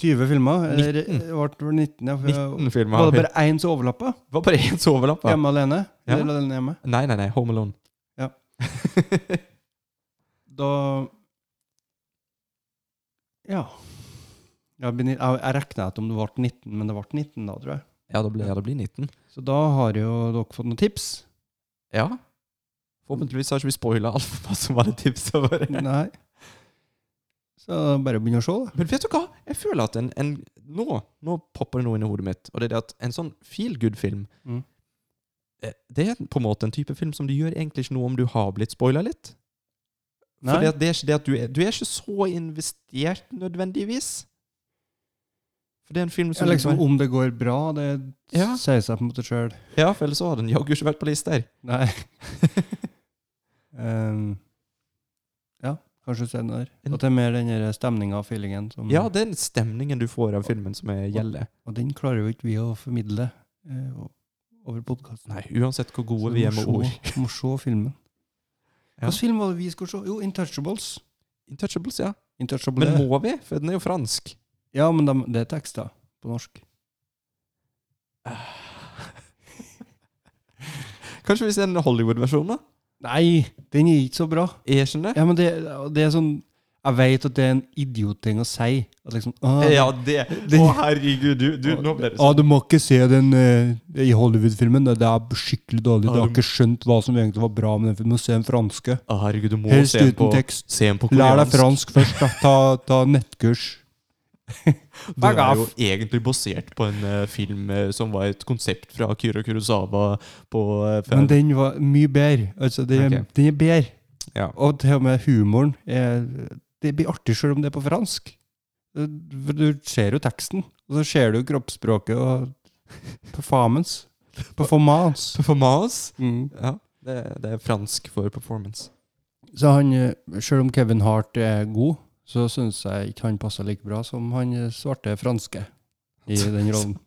Speaker 10: 20 filmer. Eller,
Speaker 11: 19.
Speaker 10: Det ble 19, ja. for-
Speaker 11: 19 filmer.
Speaker 10: Var det bare én som overlappa?
Speaker 11: Det var bare én som overlappa.
Speaker 10: Hjemme alene?
Speaker 11: Ja.
Speaker 10: Eller alene hjemme?
Speaker 11: Nei, nei, nei. Home Alone.
Speaker 10: Ja. Da Ja. Jeg, begynner, jeg, jeg regna at om det ble 19, men det ble 19 da, tror jeg.
Speaker 11: ja, det blir, ja, det blir 19.
Speaker 10: Så da har jo dere fått noen tips.
Speaker 11: Ja. Forhåpentligvis har ikke vi spoila altfor masse bare tipsa våre.
Speaker 10: Nei. Så bare begynn å se, da.
Speaker 11: Men vet du hva? Jeg føler at en, en nå, nå popper det noe inn i hodet mitt, og det er det at en sånn feel good-film
Speaker 10: Mm.
Speaker 11: eh, Det er på en måte en type film som du gjør egentlig ikke noe om du har blitt spoila litt.
Speaker 10: Nei.
Speaker 11: For det er ikke det at du er, du er ikke så investert nødvendigvis. For det er en film
Speaker 10: Ja,
Speaker 11: som
Speaker 10: liksom, om det går bra, det
Speaker 11: Ja.
Speaker 10: sier seg på en måte sjøl.
Speaker 11: Ja, for ellers så hadde den jaggu ikke vært på lista her.
Speaker 10: Nei. Ehm, ja, kanskje senere. At det er mer den der stemninga og feelingen som
Speaker 11: Ja, den stemningen du får av filmen som er gjelder.
Speaker 10: Og den klarer jo ikke vi å formidle eh, o- over podkasten.
Speaker 11: Nei, uansett hvor gode vi er med ord.
Speaker 10: Må se filmen.
Speaker 11: Ja.
Speaker 10: Hvilken film var det vi skulle se? Jo, Intouchables.
Speaker 11: Intouchables, ja.
Speaker 10: Intouchable.
Speaker 11: Men må vi? For den er jo fransk.
Speaker 10: ja, men dem- det er tekster på norsk.
Speaker 11: Kanskje vi ser en Hollywood-versjon, da?
Speaker 10: Nei, den er ikke så bra.
Speaker 11: Er ikke den det?
Speaker 10: Ja, men det, det er sånn Jeg vet at det er en idiotting å si. At liksom ah,
Speaker 11: Ja, det
Speaker 10: Den-
Speaker 11: Å, herregud, du, du Nå ble det
Speaker 10: Ja,
Speaker 11: sånn.
Speaker 10: du må ikke se den eh, i Hollywood-filmen. Det det er skikkelig dårlig.
Speaker 11: Ja,
Speaker 10: Du har
Speaker 11: du-
Speaker 10: ikke skjønt hva som egentlig var bra med den filmen. Du må se den franske.
Speaker 11: Å, herregud, du må
Speaker 10: Helst
Speaker 11: se den
Speaker 10: uten
Speaker 11: på
Speaker 10: tekst.
Speaker 11: Se den på
Speaker 10: Lær
Speaker 11: koreansk.
Speaker 10: deg fransk først, da. Ta, ta nettkurs.
Speaker 11: Den er jo
Speaker 10: Bagaf.
Speaker 11: egentlig basert på en eh, film eh, som var et konsept fra Kyra Kurosawa på eh, fra-
Speaker 10: Men den var mye bedre. Altså, det,
Speaker 11: Ok.
Speaker 10: Den er bedre.
Speaker 11: Ja.
Speaker 10: Og til og med humoren er, Det blir artig selv om det er på fransk. Du, du ser jo teksten, og så ser du kroppsspråket og performance. Performance.
Speaker 11: Performance.
Speaker 10: Mm.
Speaker 11: Ja, det, det er fransk for performance.
Speaker 10: Så han, eh, selv om Kevin Hart er god, så syns jeg ikke han passer like bra som han eh, svarte franske i den rollen.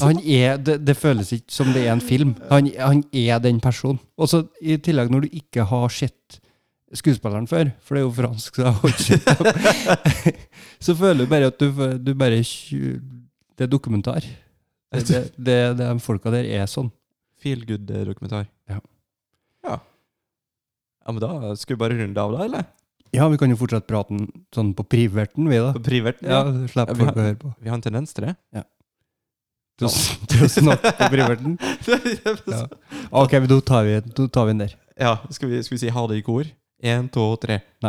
Speaker 10: Han er, det, det føles ikke som det er en film. Han, han er den personen. Og så i tillegg, når du ikke har sett skuespilleren før, for det er jo fransk, så jeg har ikke sett ham, så føler du bare at du, du bare kj- Det er dokumentar. Det, det, det, det de folka der er sånn.
Speaker 11: Feel good-dokumentar.
Speaker 10: Ja.
Speaker 11: ja. Ja, men da skal vi bare runde av, da, eller?
Speaker 10: Ja, vi kan jo fortsette praten sånn på priverten, vi, da.
Speaker 11: På priverten?
Speaker 10: Ja, Slipp
Speaker 11: Ja, vi
Speaker 10: folk
Speaker 11: har-
Speaker 10: å høre på.
Speaker 11: Vi har en tendens til det.
Speaker 10: til å, s- til å snakke på privaten. Ja. Ok, men da tar vi da tar vi den der.
Speaker 11: ja, skal vi, skal vi si ha det i kor? Én, to, tre.
Speaker 10: Ha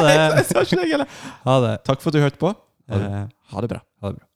Speaker 10: det!
Speaker 11: Jeg sa ikke det, eller?
Speaker 10: Ha det.
Speaker 11: Takk for at du hørte på.
Speaker 10: Ha det.
Speaker 11: Eh, Ha det bra.
Speaker 10: Ha det bra.